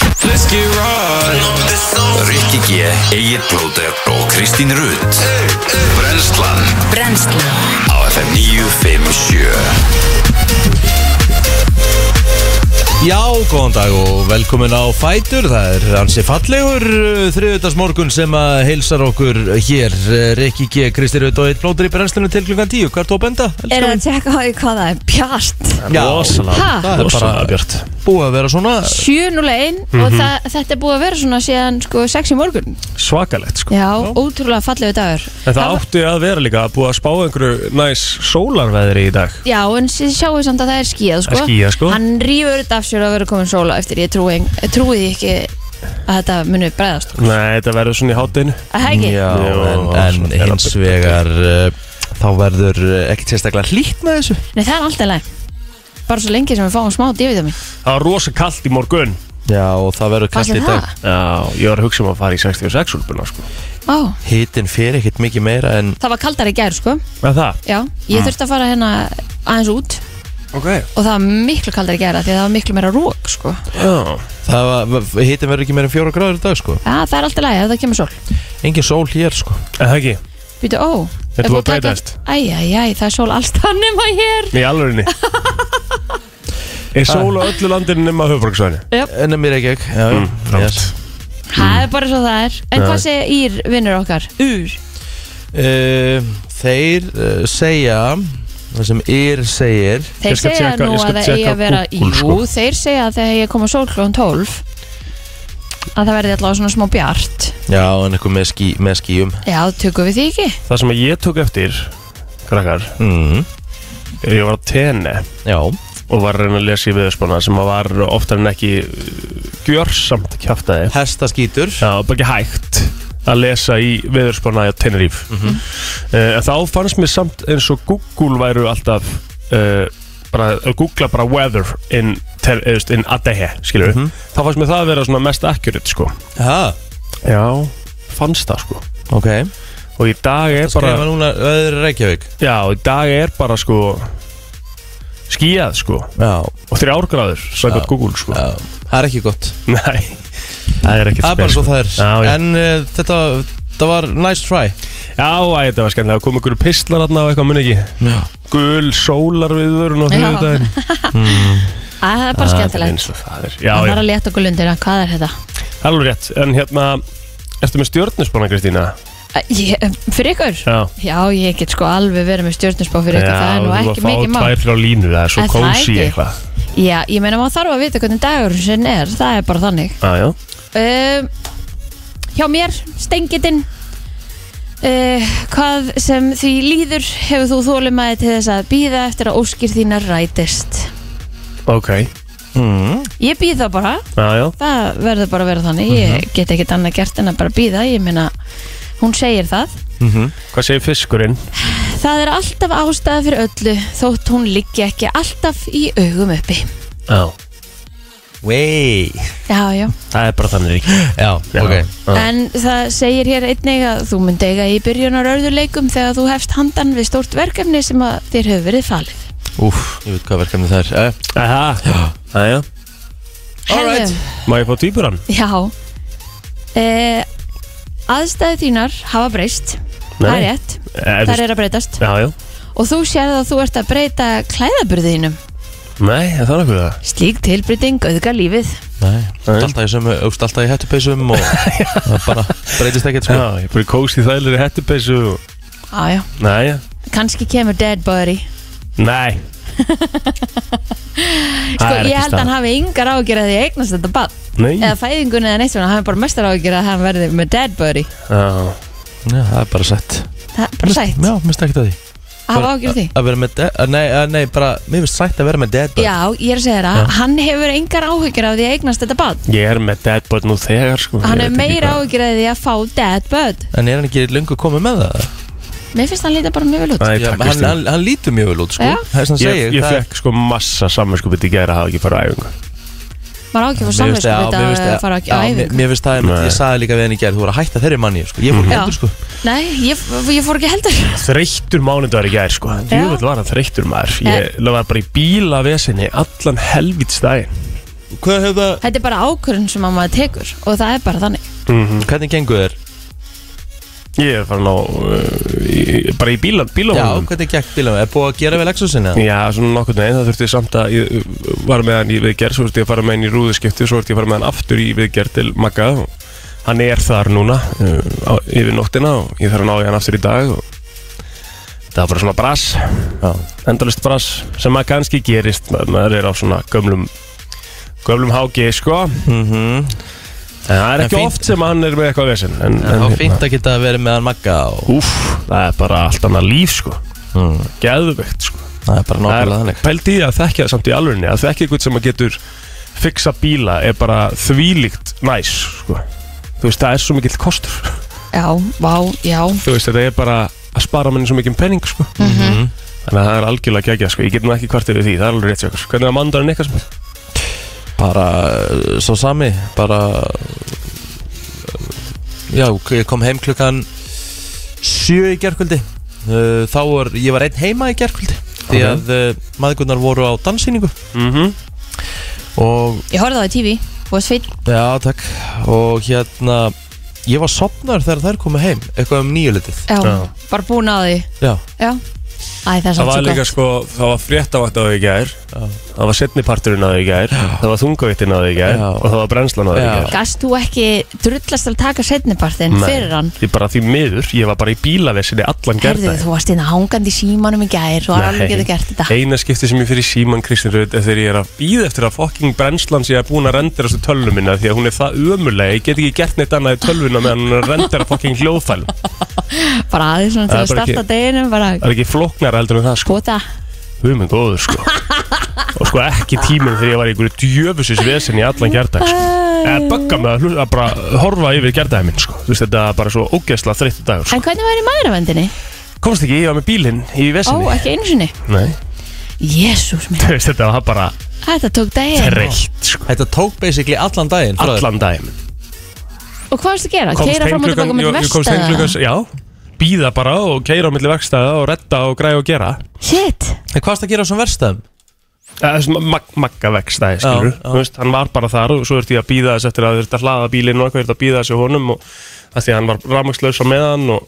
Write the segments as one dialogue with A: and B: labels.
A: kannski ráð
B: Rikki G, Egil Blóter og Kristín Rutt Brenslan
C: Brennslan
B: á FM 957
A: Já, góðan dag og velkomin á Fætur Það er hansi fallegur þriðutags morgun sem að heilsar okkur hér eh, Rikki G, Kristi Raut og eitt blótur í brennslunum til klukkan 10 Hvað er þú að benda? elskan
C: Er það
A: mín?
C: að tjekka á því hvað það er bjart
A: Já,
C: Ha?
A: það er bara bjart Búið að vera svona
C: 701 og það, þetta er búið að vera svona síðan sko 6 í morgun
D: svakalegt sko.
C: Já, ótrúlega fallegu dagur
D: En það átti að vera líka að búa að spá einhverju næs sólarveðri í dag
C: Já, en þið sjáum samt að það er skíðað sko.
D: Það er skýjað, sko.
C: Hann rýfur þetta af sér að vera komin sóla eftir ég trúi, ég trúi því ekki að þetta muni bregðast
D: Nei, þetta verður svona í hátinu
C: Að það ekki?
A: Já,
D: Jú,
A: en, en
D: svona er
A: hins
D: að-
A: vegar eh, þá verður eh, ekkert sérstaklega hlýtt með þessu
C: Nei, það er alltaf leið Bara svo lengi sem við fáum smá divitamin
D: Það var rosa kallt í morgun
A: Já, og það verður
C: Fannst
A: kallt í
C: þér
A: dag
C: það?
D: Já, ég var að hugsa um að fara í 66 úlpuna sko.
C: Ó,
A: Hittin fer ekkert mikið meira en
C: það var kaldar í gær sko
D: Með það?
C: Já, ég þurfti að fara hérna aðeins út
D: Ok
C: og það var miklu kaldar í gær af því að það var miklu meira rók sko
D: Já,
A: það var, hittin verður ekki meira en fjóra gráður í dag sko
C: Já, það er alltaf læg ef það kemur sól
A: Engin sól hér sko
D: en það ekki
C: Býtu, ó
D: Þetta
C: er búið
D: var
C: að taka-
D: breytast.
C: Æ, æ, æ, það er sól alls það nema hér
D: Í alvörinni Er sól á öllu landinu nema höfbruksvæðinu?
C: Jöp,
A: En mér ekki ekki Já, mm, yes.
C: það er bara svo það er En hvað sé ír vinnur okkar? Úr
A: uh, Þeir uh, segja það sem Ír segir
C: Þeir
D: Ég skal
C: segja
D: tjekka-
C: nú
D: ég skal
C: að það eigi
D: tjekka
C: að vera
D: Google,
C: Jú,
D: sko.
C: þeir segja að þegar ég kom á sól klón 12 að það verði allavega svona smá bjart
A: Já, en eitthvað með, skí, með skíum
C: Já, tökum við því ekki?
D: Það sem ég tók eftir, krakkar
A: mm,
D: er Ég var á tenni
A: Já,
D: og var að reyna að lesa í viðspána sem að var oftar en ekki uh, gjörsamt kjaftaði
A: hesta skítur
D: Já, bara ekki hægt að lesa í veðurspána á Teneríf mm Þá fannst mér samt eins og Google væru alltaf uh, bara, að googla bara weather in, ter, eðust, in Adehe, skilur við Þá fannst mér það að vera svona mest accurate, sko
A: Ha,
D: Já, fannst það, sko
A: ok
D: Og í dag er
A: Skrifa
D: bara,
A: núna öðru Reykjavík
D: já, í dag er bara, sko skíjað, sko
A: Já,
D: og þrjárgráður,
A: Já.
D: sagði Google, sko
A: já, það er ekki gott
D: Nei, það er ekkert
A: Það er bara
D: spes,
A: svo
D: sko.
A: það er
D: Já, já.
A: En uh, þetta, þetta var nice try
D: Já, æ, þetta var skemmtilega, kom ykkur pistlar aðna og eitthvað, mun ekki
A: Já.
D: Gul sólar við vörun og
C: Já.
D: þriðu daginn
C: Æ,
D: Ah,
C: það er bara skemmtilegt
D: Það er, já,
C: Það
D: já,
C: er að leta okkur lundir að hvað er þetta?
D: það er alveg rétt En hérna, ertu með stjórnusbána, Kristína?
C: Æ, Ég, fyrir ykkur?
D: Já
C: Já, ég get sko alveg verið með stjórnusbá fyrir ykkur, það er nú
D: þú
C: ekki mikið
D: að fá
C: mál
D: tvær frá línu, það er svo
C: Er það
D: kósi
C: ekki?
D: eitthvað
C: Já, ég meina maður þarf að vita hvernig dagur sinn er, það er bara þannig
D: Já, já
C: um, Hjá mér, stengitinn uh, Hvað sem því líður hefur þú þólimaði til þess að býða eftir að óskir þínar rætist
D: Ok
A: mm.
C: Ég býð það bara,
D: Já, já
C: það verður bara að vera þannig Ég get ekkert annað gert en að bara býða, ég meina Hún segir það
D: Hvað segir fiskurinn?
C: Það er alltaf ástæða fyrir öllu þótt hún liggi ekki alltaf í augum uppi.
D: Já
A: Wey
C: Já, já.
D: Það er bara þannig ekki
A: Já,
D: Já.
A: ok
D: Já.
C: En það segir hér einnig að þú mynd eiga í byrjunar örðuleikum þegar þú hefst handan við stórt verkefni sem að þér hefur verið falið.
A: Úf, ég veit hvað verkefni það er uh,
D: Aha Já, já
A: All right.
C: Herðu,
D: Má ég fá týpurann?
C: Já. Eh, aðstæði þínar hafa breyst.
D: Nei.
C: Það
D: Eh,
C: er rétt. Það er að breytast.
D: Já, já
C: Og þú sérð að þú ert að breyta klæðaburðinum.
D: Nei, það er nokkuð það
C: Slík tilbreyting auðga lífið.
A: Nei, þú ert alltaf í sömu, augst alltaf í hættupeysum og það bara breytist ekkert sko
D: Já, ég bara kósi þælir í hettupessu og...
C: Já, já.
D: Nei, já
C: Kanski kemur dead body.
D: Nei
C: Sko, ég held að hann hafi yngar ágjör að því að eignast þetta bann
D: Nei
C: eða fæðingunni eða neitt svona, hann er bara mestar ágjör að hann verði með dead body
D: Já,
A: Já, það er bara sett
C: það er bara sætt,
A: Já, mér stækt að því
C: að hafa ágjör því
A: Að- Að vera með dead að- Nei, að- nei, bara, mér finnst sætt að vera með dead body
C: Já, ég er að segja það, hann hefur engar áhyggjur af því að eignast þetta bann
D: Ég er með deadbot nú þegar sko
C: Hann
D: Ég
C: hefur
D: veit ekki
C: meira
D: hvað-
C: áhyggjur af því að fá dead bud
A: En er hann ekki löngu komið með það?
C: Mér finnst hann líta bara mjög vel út
D: Nei,
A: Já,
D: takk,
A: hann,
D: Kristín.
A: hann, hann lítur mjög vel út sko
C: Já.
A: Það er sem hann
D: Ég,
A: segir
D: ég
A: það er-
D: fekk sko massa samvinskupið í gera að hafa ekki farið á æfingu
C: Maður ágjör
A: Mér
C: fyrir
A: finnst
C: samvegsku
A: það-
C: þetta
A: já, mér finnst
C: að
A: það-
C: fara á
A: já, mér-
C: æfingu
A: Mér finnst það, einmitt, ég
D: Nei.
A: sagði líka við henni í gerð Þú voru að hætta þeirri manni, sko Ég fór
C: Já.
A: hendur, sko
C: Nei, ég, ég fór ekki heldur
D: Þreyttur mánudagur í gær sko
C: Eh.
D: Jú, var hann þreyttur maður Ég var bara í bílavesinni allan helvits daginn
A: hvað hefur það
C: Þetta er bara ákvörðun sem að maður tekur og það er bara þannig
D: Mm.
A: Hvernig gengur þér?
D: Ég er farin á uh, í, Bara í bíla,
A: Já,
D: bílahóðum
A: hvernig gekk bílum? Er búið að gera við Lexusin eða?
D: Já, svona nokkur neginn, það þurfti samt að ég uh, var með hann í viðgerð, svo þurfti ég að fara með hann í rúðuskipti, svo þurfti ég að fara með hann aftur í viðgerð til Magga og hann er þar núna uh, á, yfir nóttina og ég þarf að ná í hann aftur í dag og það var bara svona brass,
A: Já.
D: endalist brass sem maður kannski gerist, ma- maður er á svona gömlum, gömlum hági, sko, en það er
A: Mhm. En
D: ekki
A: fínt-
D: oft sem hann er með eitthvað vesinn, en,
A: Það
D: en
A: var fínt að geta verið með hann Magga og
D: úf, það er bara allt annað líf, sko,
A: Mm.
D: geðveikt, sko.
A: það er bara nákvæmlega
D: Það er
A: þannig
D: pældi í að þekkja það samt í alvörinni að þekkja eitthvað sem að getur fixa bíla er bara þvílíkt næs sko. þú veist, það er svo mikill kostur
C: Já, vá, já
D: þú veist, þetta er bara að spara manni svo mikil penning sko.
A: Mhm.
D: þannig að það er algjörlega gegja sko. ég get nú ekki kvartir við því, það er alveg rétt hjá ykkur. sko. hvernig var mandarinn ykkar sem
A: Bara uh, svo sami Bara eh, Já, ég kom heim klukkan Sjö í gerkvöldi Uh, Þá var, ég var einn heima í gerkvöldi Því
D: Ok.
A: að uh, maðgurnar voru á danssýningu
D: mm -hmm.
A: Og
C: Ég horfði á það í TV og sveit
A: Já, takk Og hérna, ég var sopnar þegar þær komu heim Eitthvað um nýjulitið
C: Já,
D: Já.
C: bara búin að því
A: Já,
C: Já, æ, það er
D: það
C: samt
D: var
C: svo
D: líka
C: gott
D: sko, það var fréttavætt á því í gær
A: Já.
D: það var setniparturinn á því í gær það var þungavittin á því í gær
A: Já.
D: og það var brennslan á því í
A: Já.
D: gær
C: Gast þú ekki drullast að taka setnipartin
D: sko- Nei.
C: fyrir hann?
D: Ég bara því miður, ég var bara í bílavesinni allan
C: Herðu,
D: gerðaði
C: þú varst inn hangandi í símanum í gær og hann
D: Nei.
C: getur gert þetta
D: Eina skipti sem ég fyrir síman Kristinn Rödd er þegar ég er að býða eftir að fokking brennslan sé að búin að rendera þessu tölvuna minna því að hún er það ömulega, ég get ekki gert neitt annað í tölvuna meðan hún er að rendera fokking hljóðfæl Það
C: Bara aðeins svona til
D: Það er
C: að
D: bara
C: starta deginum bara
D: er ekki flóknara heldur en það sko
C: Kota,
D: Við minn góður sko Og sko ekki tíminn þegar ég var í einhverju djöfusis vesen í allan gerðag sko Eða bögga með að, hlusta- að bara horfa yfir gerðaði minn sko Þú veist þetta er bara svo ógeðslega þreytt dagur sko.
C: en hvernig væri maðuravendinni?
D: Komst ekki, ég var með bílinn í
C: Ó,
D: vesinni
C: ekki einu sinni
D: Nei,
C: Jésús minn,
D: þú veist þetta var bara
C: þetta tók daginn
D: þreytt sko
A: þetta tók basically allan daginn frá þér.
D: Allan daginn
C: Og hvað varstu að gera?
D: komst
C: Keira
D: heim
C: fram og tilbaka
D: klukkan-
C: með
D: ég- ég komst heim
C: vestaða?
D: klukkan- já býða bara og keira á milli verkstæða og redda og græða og gera
C: Shit,
A: En hvað varst að gera á svona verstaðum?
D: Eh, þessi mag magga verkstæði skilur
A: Já, já.
D: Þú veist, hann var bara þar og svo þurfti ég að býða þess eftir að þurfti að hlaða bílinn og eitthvað þurfti að býða þessi honum og að því að hann var rafmagslaus á meðan og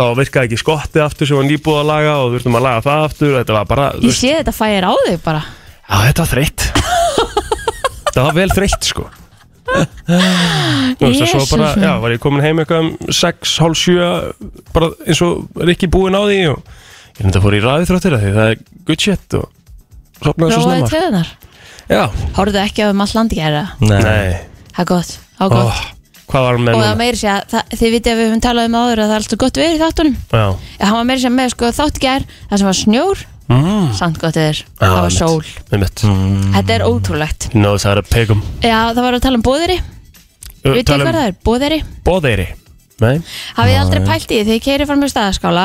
D: þá virkaði ekki skottið aftur sem var nýbúið að laga og þurftum að laga það aftur þetta var bara þú
C: ég
D: veist,
C: sé þetta fæir á þig bara
D: já, þetta var þreytt þetta var vel þreytt sko Þú veist, að svo
C: Jesús
D: bara,
C: minn.
D: já, var ég komin heim eitthvað um 6, hálf 7 bara eins og Rikki búinn á því og ég reynda að fóra í ræði þróttir því það er good shit og sopnaði svo
C: Róaði
D: snemma
C: töðunar
D: Já,
C: Horfðu ekki á um all landi gæra
D: nei,
C: Það er gott, það er
D: oh,
C: gott
D: hvað var hann með
C: Og það
D: núna?
C: meiri sér að þið vitið að við höfum talað um það áður að það er alltaf gott veður í þáttunum
D: Já,
C: Já, hann var meiri sér með sko þátt gær Það sem var snjór,
D: mm,
C: samt gott veður Það var
D: einmitt.
C: sól,
D: með mitt mm.
C: þetta er ótrúlegt
D: No, það er að pegum um
C: Já, það var að tala um bóðeri
D: Uh,
C: Vitið þið hvað það er? Bóðeri
D: Bóðeiri Nei,
C: Hafið þið aldrei pælt í því þegar keiri fram í staðaskála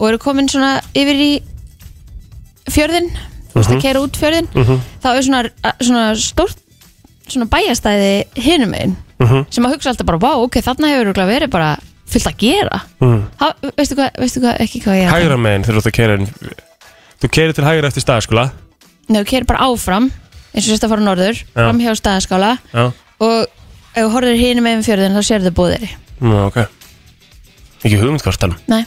C: og eru komin svona yfir í fjörðin, þú
D: Mhm.
C: veist að keira út fjörðin þá er svona, svona stórt svona bæjastæði hinum einn
D: Mhm.
C: sem að hugsa alltaf bara, vá, ok, þarna hefur örugglega verið bara fullt að gera
D: mm.
C: ha, veistu hvað, veistu hvað, ekki hvað ég
D: hægra megin þegar þú ert að keira Þú keirir til hægra eftir sko, staðskula
C: Nei, þú keiri bara áfram eins og sérst að fara norður,
D: Já.
C: fram hjá staðaskála
D: Já,
C: og ef þú horfir hinum einn fjörðin þá sér þau búðir
D: Nú, ok Ekki hugmynd hvað það
C: Nei.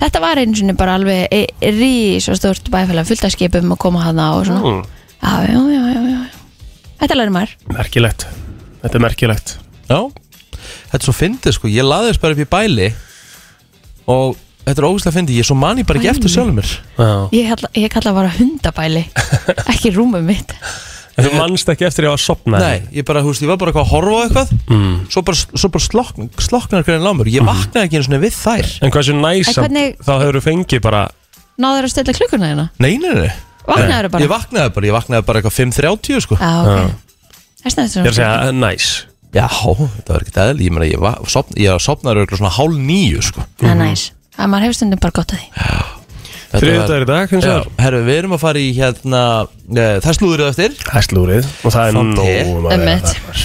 C: Þetta var einu sinni bara alveg e rísa stort bæfæla fullt af skipum að koma hana og svona.
D: mm.
C: Já, já, já, já, já. Þetta lærir maður.
D: Merkilegt Þetta er merkilegt
A: Já Þetta er svo fyndið sko, ég laðist bara upp í bæli Og þetta er ógæslega fyndið Ég er svo manni bara ekki
C: Bæli.
A: eftir sjálfur mér
D: Já
C: Ég kalla, ég kalla bara hundabæli, ekki rúmum mitt.
D: Þú mannst ekki eftir ég var að sopna
A: Nei, ég bara, húst, ég var bara eitthvað að horfa á eitthvað
C: Mm.
A: Svo bara, svo bara slokn, sloknar hvernig lámur Ég vaknaði ekki einu svona við þær
D: En hversu
C: En
D: næsamt
C: hvernig-
D: Þá hefur þú fengið bara
C: Náður að stilla klukkuna hérna?
A: Nei, nei, nei
C: Vaknaður bara?
A: Ég vaknaði bara, ég vaknaði bara eitthvað 5.30 sko
C: Já, ok. Það er snæðið
D: Ég er
C: svona.
D: að segja næs
A: Já, þetta var ekkert eðl Ég meina, ég, va- sofn, ég sopnaði eitthvað svona hálf nýju sko
C: Það er næs. Það maður hefur stundum bara gott að því.
A: Þetta var-
D: Þriðdagur í dag hins
A: Já,
D: vegar
A: herru, við erum að fara í hérna e, Það slúður það eftir
D: Það er slúrið Og það er
A: Fá te.
D: nóg um að vera
C: Einmitt.
D: þar.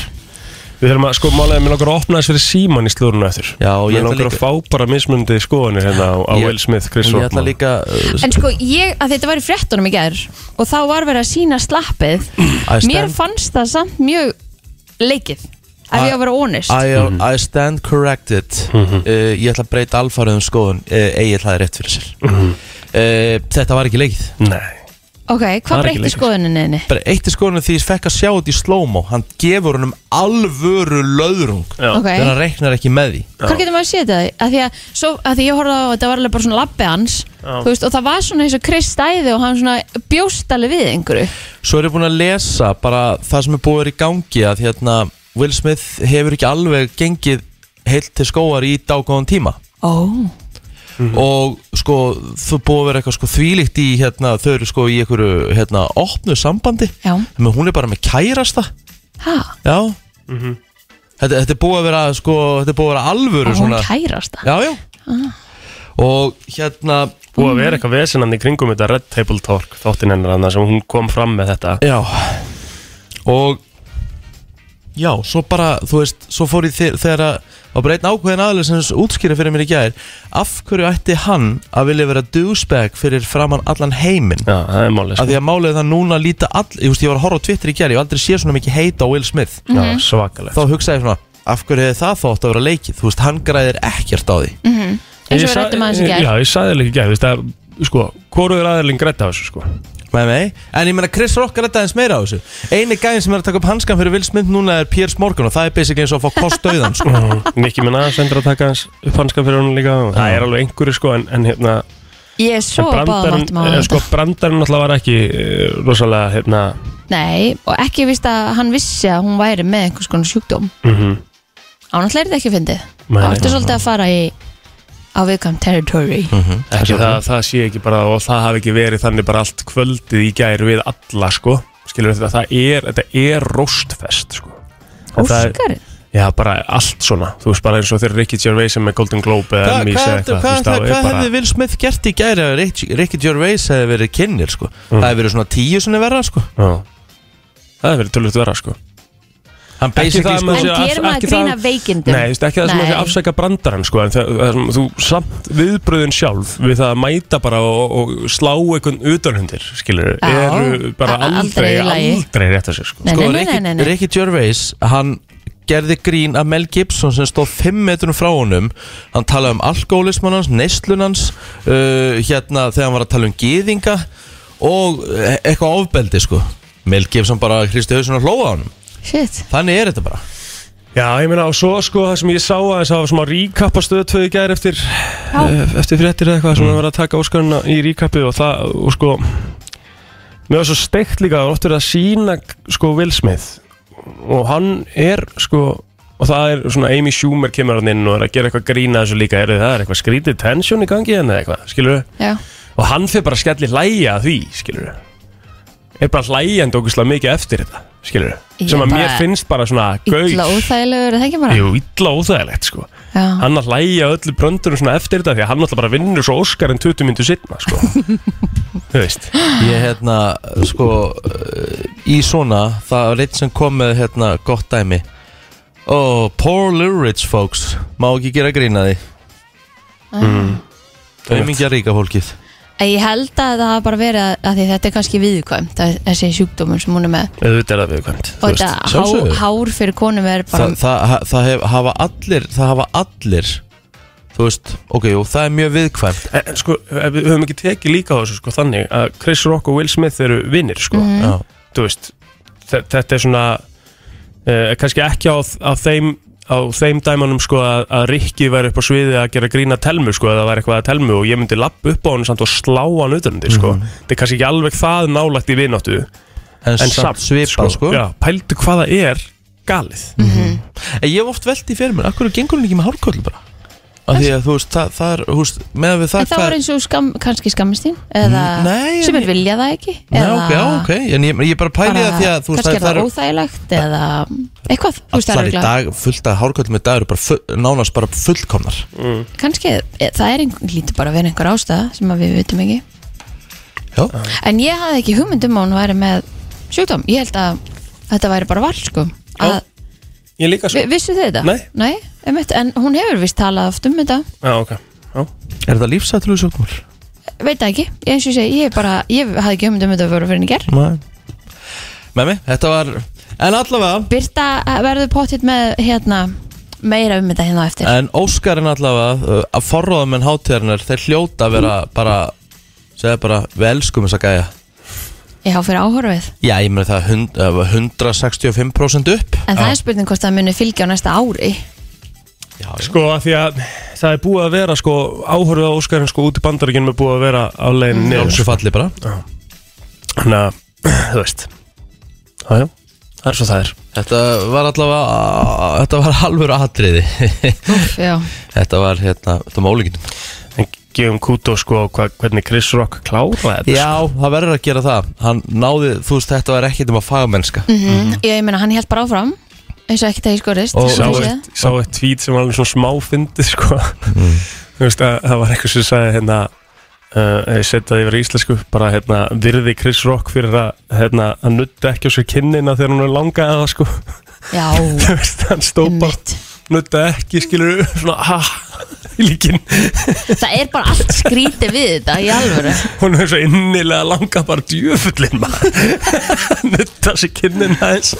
D: Við þurfum að, sko, málega, mér langar að opna þess fyrir síman í slúrunu eftir
A: Já, og ég
D: Mér
A: ætla
D: langar að
A: líka-
D: fá bara mismunandi skoðanir hérna á, á
A: Ég-
D: Will Smith, Chris
A: Ég
D: Rock
A: ætla líka uh,
C: En sko, ég, að þetta var í fréttunum í gær og þá var verið að sína slappið
A: I stand-
C: Mér fannst það samt mjög leikið ef
A: I-
C: ég var að vera honest
A: I, uh, I stand corrected uh, Ég ætla að breyta alfarið um skoðun uh, Egil hafði rétt fyrir sér uh, Þetta var ekki leikið
D: Nei,
C: Ok,
D: Það er
C: hvað
D: ekki
C: breytti
D: leikið.
C: skoðuninni?
A: Bara eitt er skoðunum því ég fekk að sjá þetta í slow-mo Hann gefur honum alvöru löðrung
D: já
C: Ok,
A: Þegar hann reiknar ekki með því
C: hvað getur maður að setja það? Að því að, svo, að því ég horfði á þetta var alveg bara svona labbi hans þú veist, og það var svona eins og Chris stæði og hann svona bjóst alveg við einhverju
A: Svo er ég búin að lesa bara það sem er búið að vera í gangi að hérna Will Smith hefur ekki alveg gengið heilt til skóar í dágóðan tíma
C: Ó,
A: og sko þú búið að vera eitthvað sko þvílíkt í hérna þau eru sko í einhverju hérna opnu sambandi
C: já,
A: menn hún er bara með kærasta
C: ha,
A: já þetta, þetta er búið að vera sko þetta er búið að vera alvöru
C: og hún Ah.
A: svona
C: kærast það
A: já já og hérna
D: Búið að vera eitthvað vesenandi í kringum þetta Red Table Talk þáttinn hennar annað sem hún kom fram með þetta
A: Já Og Já, svo bara, þú veist, svo fór ég þe- þegar að var bara einn ákveðin aðlega sem útskýra fyrir mér í gær af hverju ætti hann að vilja vera douchebag fyrir framann allan heiminn
D: Já, það er málið
A: af
D: sko.
A: því að málið er það núna líta all ég, veist, ég var að horfa á Twitter í gær, ég hef aldrei séð svona mikið heita á Will Smith
D: sko. Já, svakalegt
A: þá hugsaði ég svona, af hverju hefði það þótt að vera leikið þú veist, hann græðir ekkert á því
C: eins og
D: Ég
C: við
D: sa-
C: rættum aðeins í
D: Já,
C: gær
D: ég sagði líka í gær, þú veist að Sko, hvorugur aðeirling grætt af þessu sko
A: Nei, nei, en ég meina Chris Rock er þetta aðeins meira á þessu Einu gæðin sem er að taka upp hanskan fyrir Will Smith núna er Piers Morgan og það er basically eins og að fá kost döðan sko.
D: Mikið minn aðeins endur að taka hans upp hanskan fyrir hún líka og Það er alveg einhverju sko en, en hérna
C: Ég er svo
D: en
C: báðum áttum á
D: brandarinn, eh,
C: þetta
D: sko, brandarinn alltaf var ekki eh, rosalega hérna
C: Nei, og ekki víst að hann vissi að hún væri með einhvers konar sjúkdóm
D: mm
C: Án alltaf er þetta ekki fyndið
D: Nei,
C: Það ertu
D: nei. Hm.
C: svolítið að fara í á viðkvæm territory
D: ekki, það, það sé ekki bara og það hafi ekki verið þannig bara allt kvöldið í gær við alla sko skilur þetta, það er, þetta er róstfest sko En það er-
C: Óskarinn
D: Já, bara allt svona, þú veist bara eins og þeir Ricky Gervais sem með Golden Globe eða
A: Hvað
D: Emmys
A: hva,
D: eða
A: hva,
D: eitthvað, þú
A: hva,
D: veist,
A: hva,
D: það
A: hva
D: er bara
A: hefði Will Smith gert í gæri að Ricky, Ricky Gervais hefði verið kynir sko.
D: Mm.
A: Það hefði verið svona tíu sinni verra sko.
D: Já. Það hefur verið tölvöld vera sko
A: Hann
D: Ekki
A: basically
D: það
A: sko,
D: með-
C: En
D: sé
C: gerir
D: alls-
C: maður
D: ekki
C: grína
D: það-
C: veikindum?
D: Nei, þú veist, ekki það sem
C: Nei.
D: að afsækja brandarann sko, en það, það sem þú samt viðbröðin sjálf við það að mæta bara og, og slá einhvern utanhundir, skilur
C: Já.
D: eru bara
C: A-
D: aldrei,
C: aldrei í
D: aldrei,
C: lagi.
D: rétt að sér sko.
C: Nei,
A: sko,
C: nei, nei,
A: Ricky,
C: nei, nei, nei.
A: Ricky Gervais hann gerði grín að Mel Gibson sem stóð 5 metrum frá honum hann talaði um alkoholismann hans, neistlun hans uh, hérna þegar hann var að tala um gýðinga og eh, eitthvað ofbeldi sko Mel Gibson bara hristi hausin og hlóa honum
C: Shit
A: þannig er þetta bara
D: Já, ég meina, og svo sko það sem ég sá aðeins að það var svona recap á stöðu tvöðu gæri eftir, eh, eftir fréttir eða eitthvað sem mm. var að taka óskaruna í recapið og það, og sko mér var svo steikt líka að oft verið að sína sko Will Smith og hann er sko og það er svona Amy Schumer kemur hann inn og er að gera eitthvað grína þessu líka, er það er eitthvað skrítið tension í gangi henni eða eitthvað, skilur
C: Já,
D: og hann fyrir bara að skelli hlæja að því, skilur er bara hlæjandi okkur mikið eftir þetta, skilur
C: Ég
D: sem að
C: bara-
D: mér finnst bara svona
C: illa
D: gaur.
C: óþægilegur, er það ekki bara?
D: Jú, illa óþægilegt sko
C: Já.
D: Hann að hlæja öllu bröndunum svona eftir þetta Því að hann náttúrulega bara vinnur svo Óskar en 20 myndu sitna sko Þú veist
A: Ég hérna, sko eh, í svona, það var eitt sem kom með hérna, gott dæmi Oh, poor little rich folks Má ekki gera grína því
C: Ah.
A: Auðmingja ríka fólkið
C: En Ég held að það hafa bara verið að, að því þetta er kannski viðkvæmt að- þessi sjúkdómur sem hún er með
D: Auðvitað er það viðkvæmt
C: og þetta hár,
A: sjálfsögðu.
C: hár fyrir konum er bara
A: Það, það, ha- það hef, hafa allir Það hafa allir Þú veist, ok, jú, það er mjög viðkvæmt
D: En en, sko, ef við höfum ekki tekið líka á þessu sko Þannig að Chris Rock og Will Smith eru vinnir sko
C: Mm. Mhm.
A: Já,
D: Þú veist þe- Þetta er svona uh, Kannski ekki á, á þeim á þeim dæmanum sko að, að Rikki væri upp á sviði að gera grína telmu sko eða það væri eitthvað að telmu og ég myndi lappa upp á hann samt og slá hann utanandi sko
C: Mhm.
D: þetta er kannski ekki alveg það nálægt í vináttu
A: En, samt svipað, sko,
D: já, pældu hvað það er galið
A: En ég hef oft velt í fyrir mér, akkur gengur hún ekki með hárköll bara Af því að, þú veist, það, það er, þú veist Meðan við það
C: en það
A: hvað-
C: var eins og skam, kannski skammist þín eða
A: Mm, nei, en
C: sem er
A: ég-
C: vilja það ekki
A: Nei, ok, já, ok, en ég, ég bara pæli það því að þú veist,
C: kannski
A: það
C: er það
A: eru
C: óþægilegt eða eitthvað þú veist, það
A: allar í
C: er örugglega-
A: dag fullt af hárköllum í dag eru bara full, nánast bara fullkomnar
C: kannski e, það er einhver lítur bara að vera einhver ástæða sem að við vitum ekki
A: Já.
C: en ég hafði ekki hugmynd um að hún væri með sjúkdóm ég held að þetta væri bara val sko að
D: ég líka sko
C: Vi, Vissu þið þetta?
D: Nei.
C: Nei, einmitt, en hún hefur vist talað oft um þetta
D: Já, ok Já.
A: Er það lífsættilegu sjúkdómur?
C: Veit það ekki, ég eins og ég segi, ég bara Ég hafði ekki hugmynd um þetta að vera fyrir en í ger
A: Nei Memi, þetta var En allavega
C: Birta eh, verður pottitt með hérna Meira um þetta hérna á eftir
A: En Óskarinn allavega uh, Að forróðamenn hátíðarinnar Þeir hljóta að vera bara Segða bara Við elskum þessa gæja
C: Ég há fyrir áhorfið
A: Já, ég meni það hund, eh, 165% upp
C: En það er spurning hvort það muni fylgja á næsta ári
A: Já,
D: Sko að því að það er búið að vera sko áhörðu á Óskarinn sko út í bandaríkinn er búið að vera á leiðin niður
A: Njómsu falli bara
D: Þannig að, þú veist Jájá, það er svo það er
A: Þetta var allavega Þetta var halvur atriði
C: Úff, já
A: Þetta var hérna Þetta var ólíkinum
D: En gefum kútó sko hva, hvernig Chris Rock klára þetta sko.
A: Já, það verður að gera það Hann náði Þú veist, þetta var ekkert um að fagmennska
C: mm Ég, ég meina, hann held bara áfram Eins og ekkert að ég skorist
A: Og-
C: sem
D: Sá
C: þú séð.
D: eitt, sá eitt tweet sem var alveg svona smá fyndið sko Þú veist að það var eitthvað sem sagði hérna Uh, ég setja það yfir í íslensku bara hérna virði Chris Rock fyrir að hérna að nutta ekki á sér kinnina þegar hún er langaði það sko
C: Já,
D: þú veist hann stóð bara
C: mitt
D: nutta ekki skilur svona ha líkin
C: Það er bara allt skrítið við þetta í alvöru
D: hún er svo innilega langa bara djöfullin maður nutta sér kinnin aðeins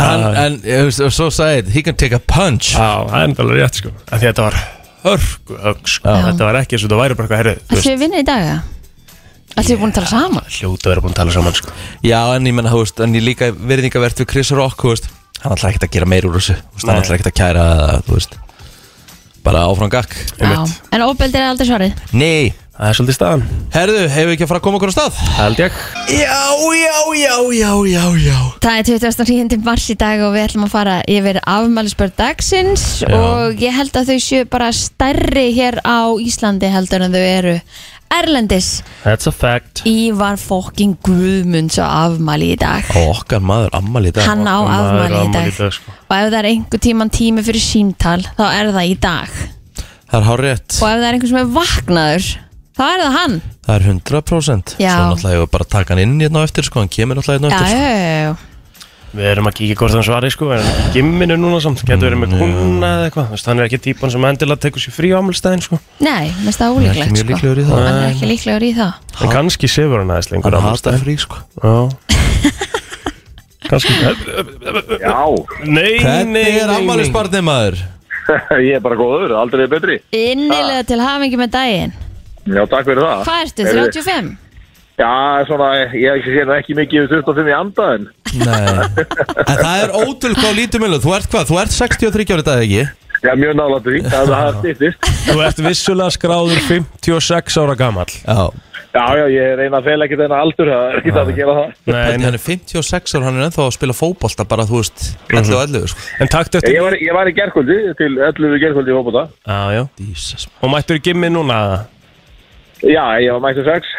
A: En, en ég veist, svo sagði ég, He can take a punch
D: á, það er bara rétt sko af því að þetta var hörgu högg sko
C: Já.
D: þetta var ekki eins og þetta væri bara eitthvað herrið þú
C: Ætlum
D: veist
C: við vinna í dag, ja? Ætlum við búin að tala saman?
D: hljóta að vera búin að tala saman sko
A: Já, en ég menna, þú veist, en ég líka verðingavert við Chris Rock, þú veist, hann ætla ekkert að gera meir úr þessu, þú veist, hann
D: Nei.
A: ætla ekkert að kæra, það, þú veist, bara áfram gakk.
C: Já, en óbeldir er aldrei svarið
A: Nei,
D: það er svolítið staðan
A: herðu, hefur við ekki að fara að koma okkur á stað?
D: held ég
A: Já, já, já, já, já, já.
C: Það er 29. mars í dag og við ætlum að fara yfir afmælisbörn dagsins og ég held að þau séu bara stærri hér á Íslandi heldur en þau eru Erlendis
D: that's a fact
C: Ívar fokkin Guðmunds á afmæli í dag
A: Og okkar maður, ammali í dag.
C: Hann á
D: okkar maður
C: afmæli
D: á
C: í dag
D: afmæli í dag, sko.
C: og ef það er einhver tíman tími fyrir símtal þá er það í dag
A: Það er hár rétt,
C: og ef það er einhver sem er vaknaður þá er það hann
A: það er 100%.
C: Já.
A: Svo náttúrulega hefur bara að taka hann inn hérna á eftir, sko, hann kemur náttúrulega hérna á
C: Já,
A: eftir.
C: já,
A: sko.
C: já, já.
D: við erum að kíkja hvort hann svari sko en gimmin er núna samt getur verið með kuna eða eitthvað Þú veist, hann er ekki típan sem endilega tekur sér frí á ámælstæðin sko
C: Nei, mér finnst það
A: Hann er ekki
C: ólíklegt
A: mjög
C: sko.
A: líklegur í það.
C: Hann er ekki líklegur í það
D: En kannski sefur hann aðeins lengur
A: Hann
D: á
A: hatar
D: mánudaginn.
A: frí, sko.
D: Já Kannski
E: Já,
D: Nei, nei,
A: Hvernig er
D: nei, nei.
A: ammalisbarnið maður?
E: ég er bara góður, aldrei er betri.
C: Innilega til hafingi með daginn
E: Já, takk fyrir það.
C: Hvað ertu,
E: Heyrðu,
C: 35?
E: Já, svona, ég sé nú ekki mikið yfir 25 í andaðin.
A: Nei, en það er ótrúlega á lítið mjög, þú ert hvað, þú ert 63 ára í dag, ekki?
E: Já, mjög nálægt því, það það stýttist.
D: Þú ert vissulega skráður 56 ára gamall
A: Já.
E: Já, já, ég reyna að fela ekki þennan aldur, það er ekki það að gera það.
D: Nei,
A: Þannig
D: nei.
A: hann er 56 ára, hann er ennþá að spila fótbolta bara, þú veist, 11 og 11 sko.
D: En takt
E: Ég
D: eftir
E: var, ég var í gerkvöldi, til 11 gerkvöldi í fókbóta.
D: Já, já
A: Jesus.
D: Og mættur í gimmi núna
E: Já, ég var mættu 6.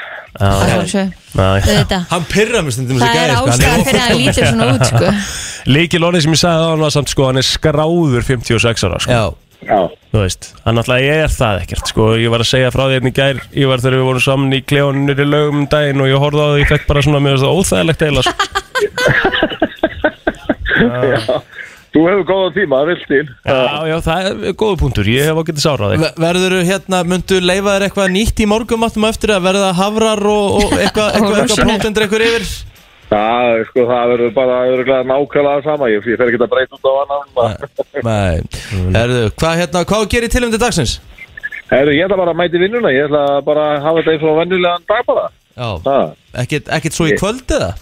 C: Að
D: Já,
C: sjálfsögðu,
D: já
C: auðvitað.
A: Hann pirra mér stundum
C: Það sko. er ástæðan fyrir að það lítur svona út sko.
D: Líkil orðið sem ég sagði á hann var samt sko Hann er skráður 56 ára sko
A: Já,
E: Já,
D: Þú veist Hann náttúrulega er það ekkert sko Ég var að segja frá því hérna í gær Ég var þegar við vorum saman í kleónunir í lögum um daginn Og ég horfði á því Ég fekk bara svona Mér finnst það óþægilegt eiginlega sko.
E: þú hefur góða tíma, vilt til.
D: Já, já, það er góðu punktur, ég hef ágætið sárað þig
A: verður hérna, myndu leifa þér eitthvað nýtt í morgumattum eftir að verða hafrar og, og eitthvað eitthva, eitthva, eitthva prótendur eitthvað yfir
E: Já, sko, það verður bara öðruglega nákvæmlega sama, ég, ég fer ekki að breyta út á annan.
A: Nei, herðu, hvað hérna, hvað gerir til um til dagsins?
E: Herru, ég ætla bara að mæti vinnuna, ég ætla bara að hafa þetta eins og vennulegan dag bara.
A: Já,
E: Ha.
A: ekkert, ekkert svo í kvöld eða?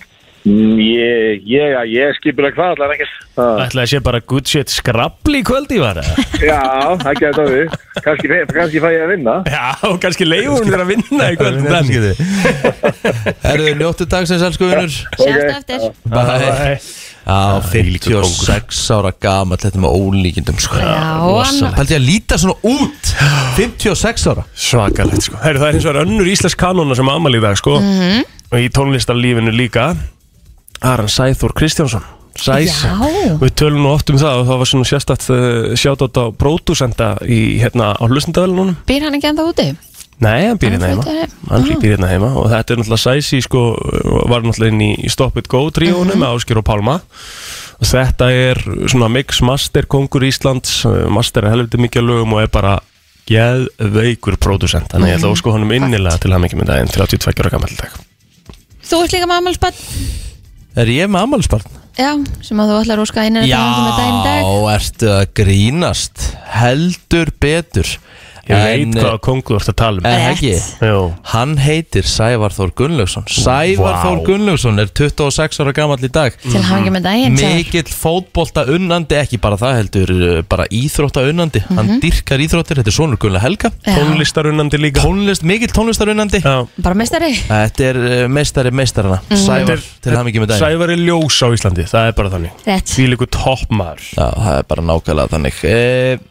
E: Mm, Ég, ég, já, ég skipur að hvað allar ekkert. Ha.
D: Ætlaði sé bara good shit skrabli í kvöld í vara
E: Já, það gæti að við. Kanski, kannski fæ ég að vinna.
D: Já, og kannski leiður hún þér að vinna í kvöld
A: Hvernig
D: Danni.
A: er það? Herðu, njóttu dagsins, elsku vinnur
C: Sjástu eftir
A: Bye Já, 56 ára gamall, þetta er með ólíkindum sko.
C: Já, hann-
A: Pældi ég að líta svona út 56 ára
D: Svakalegt sko Heru, Það er eins og er önnur íslensk kanona sem amal í dag sko Og í tónlistarlífinu líka Aran Sæþór Kristjánsson Sæs
C: Já.
D: Við tölum nú oft um það og það var svona sérstætt uh, Sjátt á pródúsenda í hérna á hlustendavælunum
C: Býr hann ekki ennþá úti?
D: Nei, hann býr
C: Hann er
D: hérna heima
C: fluttur heim.
D: Hann býr hérna heima og þetta er náttúrulega Sæsi sko, var náttúrulega inn í Stop It Go tríónum með Áskir og Pálma Þetta er svona mix master kongur Íslands eh, Master er helviti mikið að lögum og er bara geðveikur pródusent Þannig
C: Mhm.
D: ég ætla að sko honum innilega til hann ekki með daginn 32 ára gammal dag
C: Þú ert líka með ammálsbann
A: Er ég með ammálsbarn?
C: Já, sem að þú ætlar að óska einan að það með daginn í dag
A: ertu að grínast Heldur betur
D: Ég veit
A: eh,
D: hvaða kongur þú ert að tala um
A: En ekki
D: Jó,
A: Hann heitir Sævar Þór Gunnlaugsson Sævar
D: Vá.
A: Þór Gunnlaugsson er 26 ára gamall í dag
C: Til hafingi með daginn Sævar.
A: Mikill fótbolta unnandi, ekki bara það heldur uh, bara íþrótta unnandi
C: Mhm.
A: Hann dyrkar íþróttir, þetta er sonur Gunnla Helga
C: Já.
D: tónlistarunandi líka
A: Tónlist, mikill tónlistar unnandi
D: Já.
C: Bara meistari
A: Þetta er uh, meistari meistarana
C: Mhm.
A: Sævar, til hann ekki með daginn
D: Sævar er ljós á Íslandi, það er bara þannig
C: Rétt
D: Því líku toppmaður
A: Já, það er bara nákvæmlega þannig uh,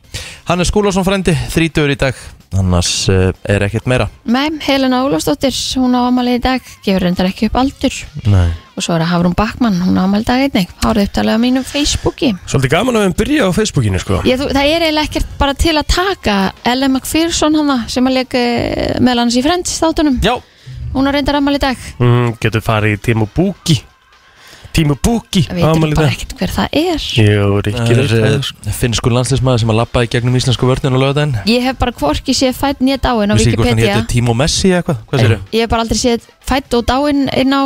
A: Hann er skúlásson frendi, þrítur í dag Annars uh, er ekkert meira
C: Nei, Helena Ólafsdóttir, hún á ammali í dag Gefur reyndar ekki upp aldur
A: Nei
C: Og svo er að Hafrún Bakmann, hún á ammali í dag einnig Hárið upptalið á mínum Facebooki
D: Svolítið gaman að við byrja á Facebookinu sko
C: Ég, þú, það er eiginlega ekkert bara til að taka Ellen McPherson hana sem að leika meðal hans í Friends þáttunum
A: Já,
C: hún á reyndar ammali í dag
D: mm, Getur farið í Tímu Búki Tímu Búki,
C: við veitum
D: ámæli
C: bara
D: það
C: ekkert hver það er
D: Jú,
A: það
D: Rikki
A: er
D: veit það,
A: uh, finnskur landslismæður sem að labba í gegnum íslensku vörninu á lögadaginn
C: ég hef bara hvorki séð fætt nýja dáin á
A: Vissi ekki hvort hann
C: Wikipedia
A: hétu Timo Messi eða eitthvað, hvað sér
C: ég hef bara aldrei séð fætt og dáin inn á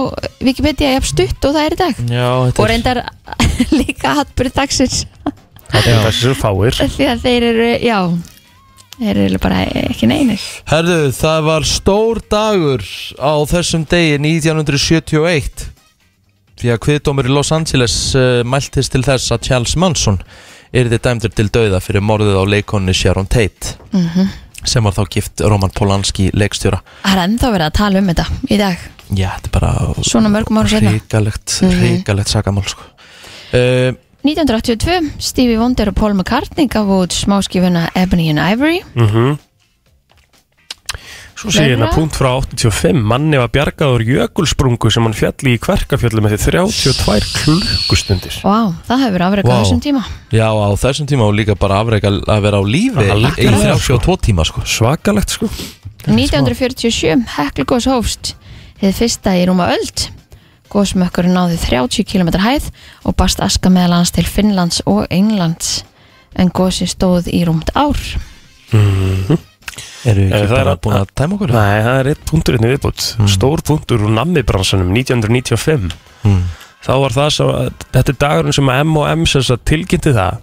C: Wikipedia ég hef stutt og það er í dag
A: Já,
C: og
A: þetta er
C: reyndar líka hattbyrð dagsins
D: það er þessi fáir
C: því að þeir eru, já þeir eru bara ekki neinir
A: Herðu, það var stór dagur á þessum degi 1971 því að kviðdómur í Los Angeles uh, mæltist til þess að Charles Manson yrði dæmdur til dauða fyrir morðið á leikonni Sharon Tate
C: Mhm.
A: sem var þá gift Roman Polanski leikstjóra
C: það er ennþá verið að tala um þetta í dag
A: Já, þetta er bara
C: Svona mörgum árum seinna. Mhm.
A: Ríkalegt, ríkalegt sagamál sko. uh,
C: 1982, Stevie Wonder og Paul McCartney gaf út smáskifuna Ebony and Ivory
A: Mm.
D: Svo sé ég hérna
C: Meira?
D: punkt frá 85 Manni var bjargaður jökulsprungu sem hann fjalli í kverkafjöllum eftir 32 klukkustundir
C: Vá, það hefur verið afrekað á
A: Vá.
C: þessum tíma
A: Já, á þessum tíma og líka bara afreika að vera á lífi
D: Algjörlega,
A: í 32 tíma sko.
D: Svakalegt sko
C: 1947, Heklugos hófst hefði fyrsta í rúma öld Gósmökkur náði 30 km hæð og barst aska meðal hans til Finnlands og Englands en gósi stóð í rúmt ár
A: Eru
D: Eh,
A: ekki
D: það er
A: bara
D: að-
A: búin að tæma okkur?
D: Nei, það er eitt punktur einnig viðbútt Stór punktur úr nammibransanum 1995
A: Mm.
D: Þá var það svo Þetta er dagurinn sem að M&M sem sagt tilkynnti það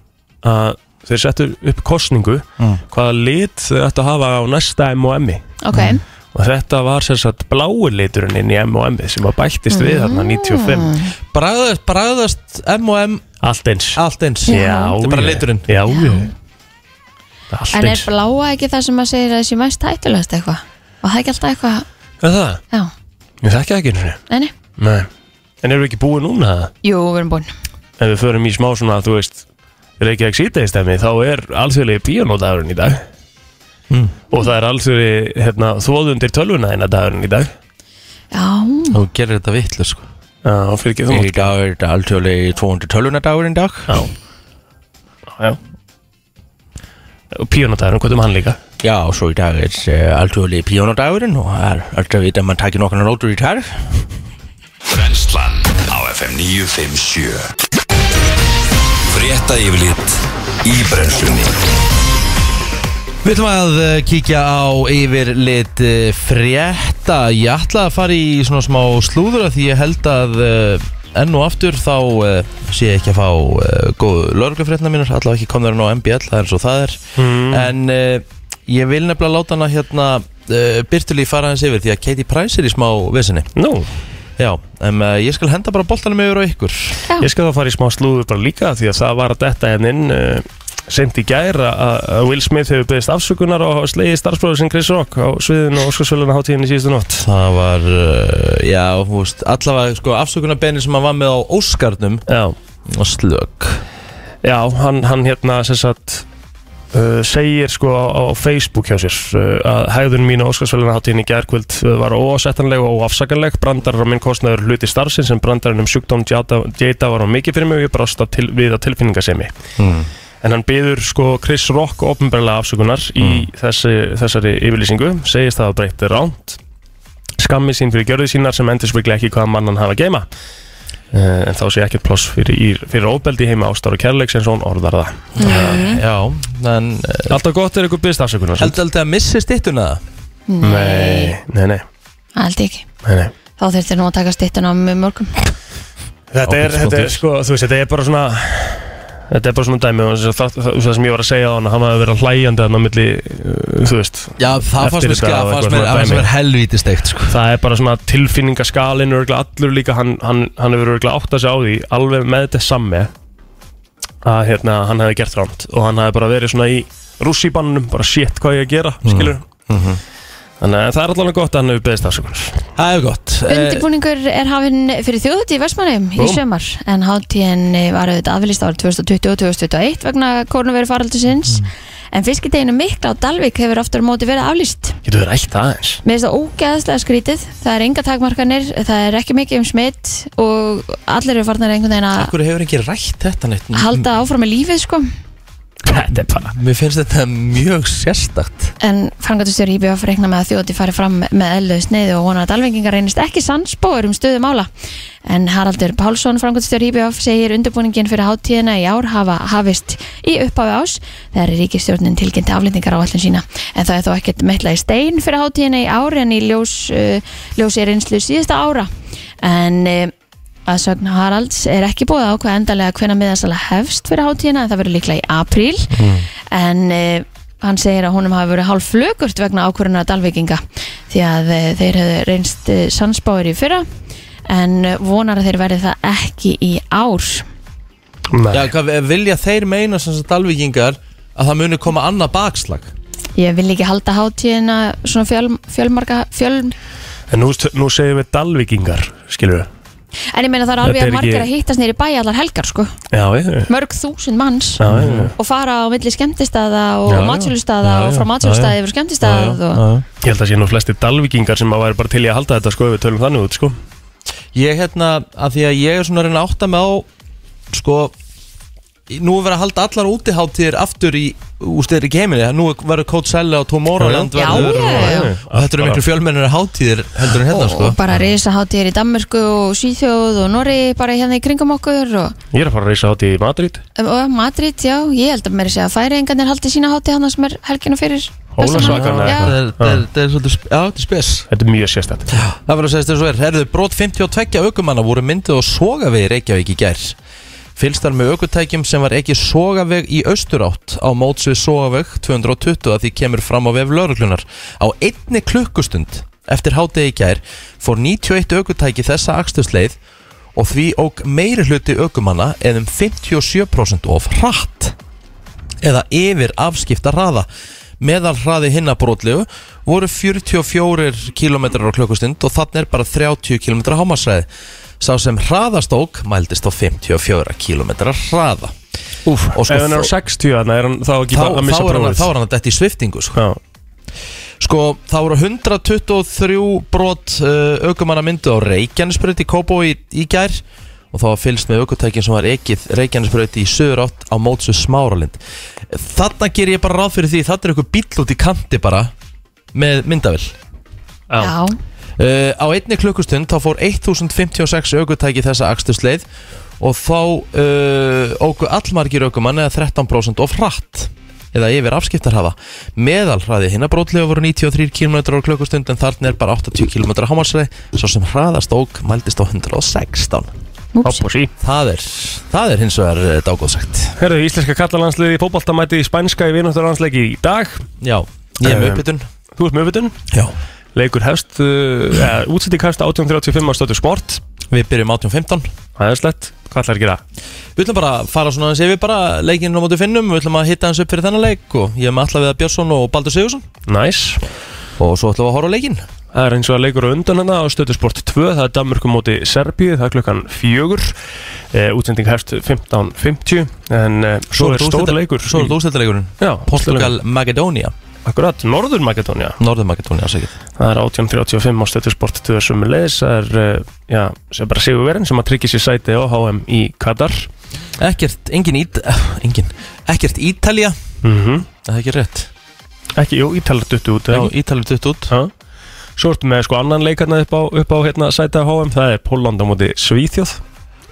D: að þeir settu upp kostningu
A: Mm.
D: hvaða lit þau ættu að hafa á næsta M&M -i.
C: Ok,
D: og þetta var sem sagt blái liturinn inn í M&M -ið sem að bættist við
A: Mm.
D: þarna 95
A: Bragðast, bragðast M&M
D: Allt eins
A: allt eins
D: Já,
A: Þetta er bara
D: já.
A: liturinn
D: Já, já Allt
C: en er
D: eins
C: bláa ekki það sem að segir að þessi mest hættulegast eitthvað? Og það er ekki alltaf eitthvað,
D: Hvað er það?
C: já,
D: Ég þekki það ekki einu sinni
C: neini
D: Nei En erum við ekki búið núna það?
C: Jú, við erum búin
D: Ef við förum í smá svona, þú veist Reykjavík síðdegi stemmi Þá er alþjóðlegi píanódagurinn í dag
A: Mm.
D: Og það er alþjóðlegi hérna, þóðundir tölvuna þína dagurinn í dag
C: Já,
A: Þú gerir þetta vitlu sko
D: Já, fyrir ekki þú mátt
A: Í dag er þetta alltjóðlega 212 dagurinn dag
D: Já, já Og píanódagurinn, hvað um hann líka?
A: Já, og svo í dag er uh, alltjóðlega píónadagurinn og það er alltaf vita að mann takir nokkana nótur í tær
B: Brennslan á FM 957 Frétta yfirlit í brennslunni
A: Við ætlum að eh, kíkja á yfirlit eh, frétta Ég ætla að fara í svona smá slúður af því ég held að eh, enn og aftur þá uh, sé ég ekki að fá uh, góðu lörglufrétna mínar allavega ekki komður enn á MBL, það er eins og það er en uh, ég vil nefnilega láta hana hérna uh, Byrtulí fara hans yfir því að Katie Price er í smá vesinni
D: Nú,
A: Já, en uh, ég skal henda bara boltanum yfir á ykkur
D: ég skal þá fara í smá slúður bara líka Því að það var að detta henn inn uh, Seint í gær að- að Will Smith hefur beðist afsökunar og slegið starfsbróður sinn Chris Rock á sviðinu og Óskarsvölinu hátíðinni síðustu nótt
A: Það var, uh, já, þú veist, allavega sko afsökunarbenir sem hann var með á Óskarnum
D: Já,
A: og slök.
D: já hann, hann hérna sem sagt Uh, segir sko á, á Facebook hjá sér uh, að hægðun mín á Óskarsvæluna hátíðin í gærkvöld uh, var ósettanleg og óafsakanleg brandarar á minn kostnaður hluti starfsins en brandarinn um sjúkdóm djata, djata var á mikið fyrir mig og ég brást af til, við að tilfinningasemi en hann byður sko Chris Rock ofnbærlega afsökunar í þessi, þessari yfirlýsingu, segist það að breytta ránt skammi sín fyrir gjörði sínar sem endur ekki hvaða mann hann hafa að geima uh, en þá sé ekkert pláss fyrir, í- fyrir óbeldi heima ástar og kærleiks eins og hún orðar það
A: Já, en eh,
D: Alltaf gott er ykkur byrst afsökunar
A: heldur aldrei að missi styttuna það?
D: Nei, nei, nei,
C: Aldrei ekki
D: nei, nei.
C: Þá þurftir nú að taka styttuna á mjög mörgum
D: Þetta er,
A: Ágætis
D: þetta er
A: punktur.
D: sko, þú veist, þetta er bara svona Þetta er bara svona dæmi og það, það, það, það sem ég var að segja á hana, hann hafði verið hlæjandi hann á milli, uh, þú veist
A: Já, það fannst
D: Eftir
A: mér
D: þetta
A: skjá,
D: og
A: fannst
D: eitthvað
A: mér,
D: svona
A: það fannst
D: dæmi.
A: mér helvítið steikt sko.
D: Það er bara svona tilfinningaskalinn örgulega allur líka, hann, hann, hann hefur örgulega átt að segja á því, alveg með þetta samme að hérna, hann hefði gert rámt og hann hefði bara verið svona í rússíbannunum, bara shit hvað ég að gera, skilur Þannig að það er allavega gott að hann hefur beðist afsökunar
A: Það er gott Eh,
C: Undirbúningur er hafinn fyrir þjóðhátíð í Vestmannheim í
D: Búmm.
C: sömar en hátíðin var auðvitað aflýst árið 2020 og 2021 vegna koronaviru faraldusins en fiskideginu mikla á Dalvik hefur aftur á móti verið aflýst.
D: Getur við rætt það eins?
C: Mér finnst það ógeðslega skrítið, það er enga takmarkanir, það er ekki mikið um smitt og allir eru farnar einhvern veginn að
A: Akkur hefur ekki rætt þetta neitt
C: halda áfram með lífið sko
D: Þetta er bara
A: Mér finnst þetta mjög sérstakt
C: en frangatustjóri IBF reikna með að þjóti fari fram með eðlöðu sneiðu og vonar að dalvengingar reynist ekki sannspóður um stöðu mála en Haraldur Pálsson, frangatustjóri IBF segir undirbúningin fyrir hátíðina í ár hafa hafist í upphafi ás þegar ríkistjórnin tilkynnti aflendingar á allin sína en það er þó ekkert meitla í stein fyrir hátíðina í ár en í ljós, uh, ljósi reynslu síðasta ára en uh, að sögn Haralds er ekki búið að ákveða endalega hvenna miðasala hefst fyrir hátíðina en það verður líklega í apríl
A: Mm.
C: en uh, hann segir að honum hafi verið hálf flögurt vegna ákvörðunar dalvíkinga því að uh, þeir hefðu reynst uh, sannspáir í fyrra en eh, vonar að þeir verði það ekki í ár
A: Já, hvað, vilja þeir meina sem sagt alvíkingar að það muni koma annað bakslag
C: ég vil ekki halda hátíðina svona fjöl, fjölmarga fjöl,
D: En nú, nú segjum við dalvíkingar, skilur við
C: en ég meina það er
D: Þetta
C: alveg
D: er
C: að margir
D: ekki-
C: að hittast nýri bæ allar helgar sko,
D: Já, ég,
C: mörg þúsund manns
D: já, já, já.
C: og fara á milli skemmtistaða og
D: Já, já.
C: matsölustaða
A: Já, já.
C: og frá
A: Já,
C: matsölustaði yfir skemmtistað og
D: Ég held að sé nú flesti dalvíkingar sem að væri bara til í að halda þetta sko ef við tölum þannig út sko
A: Ég hérna, að því að ég er svona að reyna að átta mig á Sko í- Nú er verið að halda allar útiháttíðir aftur í ústir í geiminni Nú er- verður Coachella og Tomorrowland
C: Já, já.
A: verður-
C: Já, já, já.
A: Og þetta eru miklu fjölmennir hátíðir heldur en hérna
C: og,
A: sko
C: og bara reysa hátíðir í Danmörku og Svíþjóð og Norri bara hérna í kringum okkur og,
D: Ég er að fara að reysa hátíð í Madrid
C: og Madrid, já, ég held að mér sé að færiðingarnir haldi sína hátíð hann sem er helgina fyrir
D: Hólasvakan eða
C: Já.
A: Þetta
D: eitthvað.
A: er- þetta er- þetta er svolítið sp- já, þetta er spes
D: Þetta er mjög sérstætt
A: Það verður að segja þess að svo er Herðu, brot 52 aukumanna voru myndið og sogaveg í Reykjavík í gær Fylstar með aukutækjum sem var ekki sogaveg í austurátt á móts við sogaveg 220 að því kemur fram á vef lauruglunar Á einni klukkustund eftir hádegi í gær fór 91 aukutæki þessa akstusleið og því óg meiri hluti aukumanna eða um 57% of hratt eða yfir afskipta hraða meðal hraði hinna brotlegu voru 44 km á klukkustund og þannig er bara 30 km hámasræði sá sem hraðastók mældist á 54 km hraða Úf, og
D: Ef hann er á 60 þarna er hann þá ekki
A: Sko, þá,
D: bara að
A: þá,
D: missa
A: er hann,
D: prófið
A: þá er hann að detti í sviftingu sko.
D: Já,
A: sko, þá voru 123 brot uh, aukumanna myndu á Reykjanesbröð í Kóbo í, í gær og þá var fylgst með aukutækin sem var ekið Reykjanesbröð í söður átt á mótsu smáralind þarna ger ég bara ráð fyrir því þarna er einhver bíll út í kanti bara með myndavill
D: já,
C: Já,
A: Uh, á einni klukkustund þá fór 1056 aukutæki þessa akstusleið og þá uh, óku allmargir aukumann eða 13% of hratt eða yfir afskiptarhafa meðalhraði hinna brótlega voru 93 km á klukkustund en þarna er bara 80 km hámarsræði svo sem hraðast ók mældist á 116
C: úps,
D: hopp og sí
A: það er, það er hins vegar eh, dágóðsagt
D: Herðu, íslenska kallalandsliði í fótbolta mæti í spænska í vináttarlandsleiki í dag
A: já, ég er
D: Um,
A: með uppbytun
D: Þú ert með öfutun
A: já,
D: Leikur hefst, uh, ja, útsýtti hefst 18.35 á stötu sport
A: við byrjum 18.15
D: Það er slett, hvað ætlar að gera?
A: Við ætlum bara að fara svona aðeins yfir bara leikinn á móti finnum, við ætlum að hitta hans upp fyrir þennan leik og ég er með allavega Björnsson og Baldur Sigursson
D: Næs
A: og svo ætlum við að horfa á leikinn
D: Það er eins og að leikur á undan hana á stöðusport 2, það er Danmörku móti Serbíu, það er klukkan fjögur, e, útsending hefst 15.50, en e, svo er stór leikur.
A: Svo er
D: í-
A: þetta úrstættileikurinn
D: Já,
A: Portugal Magadónia,
D: Akkurat, Norður Makedónia,
A: Norður Magadónia sækir
D: það er 18.35 á stöðusport 2 sem er leiðis, það er, e, já, sem bara sigurverðin sem að tryggja sér sæti á HM í Katar.
A: Ekkert, engin ít Engin, ekkert Ítalja
D: Mm
A: Það er ekki rétt
D: Ekki, jú, Ítalar duttu út,
A: Já,
D: eða ekki?
A: Ítalja dutt út
D: Já. hérna, Svo ertu með sko annan leikarna upp á, upp á hérna sæti á HM, það er Pólland á móti Svíþjóð.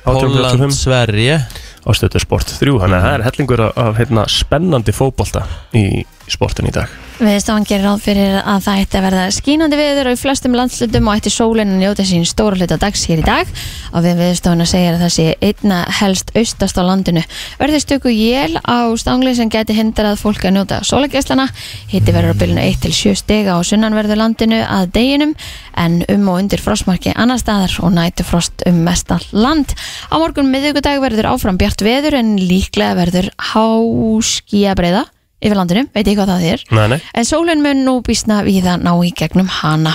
A: Holland,
D: 1885
A: Sverige
D: á stöðu sport 3 þannig að það er hellingur af- af hérna, spennandi fótbolta í sportin í dag
C: Viðstofan gerir ráð fyrir að það ætti að verða skínandi viður og í flestum landslutum og ætti sólinn að njóta sín stóra hluta dags hér í dag og við viðstofana segir að það sé einna helst austast á landinu. Verður stöku jél á stangli sem geti hindrað fólk að njóta sólageslana. Hitti verður á bylunu 1 til 7 stega á sunnanverðu landinu að deginum en um og undir frostmarki annar staðar og nætu frost um mest all land. Á morgun miðvikudag verður áfram bjart veður en líklega verður háskíabreiða yfir landinu, veit ég hvað það er
D: Nei, nei.
C: en sólinn mun nú býsna við að ná í gegnum hana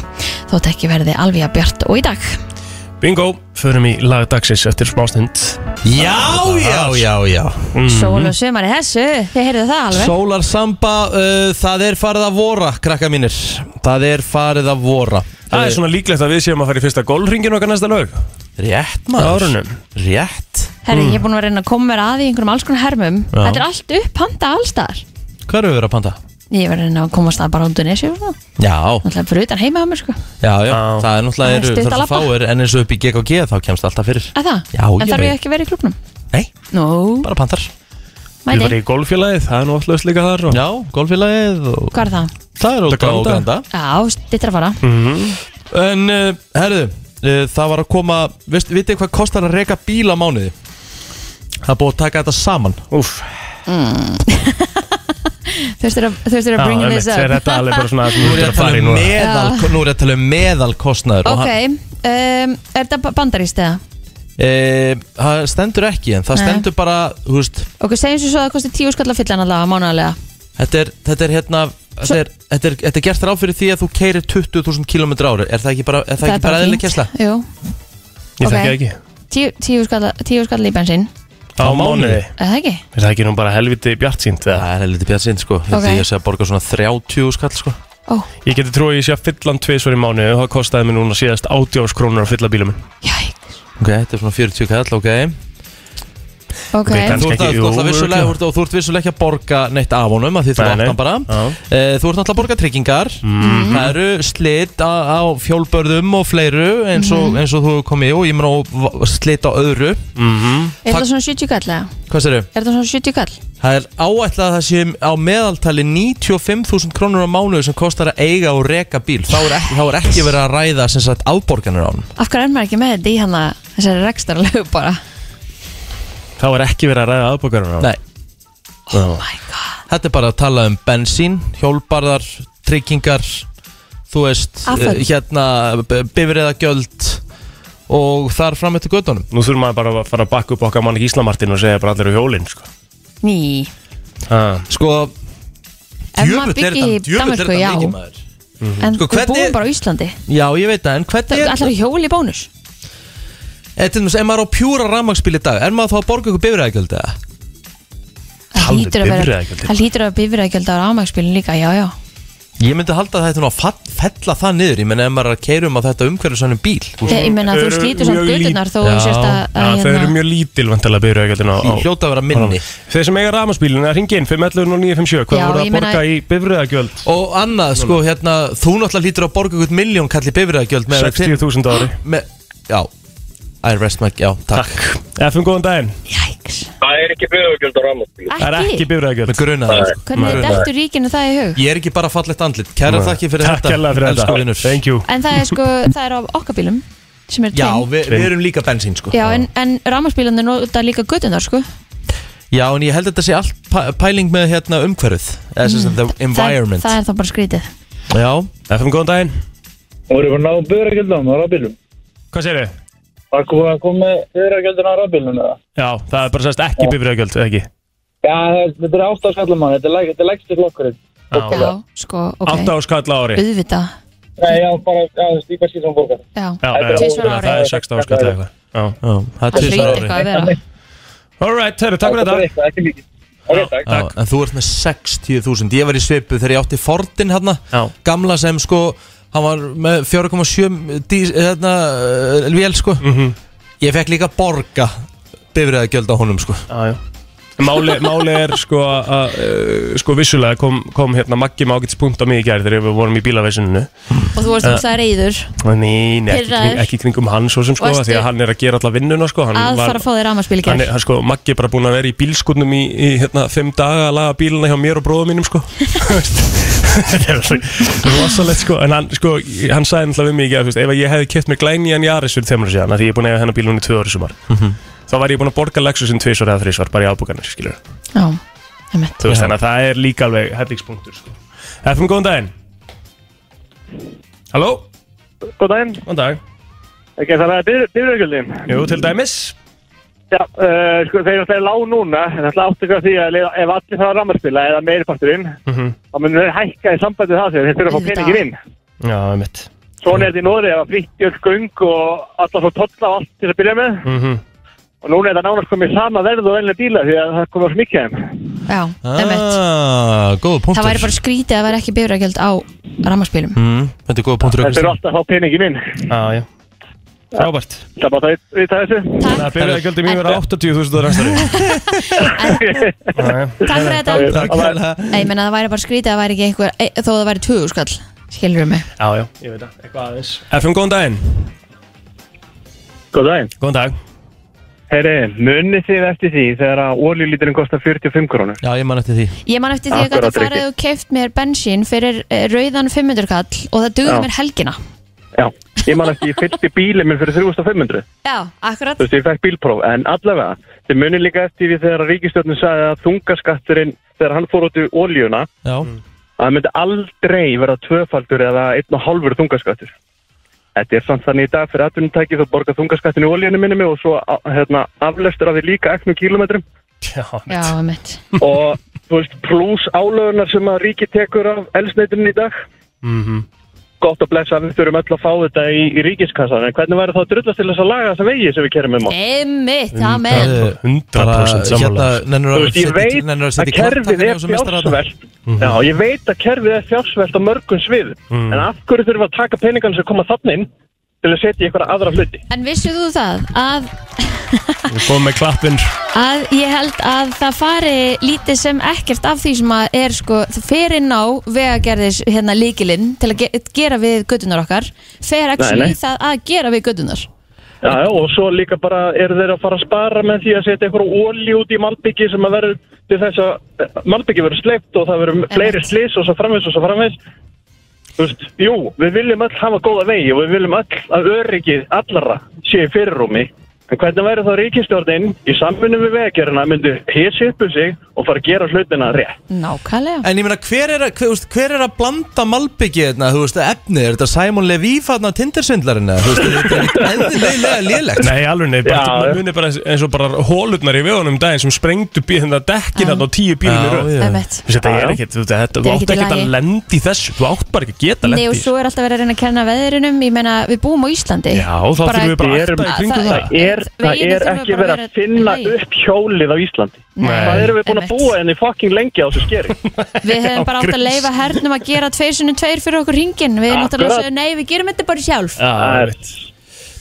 C: þótt ekki verði alveg að bjart og í dag
D: Bingo, förum í lag dagsins eftir smástund
A: Já, já, já, já
C: sól og sumar er þessu, þið heyrðu það alveg
A: Sólar Samba, uh, það er farið að vora, krakka mínir Það er farið að vora
D: Það er svona líklegt að við séum að fara í fyrsta golfringin okkar næsta lög
A: Rétt
D: Á
A: maður
D: árunum.
A: Rétt
C: Herri, ég er búin að vera að reyna að koma mér að í einhverjum alls konar hermum
A: Mm. Já.
C: þetta er allt upp handa allstaðar
A: Hvað eru við verið að panta?
C: ég var að reyna að komast að bara út í nesju náttúrulega
A: Já,
C: fyrir utan heima á mér sko
A: já, já,
D: Já.
A: það er náttúrulega
C: Það er
A: eru,
C: stutt
A: það er
C: að
A: svo fáir En eins og upp í GKG þá kemst alltaf fyrir
C: að það,
A: Já, ég
C: en þarf
A: veit.
C: ég ekki að vera í klubnum
A: Nei,
C: nú,
A: bara pantar
D: Við varum
C: mæti,
D: í golffélagið, það er nú alltaf líka þar og...
A: Já, golfélagið og
C: hvað er það?
A: Það er út á
D: Granda.
A: granda
C: já, dittir að fara
A: Mm. En, uh, herðu, uh, það var að koma veist, Vitið hvað kostar að reka bíl á mánuði? Það er búið að taka þetta saman
D: Úff,
C: þurftir að, þurftir að
D: já,
C: bring
D: einmitt,
C: this
D: er
C: up
D: þetta alveg bara svona sem
A: Nú er
D: við
A: ég að
D: erum að fara
A: tala
D: í
A: um
D: núna
A: meðal, nú er ég að tala um meðalkostnaður og
C: ok,
A: hann-
C: um, er þetta bandarist eða?
A: Eh, Það stendur ekki en það
C: Nei.
A: stendur bara þú veist,
C: Ok, segjum svo að það kosti tíu skall að fylla hann allavega mánalega
A: þetta, er, þetta er hérna þetta er, þetta, er, þetta er gert ráð fyrir því að þú keirir 20.000 km ári Er það ekki bara, er það ekki bara eðlileg kessla?
C: Jú,
D: Ég
C: Ok.
D: þekki það ekki
C: tíu, tíu, skall, tíu skall í bensín
D: Á mánuði
C: Er það ekki?
D: Er það ekki nú bara helviti bjart sínt eða?
A: Það er helviti bjartsinn sko Þetta
C: Ok.
A: okay. ég sé að borga svona 30 skall sko
C: Ó,
D: Ég geti trúið að ég sé að fyllan tvisvar í mánuði og það kostaði mér núna síðast 80 krónur að fylla bílum minn
C: jæk
A: Ok, þetta er svona 40 kall, ok
C: Ok,
D: Við kannum-
A: Þú ert, að, þú,
D: ekki, jú,
A: ert vissulega,
D: örugglega.
A: þú, ert, og þú ert vissulega ekki að borga neitt af honum að því þú
D: Nei, nei. Mhm.
A: opnar bara
D: Já.
A: Eh, Þú ert náttúrulega að borga tryggingar Það eru slit á, á fjólbörðum og fleiru eins og,
D: Mhm.
A: eins og þú hefur komið í og ég meina og v- slit á öðru
C: er það svona 70 skall eða?
A: Hvað serðu?
C: Er það svona 70 skall?
A: Það er áætlað að það sé á meðaltali 95.000 krónur á mánuðu sem kostar að eiga og reka bíl þá er ekki, þá er ekki verið að ræða sem sagt afborganir á hann
C: Af hverju er maður ekki með þetta í hann að þessari rekstarlegu bara?
D: Þá er ekki verið að ræða aðbókaruna
A: Nei,
C: Oh my god
A: þetta er bara að tala um bensín, hjólbarðar, tryggingar þú veist,
C: Afföll.
A: eh, hérna bifriðagjöld og þar fram eftir göttunum
D: Nú þurfum maður bara að fara að bakka upp okkar mann í Íslamartin og segja bara allir á hjólinn sko.
C: Ný
D: Ha.
A: Sko,
C: Ef
A: djöfull
C: maður
A: er
C: byggir í
A: þetta- djöfull er
C: Danmarku, já
A: þetta mikið maður
C: En
A: Sko,
C: við
A: hvernig-
C: búum bara á Íslandi
A: Já, ég veit það, en hvernig er
C: Allar hjóli bónus
A: Eh, til dæmis, Ef maður er á pjúra rafmagsbíl í dag, er maður þá að borga ykkur bifriðagjöld eða?
C: Það
D: Talandi
C: hlýtur að vera
D: bifreiðagjöldin.
C: Það hlýtur að bifræðagjöld á rámagsbílinn líka, já, já
A: Ég myndi halda að þetta er nú að fall- fella það niður Ég menna ef maður er að keirum á þetta umhverfisvænum bíl Þú
C: Ég ég meina
D: Þau
C: þú
D: eru
C: slítur samt
D: mjög lít-
C: gödunar þó þú
A: Já.
C: sést að, hérna-
D: Já,
C: að
D: þau eru mjög lítil vantilega bifröðagjöldin á, á
A: hljóta að vera minni
D: Þeir sem eiga rafmarsbílinn að ringi inn 511 og 957 Hvað
C: Já,
D: voru
C: ég
D: að
C: meina-
D: borga í bifröðagjöld?
A: Og annað, sko, hérna Þú náttúrulega lítur að borga ykkur miljón kalli bifræðagjöld
D: 60.000 ári
A: með, Já I rest my, já, takk,
D: Takk FM góðan daginn
C: Jæks
E: Það er ekki bifurgjöld á rafmagnsbíl
D: Það er ekki
A: Með
D: bifröðagjöld
A: gruna það sko.
C: Hvernig
A: Gruna.
C: dettur ríkinu það í hug?
A: Ég er ekki bara fallegt andlit Kæra þakki fyrir
D: Takk
A: þetta
D: hérlega fyrir
A: elsku
D: þetta
A: vinur.
D: Thank you
C: En það er sko, það er á okkar bílum sem er
A: Já,
C: tveim
A: við vi erum líka bensín, sko
C: Já, en, en rámarsbílarnir nota líka gödunar sko
A: Já, en ég held að þetta sé allt pæ- pæling með hérna umhverfið Eða sem sagt, the environment
C: Mm. það, það er þá bara skrítið
A: Já,
D: FM góðan daginn
E: Það voru bara náðu bifurgjöldum á rafbílum
D: Hvað segir þið?
E: Það kom að koma með bifurgjöldun á rafbílunum eða?
D: Já, það er bara sérst ekki bifröðagjöld, ekki?
E: Já, það- þetta er ástafskallar mann, þetta er læg- þetta er leggstu flokkurinn
D: Já,
C: Já, sko, ok
D: 8 áskall ári
C: Auðvita,
E: Nei, já, bara, já, þú veist, í hvað síðan borgar
C: já
D: Já,
E: Þetta
D: já,
E: er
C: tvisvar
D: já,
C: á ári.
D: það er 16 áskall eða eitthvað Já.
A: já, það er
C: Það
A: tvisvar
C: hlýtur
A: ári.
C: eitthvað að vera
D: Alright, herru, takk fyrir þetta
E: Það er ekki mikið Ok, takk
A: Já, en þú ert með 60.000 Ég var í svipu þegar ég átti Fordin hérna
D: Já.
A: Gamla sem sko Hann var með 4,7 dís- hérna,
D: Mhm.
A: uh, Vél sko Ég fekk líka borga Bifræðagjöld á honum sko
D: Já, já. Máli, máli er sko að uh, sko vissulega kom, kom hérna Maggi með ágætis punkt á mig í gær þegar við vorum í bílavesuninu
C: og þú varst óslega reyður
D: Nei, nei ekki,
C: Pirraður.
D: kring, ekki kringum hann svo sem sko
C: Varstu-
D: því að hann er að gera alla vinnuna sko hann
C: að
D: var-
C: fara að fá þér rafmagnsbíl í
D: hann
C: gær
D: er, hann sko, Maggi er bara búin að vera í bílskutnum í, í hérna, fimm daga að laga bíluna hjá mér og bróðum mínum sko þetta er svo rosalegt sko en hann, sko, hann sagði náttúrulega við mig í gær, þú veist, ef að ég hefði keft mér glænýjan Jaris fyrir þeimur síðan, af því ég er búin að eiga hennar bíl núna í tvö orði sumar þá var ég búin að borga Lexusin tvisvar eða þrísvar bara í afbúkanir, skilur
C: Já, einmitt.
D: þú veist, þannig að það er líka alveg hellingspunktur sko. FM, góðan daginn Halló,
F: Góð daginn,
D: góðan dag
F: ekki það með bifröðgjöldin.
D: Jú, til dæmis
F: Já, uh, sko, þeir eru alltaf lág núna, en alltaf áttu ekki á því að leiða- ef allir fara að rammarspila eða meiriparturinn,
E: Mhm.
F: þá munum þeir hækka í sambandi við það þegar þeir fyrir að fá
C: Auðvitað.
F: peningin inn.
D: Já, mitt
F: Svona er þetta í Nóri, það var fritt í öll göng og allar svo tolla á allt til að byrja með.
D: mm
F: Og núna er það nánast komið sama verð og venlega bíla því að það komið á smikja þeim.
C: Já, einmitt.
A: Ah, góð punktur
C: það væri bara skrítið að vera ekki bifrækjöld á rafmagnsbílum
A: mm, Þetta er góð punktur
F: Þeir
A: Kristín.
F: eru alltaf að fá peningin inn.
D: Já, já Frábært
F: Það er bara það að vita þessu.
D: Þannig að bifræðagjöldin mín verða 80.000 á næstari
C: Takk fyrir þetta
A: Takk hérlega.
C: Nei, ég meina það væri bara skrítið að það væri ekki einhver e, þó það væri 20 skall, skilur mig
D: Já, já, ég veit það, eitthvað aðeins FM, góðan daginn
F: Góð daginn.
D: Góðan dag
F: Herri, munið þið eftir því þegar að oljulíturinn kostar 45 krónur?
A: Já, ég man eftir því
C: Ég man eftir því að gæta
F: Akkurat,
C: farið
F: Rikki.
C: og keift mér bensín fyrir eh, rauðan 500 kall og það dugði
F: Já.
C: mér helgina
F: Já, ég man eftir ég fylgdi bílið minn fyrir 3500
C: Já, akkurat
F: þú veist, ég fekk bílpróf, en allavega þið munið líka eftir því þegar ríkistjórnin sagði að þungaskatturinn, þegar hann fór út í oljuna,
A: Já,
F: að það myndi aldrei vera tvöfaldur eða einn og hálfur þungaskattur Þetta er samt þannig í dag fyrir atvinnutæki þú borgar þungaskattin í oljunni minni og svo a- hérna, aflestur af því líka eknum kílometrum
D: Já,
C: Já, einmitt
F: og þú veist, pluss álögunar sem að ríki tekur af elsneitinu í dag
D: Mhm.
F: gott að blessa að við þurfum öll að fá þetta í, í ríkiskassan en hvernig væri þá að drullast til þess að laga þessa vegi sem við kerum um á?
C: Einmitt,
A: Það
C: amen
A: er
D: 100% sammála
A: hérna, nennir
F: Þú
A: að
F: veist, ég veit
A: nennir að
F: að hérna
A: setja
F: kerfið
A: kvartakinn í
F: er
A: þessum meistarana?
F: fjársvelt
E: Mhm.
F: Já, ég veit að kerfið er fjársvelt á mörgum sviðum En af hverju þurfum við að taka peningarnir sem koma þannig inn til að setja í eitthvað aðra hluti
C: En vissið þú það að,
D: Við komum með klappinn
C: að ég held að það fari lítið sem ekkert af því sem að er sko, það fer inn á vegagerðis hérna líkilinn til að ge gera við gödunar okkar fer actually
F: nei.
C: það að gera við gödunar
F: Já, já, og svo líka bara eru þeir að fara að spara með því að setja eitthvað óli út í malbyggi sem að verður til þess að malbyggi verður sleipt og það verður fleiri slis og svo framvegs og svo framvegs Þú veist, jú, við viljum öll hafa góða vegi og við viljum öll að öryggið allara sé í fyrirrúmi En hvernig væri þá ríkistjórnin í samfunni við vegagerina myndu hesi upp um sig og fara að gera hlutina rétt?
C: Nákvæmlega
A: En ég meina, hver er að, hver, þú veist, hver er að blanda malbyggið hérna, þú veist, efni, er þetta Simon Levy fatna tindersvindlarinn, eða, þú veist, þetta er ekkert eðlilega lélegt.
D: Nei, alveg ney,
F: Já,
D: bara
F: já.
D: munið bara eins- eins og bara hólutnar í vegunum um daginn sem sprengdu bíð þetta dekkin þarna á tíu bílum
A: Já,
D: í röð
A: já.
C: Einmitt
D: Þú veist, Þetta
F: Já,
D: er
F: já.
D: ekkert, þú veist, þetta-
C: Þetta
D: þú
C: er
D: átt
C: ekkert í
D: ekkert
C: lagi.
D: að lendi í þessu Þú átt bara ekki að geta
C: Nei og
D: lendi
C: svo er alltaf verið að reyna að kenna veðrinum Ég meina við búum á Íslandi
D: Já, þá
C: Bara-
D: þurfum við bara að
F: Erum-
D: akta í kringum
C: Það-
D: það
F: Það er, það
C: Veginum
F: er
C: þurfa
F: ekki
C: bara
F: verið
C: að
F: að finna
C: vera-
F: upp hjólið á Íslandi
D: Nei.
F: Hvað erum við búin að
C: einmitt.
F: búa henni fucking lengi á þessu skeri?
C: Við hefum bara átt að
D: Ángrips.
C: leifa hernum að gera tveir sinnum tveir fyrir okkur ringin Við erum náttúrulega að
F: Akkurat.
C: segja nei, við gerum þetta bara sjálf
D: Já,
F: Það er-
D: einmitt.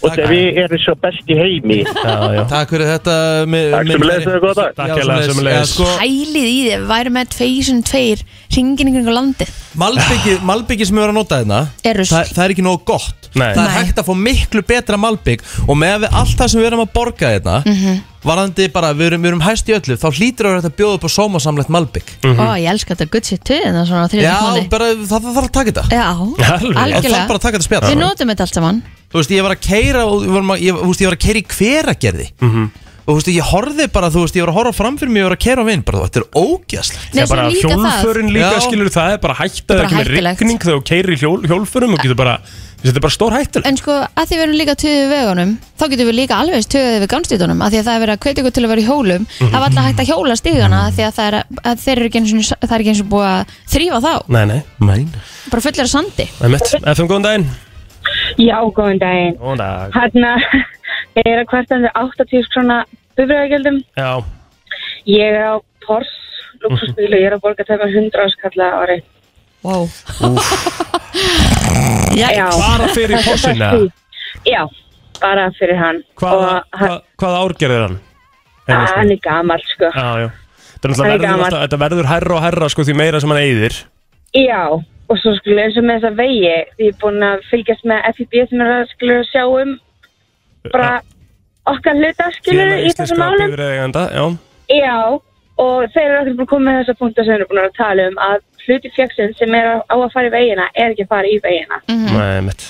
F: Og þegar við erum svo best í heimi
D: já, já
A: Takk fyrir þetta. mi-
F: Takk
A: minn
F: sem leiðis
A: kæri.
F: og góða dag
D: Takk
A: Já,
D: hérlega,
A: sömuleiðis.
D: sömuleiðis.
A: Já, sko,
C: Hælið í þið, við værum með tveir sinnum tveir ringin ykkur landið
A: malbyggið malbyggi sem við erum að nota hérna,
C: Er rusl.
A: það, það er ekki nógu gott.
D: Nei.
A: Það er
C: Nei.
A: hægt að fá miklu betra malbygg og með að við allt það sem við erum að borga hérna,
C: Mhm.
A: varðandi bara, við erum, við erum hæst í öllu, þá hlýtur að vera hægt að bjóða upp á sómasamlegt malbygg.
C: Ó, ég elska þetta gutt sér töðin og svona á
A: Mhm. Já,
C: þriðjum tóni
A: bara, það, það þarf að taka þetta.
C: Já,
D: Alveg.
A: Það þarf bara
C: algjörlega
A: að taka þetta spjall.
C: Við notum þetta allt saman
A: þú veist, ég var að keira og við vorum að- ég, þú veist, ég var að keira í hveragerði -hmm. og þú veist, ég horfið bara, þú veist, ég var að horfa fram fyrir mig og ég var að keira á vinn, bara þetta er ógæslega
C: Nei,
D: Það er
C: svo
D: bara
C: líka það
D: hjólförin líka,
A: Já.
D: skilur það er bara hætta
C: bara
D: þegar kemur
C: hættulegt.
D: rigning þegar þú keirir í hjól, hjólförum og getur bara, þú veist, þetta er bara stór hættulegt
C: En sko, að því við erum líka töðið við vegunum þá getum við líka alveg töðið við gangstítunum að því að það er verið að hvetja ykkur til að vera í hólum það
A: Mhm.
C: var alltaf hægt að hjóla stígana af því að það er, að þeir eru ekki eins og það er ekki eins og búið að þrýfa þá
D: Nei, nei,
A: Mæn
C: bara fullir af sandi
D: einmitt, FM góðan daginn
G: Já, góðan daginn.
D: Góðan dag
H: Hérna
G: Hanna, ég er að kvarta við 80 krona bifræðagjöldum.
D: Já,
G: Ég er á Pors, luxusbíl og ég er að borga tæma 100 áskalla ári.
C: wow.
G: Já,
D: bara fyrir possina
G: já, bara fyrir hann.
D: Hvaða
G: og hann,
D: hvað, hvað ár gerðir hann?
G: hann er gammal, sko.
D: Já, já, Þetta er náttúrulega
H: Það er
D: verður,
H: gamalt.
D: alltaf, þetta verður herra og herra sko því meira sem hann eyðir
H: Já, og svo skilur eins og með þessa vegi, því ég er búin að fylgjast með FIB sem er að skilur sjá um bara okkar hluta skilur
D: Félag
H: í þessum
D: íslenskra
H: málum.
D: bifreiðaeigenda, Já,
H: Já, og þeir eru okkur búin að koma með þessa punkta sem við erum búin að tala um að hluti fjöksin sem er á á að fara í vegina er ekki að fara í vegina
D: Nei, mitt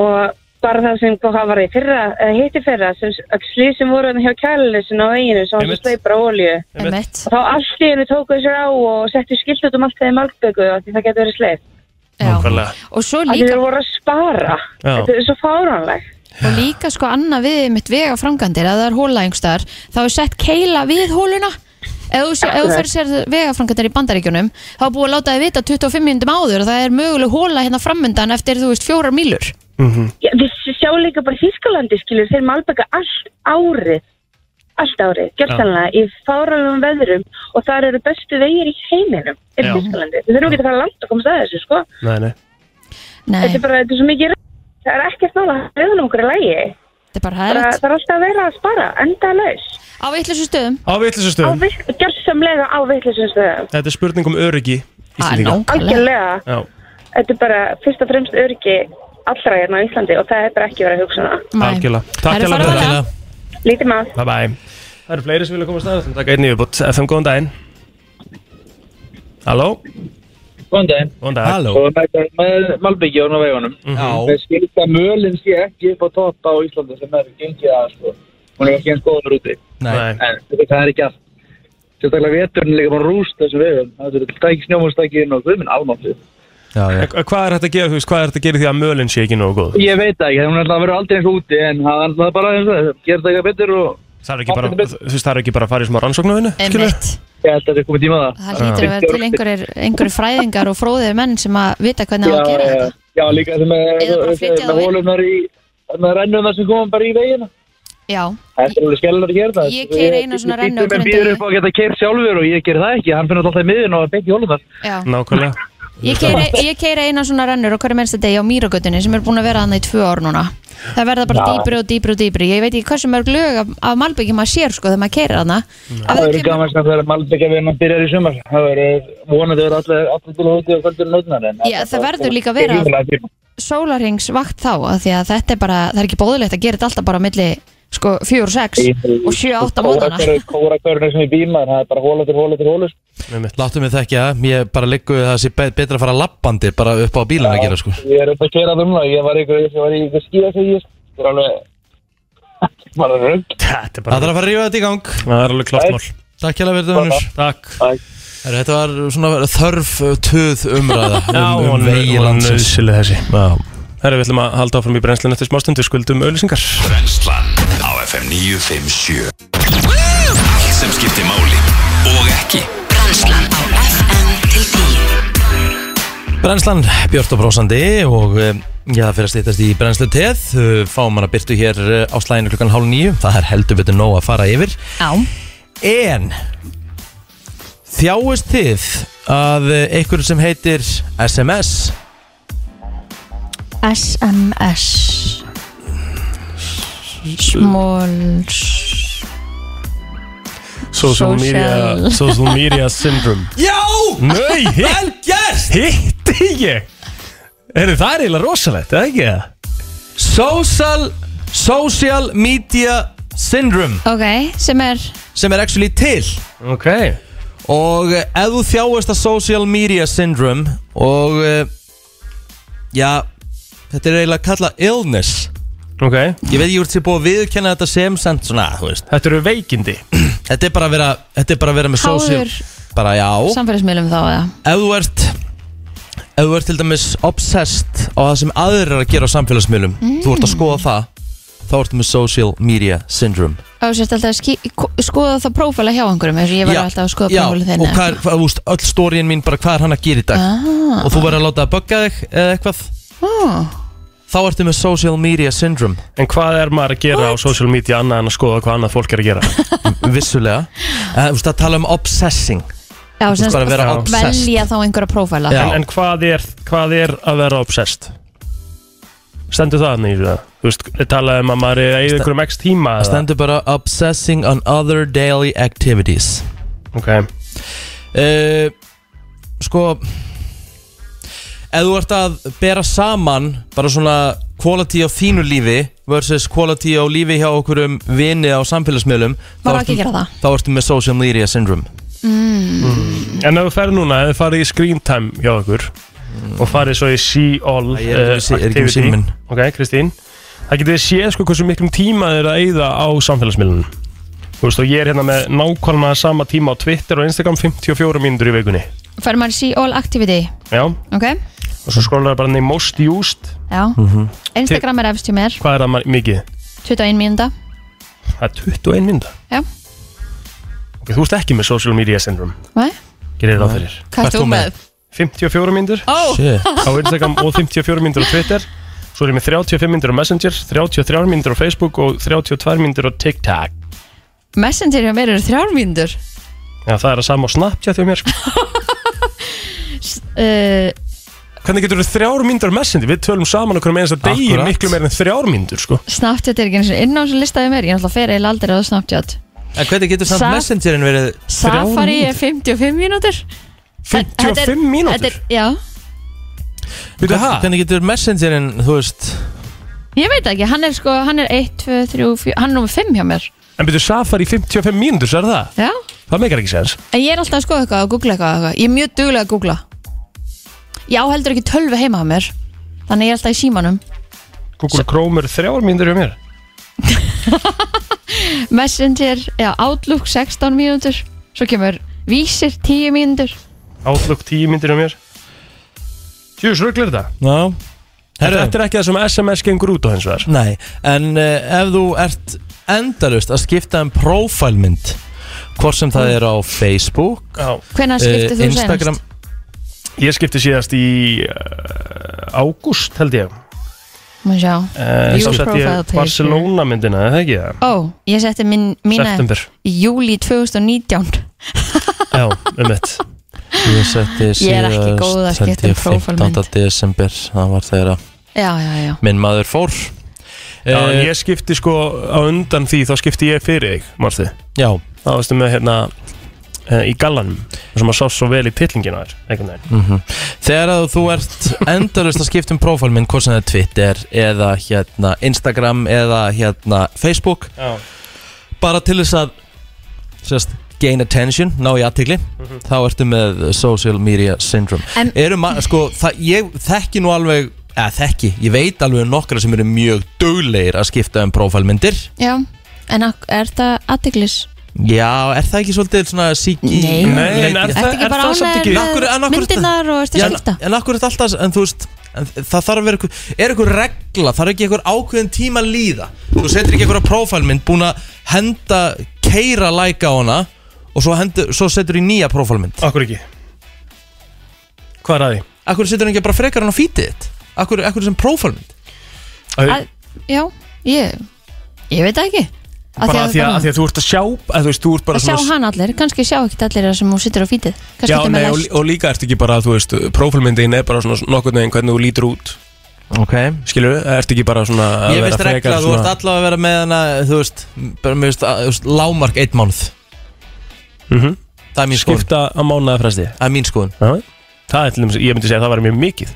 H: og bara það sem hvað var í fyrra, eða hitti fyrra sem slið sem voru hérna hjá kæluleysinu á veginu sem var
D: Einmitt.
H: svo sleipur á olju
C: Emmett
H: og þá allt í hennu tóku þessir á og settu skilt út um allt þegar malbyggu af því það getur verið sleip
D: Nákvæmlega.
C: Og svo
H: af því
C: líka,
H: þeir voru að spara
D: Já.
H: þetta er svo fáránlegt
C: og líka sko annað við mitt vega frangandir, að það er hóla yngstar þá er sett keila við hóluna Ef þú, sé, ef þú fyrir sér vegafrangandir í bandaríkjunum þá er búið að láta þið vita 25 minnum áður að það er möguleg hóla hérna framöndan eftir, þú veist, fjórar mílur
H: Já, við sjáum líka bara í Þýskalandi skilur þeir malbygga allt árið allt árið, gjörsanlega í fáránlegum veðrum og þar eru bestu vegir í heiminum í
D: Já.
H: Þýskalandi, við þurfum ekki að fara langt að komast að þessu sko
D: Nei, nei
C: Nei,
H: þetta er bara, þetta er svo mikið reynd. það er ekkert nála að reyðan okkur í lægi
C: þetta er bara
H: það,
C: hægt
H: það er alltaf að vera að spara, enda laus
C: Á vitlisum stöðum
D: Á vitlisum
H: á
D: stöðum
H: vill, gjörsamlega á vittlisum stöðum
D: Þetta er spurning um öryggi
C: Það er
D: Íslendinga
C: nákvæmlega
H: algjörlega,
D: Já,
H: þetta er bara fyrst og fremst öryggi allra hérna á Íslandi og það er bara ekki verið að hugsa hana
C: Nei.
D: algjörlega
C: Það
D: Takk
C: er
D: hjá
C: farið að
D: þetta
C: vera.
H: lítið maður
D: Bye bye Það eru fleiri sem vilja koma að staða Takk einn yfirbútt FM, góðan daginn Halló
I: Góðan daginn.
D: Góðan dag
A: Halló
I: Og með, með malbyggjóðun á vegunum.
F: Mhm.
A: Já,
I: Við skilta mölinn sé ekki upp á topp á Íslandi sem er gengið að, sko. Hún er ekki eins góður úti.
A: nei
I: En þetta- það er ekki allt. Sérstaklega veturinn er líka bara rúst þessum vegum. Það eru stæk snjómanstækin og guðminn almáttið.
A: Já, já
D: En Hvað er hægt að gera, þú veist, hvað er hægt að gera í því að mölinn sé ekki nógu góð?
I: Ég veit það ekki, hún er alltaf að vera aldrei eins úti en það er alltaf bara eins og það. Gerð það eitthvað betur og
D: Það er ekki bara, þú veist, það er ekki bara að fara í smá rannsóknuðinu, skilur?
C: Einmitt.
I: ég held að þetta er komið tíma á það.
C: Það hlýtur að vera til einhverjir, einhverjir fræðingar og fróðir menn sem að vita hvernig á að gera þetta
I: Já, líka þetta með,
C: Eða bara flytja
I: með
C: þá inn.
I: hólunar í, með rennunar sem komum bara í vegina.
C: Já,
I: Þetta er alveg skellar að gera það.
C: Ég keyri eina svona rennu á
I: Bíllinn
C: hverjum
I: minn býður
C: degi.
I: upp á að geta keirt sjálfur og ég ger það ekki. Hann finnur alltaf í miðun og beint í hólunar.
C: já
D: Nákvæmlega.
C: Ég keiri, ég keiri eina svona rennur á hverju mennsta degi á Mýragötunni sem er búin að vera hann í tvö ár núna Það verða bara dýbri og dýbri og dýbri Ég veit ekki hversu mörg lög af, af Malbyggi maður sér sko þegar maður keirir hann
I: Það eru gaman sem það er malbygg að vinna byrjar í sumar. Það eru vonandi verið allir, allir til hóti og kvöldur nótnar. en
C: Já, það verður líka að vera-
I: Það er ríkulega tíma.
C: Sólarings vakt þá að því að þetta er bara, það er ekki bóðilegt að gera þetta alltaf bara á milli sko 4 og 6 og 7 og 8 mótana
I: Kórakörn- Kórakörnir sem í bíma, það er bara hóla til hóla til hóla.
A: Láttu mig þekkja, ég bara liggu það sé be- betra að fara lappandi bara upp á bílun að gera sko
I: Ég er upp að kera það um það. Ég var í ykkur, ég var í ykkur skíða sem ég Það er alveg, bara rögg.
D: Þetta er
A: Það
D: bara,
A: þarf að fara að rífa þetta í gang
D: það er alveg klart mál.
A: Takk hjá verður vinnur
D: Takk.
A: Herru, Þetta var svona þörf uh, töð umræða
D: Já,
A: um, um
D: hún
A: vegi
D: var
A: landsins
D: nöðsileg þessi.
A: Já,
D: Herra, við ætlum að halda áfram í brennslinu eftir smástundu, skuldum auðlýsingar.
B: Brennslan á FM 957 Allt sem skiptir máli og ekki
J: Brennslan á FM til 10
A: Brennslan Björn og Brósandi og um, já, það fyrir að stýttast í brennslu teð Uh, fáum hann að byrtu hér uh, á slæðinu klukkan hálf nýju það er heldur betur nóg að fara yfir
C: Já,
A: en þjáist þið að uh, einhverju sem heitir SMS
C: SMS Smalls
D: Social media,
C: Social.
D: social media syndrome.
A: Já,
D: Nei, hitt,
A: vel gert
D: hitti ég. Heyrðu, það er eiginlega rosalegt, eða ekki það?
A: Social, social Media Syndrome
C: Ok, sem er
A: sem er actually til
D: Ok.
A: og eh, ef þú þjáist að Social Media Syndrome og eh, já, þetta er eiginlega kallað illness
D: Ok.
A: ég veit ekki hvort þið er búið að viðurkenna þetta sem samt svona, þú veist,
D: Þetta eru veikindi.
A: þetta er bara að vera þetta er bara að vera með social
C: Háður
A: bara já,
C: samfélagsmiðlum þá eða
A: ef þú ert ef þú ert til dæmis obsessed á það sem aðrir er að gera á samfélagsmiðlum þú ert að skoða það þá ertu með social media syndrome
C: Og sérst alltaf að ski- ko- skoða það prófæla hjá einhverjum eins og ég verði alltaf að skoða
A: já,
C: prófæla þinni
A: og hvað, er- hvað, þú veist, öll stórin mín bara hvað er hann að gera í dag
C: ah,
A: og þú verður að láta að bugga þig eða eitthvað
C: ah.
A: þá ertu með social media syndrome
D: En hvað er maður að gera á social media annað en að skoða hvað annað fólk er að gera?
A: vissulega, en, þú veist að tala um obsessing
C: Já,
A: þú veist
C: sérst
A: bara að vera
D: já.
A: obsessed
C: velja þá einhverja prófæla
A: Já.
D: En, en hvað, er, hvað er að vera obsessed? Stendur það nýður það? Þú veist, talaði um að maður er að eigða ykkur um x tíma
A: Það stendur bara obsessing on other daily activities
D: Ok
A: uh, Sko Ef þú ert að bera saman bara svona quality á þínu lífi versus quality á lífi hjá okkur um vini á samfélagsmiðlum
C: Má
A: þá
C: ekki
A: ertu-
C: gera það.
A: Þá ertu með social media syndrome
D: En ef þú ferð núna, ef þú farið í screen time hjá okkur og farið svo í see all
A: Mm. Æ, ég er ekki með sí- er
D: eh,
A: ekki með
D: activity.
A: síminn.
D: Ok, Kristín Það getið þið séð sko hversu miklum tíma þið er að eyða á samfélagsmiðlunum Þú veist og ég er hérna með nákvæmlega sama tíma á Twitter og Instagram 54 mínútur í vikunni
C: Fær maður sí all activity
D: Já, og
C: Ok,
D: svo skrólar bara niður most used
C: já
A: Mhm.
C: Instagram er efst hjá mér
D: Hvað er það ma- mikið?
C: 21 mínúnda
D: Það er 21 mínúta
C: Já.
D: Ok, þú ert ekki með social media syndrome
C: Nei.
D: Gerir það fyrir
A: Hvað ert þú með?
D: 54 mínútur
C: Ó,
A: Shit.
D: á Instagram og 54 myndir á Twitter Svo er ég með 35 myndir á Messenger 33 myndir á Facebook og 32 myndir á TikTok
C: Messenger hjá mér eru þrjár mínúndur
D: Já, það er að sama á Snapchat hjá mér sko.
C: uh,
D: Hvernig getur þú þrjár myndir á Messenger? Við tölum saman okkur með einasta degi
A: Akkurat.
D: miklu meir en þrjár myndir sko.
C: Snapchat er ekki eins og inn á þessu listaði mér Ég náttúrulega fer eiginlega aldrei á Snapchat
A: En hvernig getur samt
C: Sa-
A: messengerin verið
C: Safari er 55 mínútur
D: 55
C: Þetta
D: mínútur?
C: er, já
D: Býtu, ha?
A: Hvernig getur messengerin, þú veist
C: Ég veit ekki, hann er sko, hann er 1, 2, 3, 4, hann er nummer 5 hjá mér
D: En byrju Safari 55 mínútur, svo er það?
C: Já,
D: Það meikar ekki sens
C: en ég er alltaf að skoða eitthvað og googla eitthvað, og eitthvað. Ég er mjög duglega að googla Já, heldur ekki tölvu heima hjá mér Þannig ég er alltaf í símanum
D: Google Chrome eru þrjár myndir hjá mér
C: Messenger, já, Outlook 16 mínútur Svo kemur Vísir 10 mínútur
D: Outlook 10 myndir hjá mér Tjús, rugglir þetta?
A: Já Herru,
D: Þetta er ekki það sem SMS gengur út á hins vegar
A: Nei, en uh, ef þú ert endalust að skipta um profilmynd hvort sem
C: Mm.
A: það er á Facebook
D: Já
C: Hvenær
A: eh,
C: skiptir þú
A: Instagram
C: senast?
D: Ég skipti síðast í uh, ágúst held ég
C: Má sjá
D: uh,
C: View
D: Svo sett
C: profile
D: ég
C: picture.
D: Barcelona myndina, eða ekki það?
C: Ó, ég setti minn, mína
D: September
C: í júli 2019
D: Já, um mitt
A: ég setti
C: Ég er ekki
A: síðast,
C: góð að
A: held
C: skipta um
A: ég,
C: prófálmynd.
A: 15. desember, það var þegar að
C: Já, já, já
A: minn maður fór
D: Já, en
A: Eh,
D: ég skipti sko á undan því þá skipti ég fyrir þig, Marti
A: já,
D: Það varstu með hérna uh, í gallanum sem að sást svo vel í titlinginu þær einhvern veginn
A: þegar að þú ert endalust að skipta um profilmynd hvort sem það er Twitter eða hérna Instagram eða hérna Facebook
D: Já,
A: bara til þess að sérst, gain attention, ná í aðtikli
D: Mhm.
A: þá ertu með social media syndrome
C: En-
A: eru maður, sko, það, ég þekki nú alveg eða þekki, ég veit alveg um nokkra sem eru mjög duglegir að skipta um prófælmyndir
C: Já, en ak- er það aðteglis?
A: já, er það ekki svolítið svona síki
C: Nei.
D: Nei, en er
C: Ertu
D: það,
C: ekki
D: er
C: bara
D: það samt ekki
C: ánægður
A: Af hverju- en af
C: með
A: hverju-
C: myndirnar og ertu
A: Já,
C: að
A: en,
C: skipta?
A: en akkur er þetta alltaf, en þú veist en það þarf að vera eitthvað, er eitthvað regla þarf ekki eitthvað ákveðin tíma að líða þú setur ekki eitthvað prófælmynd búin að henda keira læka á hana og svo, hendur, svo setur í nýja prófælmynd
D: Akkur ekki Hvað er að því?
A: Akkur setur hann ekki bara frekar hann á fítið þitt Akkur, akkur sem prófálmynd
D: Að,
C: Að- Já, ég, ég veit það ekki
D: bara að því að, að því að þú ert að sjá að þú veist, þú ert bara
C: að sjá
D: svona-
C: hann allir, kannski sjá ekkert allir það sem hún sittur á fítið kannski
K: Já,
C: þetta
K: nei,
C: með
K: og,
C: lest
K: og líka ertu ekki bara, þú veist, prófilmyndin er bara svona nokkurn veginn hvernig þú lítur út,
A: Ok
K: skilur, ertu ekki bara svona að
A: Ég
K: vera
A: veist regla
K: frekar
A: að þú ert allavega að vera með hana Þú veist, bara mér veist, að- þú veist lámark eitt mánuð
D: Mhm.
A: Það er mín skoðun
D: skipta á mánuða fresti
A: Það er mín skoðun
D: Það er til dæmis, ég myndi segja að það var mjög mikið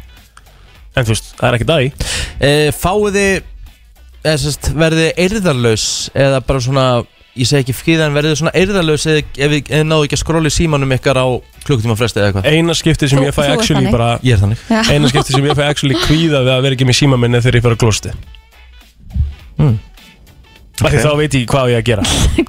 D: En þú veist, það er ekki dag í
A: e, Fáið þið eða sérst, verðið eirðarlaus eða bara svona, ég segi ekki fríðan verðið svona eirðarlaus eða ef þið ef þið náðu ekki að skróla í símanum ykkar á klukkutíma fresti eða eitthvað
D: Eina skipti sem
C: Þú-
D: Eh, ég fæ
C: þú ert
D: actually
C: þannig.
D: bara
A: Ég er þannig
D: Eina skipti sem ég fæ actually kvíða við að vera ekki með síma minni þegar ég fyrir að glósti Hmm.
A: Mm.
D: Því þá veit ég hvað á ég að gera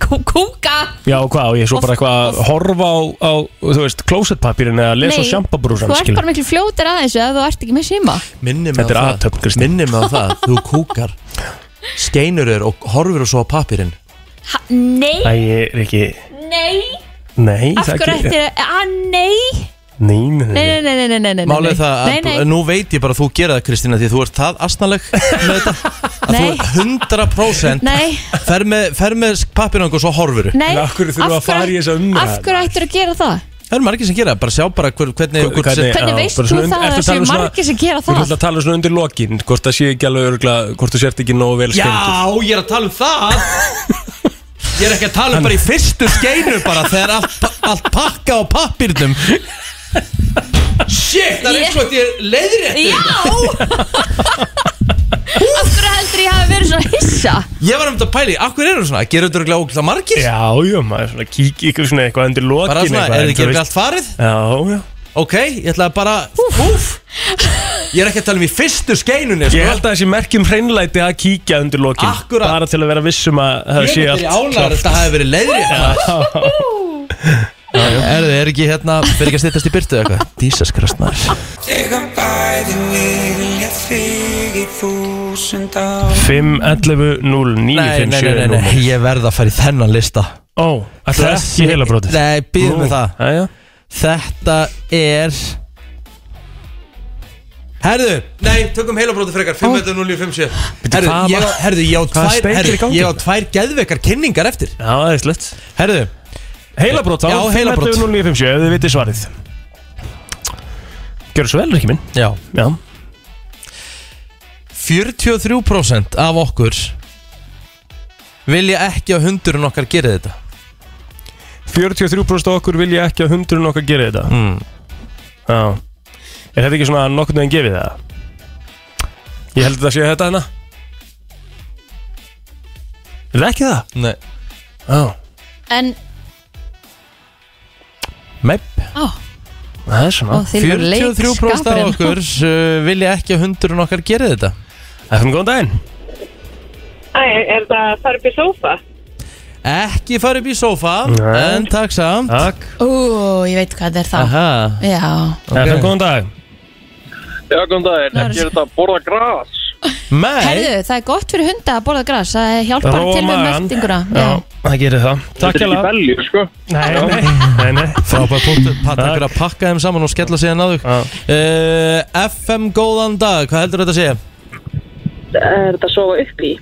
C: Kú- Kúka
D: Já, og hvað á ég, svo
C: Og- sko-
D: bara eitthvað að horfa á, á þú veist, klósettpapirin eða lesa á
C: Nei,
D: sjampabrúsan
C: Þú ert bara miklu fljótir að þessu að þú ert ekki með síma
A: Minni mig á
D: Þetta er
A: það
D: aðtöfn, Kristi
A: Minni mig á það, þú kúkar Skeinur er og horfur svo á papirinn
C: ha, Nei,
D: Æ, ég er ekki
C: nei,
D: Nei,
C: af
D: það
C: hverju
D: ekki
C: ættir að Nei,
D: Nei, nei,
C: nei, nei,
D: nei
C: nei, nei, nei, nei, nei.
A: Málið er það
C: nei,
A: að
C: nei.
A: nú veit ég bara að þú gera það Kristína því þú ert það asnaleg með þetta að þú
C: Nei.
A: 100%
C: Nei,
A: fer með, fer með pappirang og svo horfur
C: nei
D: En af hverju þurfum við að fara í þessa umræðu?
C: Af hverju ættir að gera það?
A: það eru margir sem gera það, bara sjá bara hver, hvernig,
K: Hver- hvernig-
A: hvernig
C: Hvernig
K: Já,
C: veist
K: bara
C: þú
K: svona und-
C: það að
K: ertu
C: það
K: að
C: séu
K: tala um svona-
C: margir sem gera
K: Þú ert
C: það?
K: alltaf að tala svona undir lokin, hvort það sé ekki alveg örgla, hvort þú sért ekki nógu vel
A: já,
K: skemmtur
A: ég er að tala um það Ég er ekki að tala um bara í fyrstu skeinu bara þegar allt, allt pakka á pappirnum Shit, það er eins og þetta er leiðréttur
C: Já Af hverju heldur ég hafi verið svona hissa
A: Ég var um þetta að pæli, akkur eru svona, gerur þetta örugglega ógæslega margir?
D: Já, já, maður svona kík ykkur svona eitthvað undir lokin
A: Bara svona,
D: eitthvað,
A: er
D: en
A: þetta
D: þú
A: ekki
D: veist-
A: allt farið?
D: Já, já
A: Ok, ég ætla að bara, húf Ég er ekki að tala um í fyrstu skeinunni
D: Ég held að þessi merkjum um hreinlæti að kíkja undir lokin
A: Akkúrat.
D: Bara til að vera vissum að það sé allt
A: ánar
D: klárt.
A: þetta hafi verið leiðrétt Er þið, er ekki hérna, fyrir ekki að stýttast í byrtu eða eitthvað? Jesus Christ maður
L: Þegar bæði vilja þig í þúsund ár
D: 5, 11, 0, 9,
A: Nei,
D: 5,
A: nei, nei,
D: 7,
A: nei,
D: 0
A: nei, ég verð að fara í þennan lista
D: Ó, ætli það
A: Þessi-
D: ekki heilabrótið?
A: Nei, býðum
D: Nú,
A: við það
D: jæja.
A: Þetta er Herðu, nei, tökum heilabróti frekar 5.057 Herðu,
D: hvað
A: ég,
D: var-
A: herðu, ég á
D: hvað
A: tvær,
D: steikir í
A: herðu,
D: gangi?
A: ég á tvær geðveikar kynningar eftir
D: Já, það er slett
A: Herðu,
D: Heilabrót þá,
A: Já,
D: 5,
A: heilabrot.
D: 11, 0, 9, 5, 7 Ef þið vitið svarið Gjörðu svo vel, Rikki minn
A: já
D: Já
A: 43% af okkur vilja ekki að hundurinn okkar gera þetta
D: 43% af okkur vilja ekki að hundurinn okkar gera þetta
A: mm.
D: Já Er þetta ekki svona nokkurnu en gefið það? Ég held að það sé þetta hérna Er það ekki það?
A: Nei,
D: Já
C: En,
A: mepp
C: á,
D: Það er
C: ó,
D: svona
C: þeir eru
A: 43% af
C: leikskapurinn
A: okkur uh, vilja ekki að hundurinn okkar gera þetta
D: FM, góðan daginn
M: Æ, er það fara upp í sófa?
A: Ekki fara upp í sófa
D: Nei.
A: En takk samt
D: Takk
C: Ú, ég veit hvað það er þá
A: Aha,
C: Já,
D: FM, góðan dag
E: Já, góðan daginn, ekki er þetta að borða gras
A: Nei,
C: herðu, það er gott fyrir hunda að borða gras Það hjálpar
D: Róa
C: til við
D: magann.
C: meltinguna Já,
D: Já, það gerir það Takk
E: Þetta er
D: hérlega
E: ekki belju, sko
D: Nei, nei, nei, nei
A: frábær punktur Patta ykkur að pakka þeim saman og skella sig að þau
D: Já.
A: uh, FM góðan dag, hvað heldur þetta að segja?
M: Er það sofa upp í?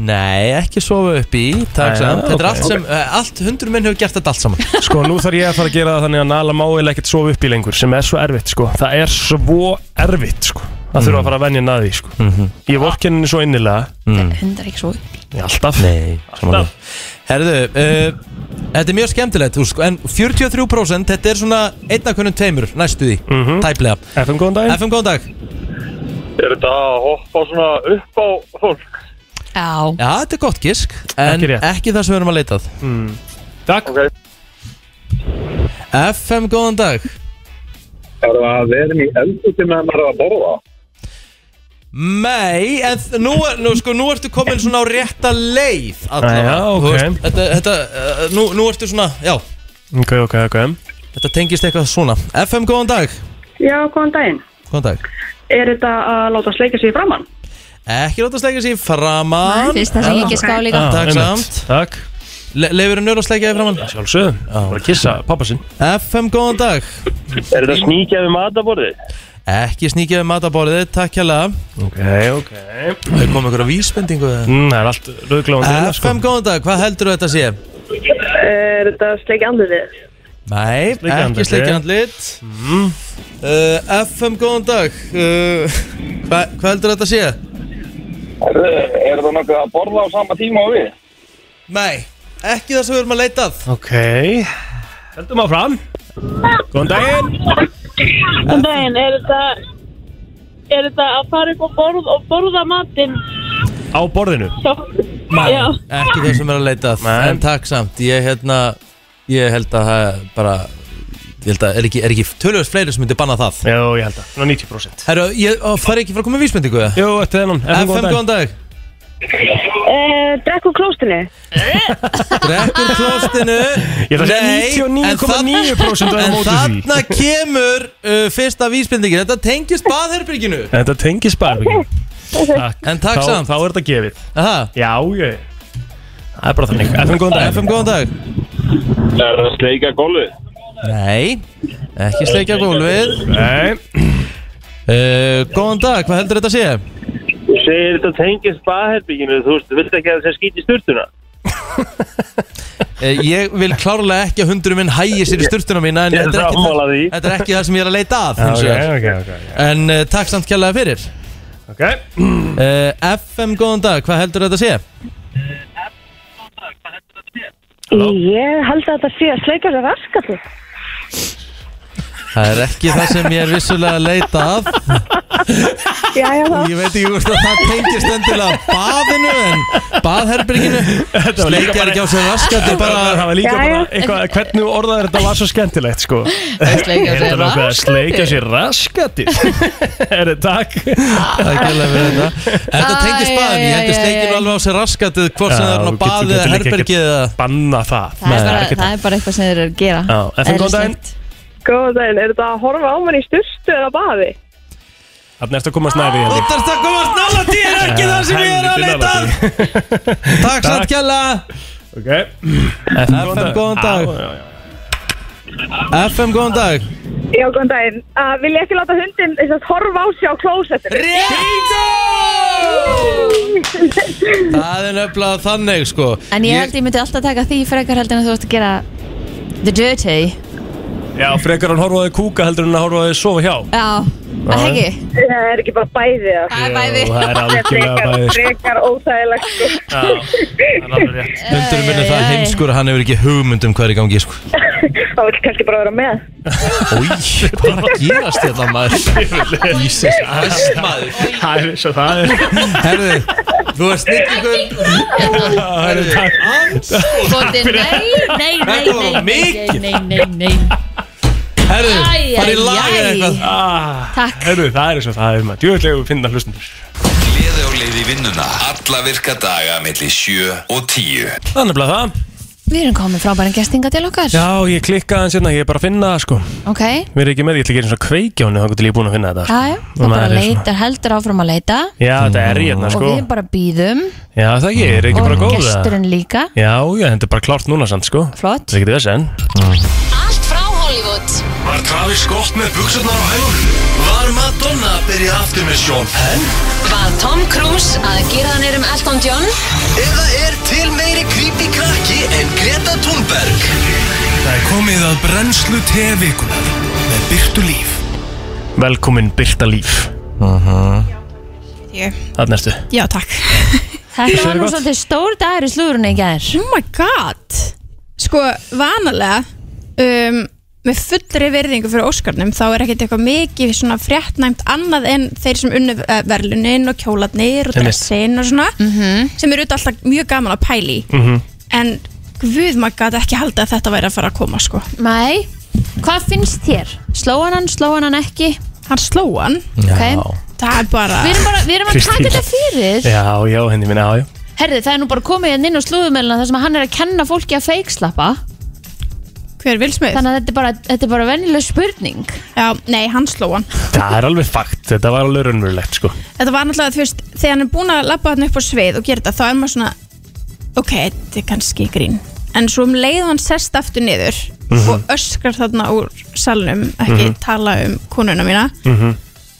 A: Nei, ekki sofa upp í Takk
D: Nei,
A: samt,
D: ok.
A: þetta er allt sem uh, Allt hundur minn hefur gert þetta allt saman
D: Sko, nú þarf ég að fara að gera það þannig að Nala má eða ekkert sofa upp í lengur sem er svo erfitt, sko Það er svo erfitt, sko Það þurfa að fara að venja naði, sko Ég vorkin henni svo innilega
C: hundar ekki svo upp
D: Alltaf
A: Nei, samanlega Herðu, uh, þetta er mjög skemmtilegt þú sko, En 43% þetta er svona einnakunnum tveimur, næstu því
D: Mhm.
A: Tæplega
D: FM, góðan daginn
A: FM góðan dag
E: Er þetta að hoppa svona upp á fólk
C: Já,
A: Já, þetta er gott gisk En
D: Ekki
A: ekki,
D: rétt. Mm.
A: það sem við erum að leitað
D: Takk
E: Ok,
A: FM góðan dag
E: er það að verðin í eldur til meðan maður er að borða
A: Nei, en þ- nú, er- nú, sko, nú ertu komin svona á rétta leið allavega.
D: Já, ok.
A: Þú Þetta, þetta uh, nú, nú ertu svona, já
D: Ok, ok, ok
A: Þetta tengist eitthvað svona FM, góðan dag
M: Já, góðan daginn.
A: Góðan dag
M: Er þetta að láta sleika sig í framann?
A: Ekki láta sleika sér í
C: það
A: framann
C: finnst það sem ég ekki ská líka
A: Takk
D: Ah, einmitt.
A: samt.
D: Takk
A: Le um Leifur njóra að sleika þér framann
D: Sjálfsögðum
A: Ah,
D: Það var að kissa pappa sinn
A: FM, góðan dag
E: Er þetta sníkja við mataborði?
A: Ekki sníkja við matabórið, takk hérlega
D: Ok, ok
A: Það er komið ykkur að vísbendingu
D: mm, Það er allt hérna, sko. rauðgláðan
A: FM, góðan dag, hvað heldur þetta sé?
M: Er þetta að sleika andlitið?
A: Nei,
D: Sleikja
A: ekki
D: andlit. eh? Mhm.
A: sleikja andlit uh, FM, góðan dag uh, Hvað hva heldur þetta sé?
E: Er, er það nokkuð að borða á sama tíma og við?
A: Nei, ekki það sem við erum að leitað
D: Ok Heldum áfram Góðan daginn
M: Góðan daginn, er þetta... Er þetta að fara upp á borð og borða matinn?
D: Á borðinu
M: Svo, já,
A: Ekki það sem er að leitað
D: Nei.
A: En takk samt, ég, hérna, ég held að það er bara Ég held að er ekki, er ekki tölvöld fleiri sem myndi banna það
D: Já, ég held að Ná 90%
A: Herru, ég ó, fari ekki frá að koma með vísmyndingu eða?
D: Jú, þetta er hennan
A: FM, góðan dag
G: Eh, Drekk úr klóstinu
A: Drekkur klostinu
D: Ég ætla að segja
A: en þarna-
D: 99,9% að
A: En
D: móti því
A: þarna kemur uh, fyrsta vísbendingin Þetta tengist baðherberginu
D: Þetta tengis bara Takk
A: En takk
D: Þá-
A: samt
D: Þá er þetta gefið
A: Aha.
D: Já, ég Það er bara þannig FM, góðan daginn
A: FM, góðan dag
E: Er það sleika gólfið?
A: Nei, ekki sleikja gólfið
D: Nei
A: uh, Góðan dag, hvað heldur þetta að sé?
E: Þú segir þetta tengist baðherbygginu, þú veist, vilt ekki að það sé skýt í sturtuna?
A: Uh, ég vil klárlega ekki að hundurum minn hægi sér í sturtuna mína En
E: Ég er
A: þetta er, ekki
E: sammála
A: það,
E: því.
A: þetta er ekki það sem ég er að leita að hins
D: Ok,
A: vegar.
D: ok, ok
A: En uh, takk samt kjærlega fyrir Eh,
D: Ok
A: uh, FM, góðan dag, hvað heldur þetta að sé?
G: Ég held að þetta sé að sleika sér raskatið.
A: Það er ekki það sem ég er vissulega að leita að
G: Jæja þá.
A: Ég veit ekki hvort að það tengist endilega baðinu en baðherberginu
D: var líka
A: Sleikjar
D: bara-
A: ekki á sér raskandi bara
D: Það var líka bara eitthvað, hvernig orðaður þetta var svo skemmtilegt sko
A: sleikja sér
D: Er þetta nokkuð að
A: raskatið?
D: Sleikja sér raskati Er þetta takk
A: Takk hérlega fyrir þetta Þetta tengist baðinu, ég hendur sleikinu alveg á sér raskatið hvort sem það er á baðið eða herbergið eða
D: Banna það
C: Það, er bara, það er bara eitthvað sem þeir eru að gera
D: Já, FM, góðan daginn.
C: Eðlislægt.
N: Góðan daginn, er þetta að horfa á mann í styrstu eða baði?
D: Þannig eftir að komast næri
A: Þetta er að komast nála því er ekki það sem ég er að leita að Takk satt kjalla
D: Ok FM,
A: FM góðan dag FM góðan dag
N: Já, góðan daginn. Uh, vil ég ekki láta hundin þess að horfa á sig á klósettinu? Rétt!
A: Það er nefnilega þannig sko
C: En ég held ég myndi alltaf taka því frekar heldur en þú ert að gera the dirty
D: Já, frekar hann horfaði kúka heldur en að horfaði sofa hjá
C: Já, það
D: Já.
C: ekki
N: Það er ekki bara bæði það.
D: Það er bæði. Jú, það er algjörlega bæði, sko.
N: Frekar óþægilegt. sko.
A: Hundurinn minn er það heimskur að hann hefur ekki hugmyndum hvað er í gangi sko
N: Það vil kannski bara vera með.
A: Új, hvað er að gerast þetta maður? Ísus, ass maður
D: Það er svo það er
A: Herðu, þú ert snillingur Herðu,
C: Góði,
A: takk
C: nei, nei,
A: Þetta var
C: nei, nei, nei,
A: mikið.
C: nei, nei, nei,
A: Herðu,
C: Æ,
A: farið í
C: æ,
A: lag
C: æ.
A: eða eitthvað
C: Takk
D: Herru, það er svo það er maður Djöðlegu finna hlustundur
B: Gleði og leiði vinnuna Alla virka daga melli 7 og 10
D: Það er nefnilega það
C: Við erum komin frábæran gestinga til okkar
D: Já, ég klikkaði hans hérna, ég er bara að finna það sko
C: Ok,
D: Mér er ekki með, ég ætla ekki eins og kveiki á henni þá til ég er búin að finna þetta
C: já, já,
D: sko.
C: þú bara
D: Maður er svona-
C: leitar, heldur áfram að leita
D: Já, þetta er hérna
C: Og
D: sko
C: við bara býðum
D: Já, það ekki, er ekki bara
C: Og
D: góð
C: gesturinn líka
D: Já, já, þetta er bara klárt núna samt sko
C: Flott.
D: Það er ekki þess enn
C: Allt frá Hollywood
B: Var Travis gott með buksarnar á hælunum? Var Madonna að byrja aftur með Sean Penn?
O: Var Tom Cruise að gera hann er um Elton John?
B: Eða er til meiri creepy krakki en Greta Thunberg?
K: Það er komið að brennslu tevikunar með byrtu líf
D: Velkomin Birta Líf Mhm.
H: Ég.
D: Það næstu
H: Já, takk
C: Þetta var nú svolítið stór dagur í slúrunni í gær
O: Mm.
H: Oh my god Sko, vanalega um, með fullri verðingu fyrir Óskarnum þá er ekkert eitthvað mikið svona fréttnæmt annað en þeir sem unnu eh, verðlunin og kjólarnir og
O: Einmitt.
H: dressin og svona sem eru auðvitað alltaf mjög gaman að pæli í en guð maður gæti ekki halda að þetta væri að fara að koma sko
C: Nei, hvað finnst þér? Slóan hann, slóan hann ekki?
H: Hann slóan?
C: Ok,
H: það er bara
C: Við erum, bara, við erum að taka
D: Kristín.
C: þetta fyrir
D: Já, já, henni minna, já, já
C: Herði, það er nú bara komið hérna inn á slúðumæluna þar sem hann er að kenna fólki að feikslappa
H: Hver vil smið?
C: Þannig að þetta er bara, þetta er bara venjuleg spurning
H: Já, nei, hann slóan
D: Það er alveg fakt, þetta var alveg raunverulegt sko
H: þetta var náttúrulega, þú veist, þegar hann er búin að lappa hann upp á svið og gera þetta, þá er maður svona ok, þetta er kannski grín en svo um leið og hann sest aftur niður
O: Mhm.
H: og öskrar þarna úr salnum, ekki
O: Mhm.
H: tala um konuna mína,
D: Mhm.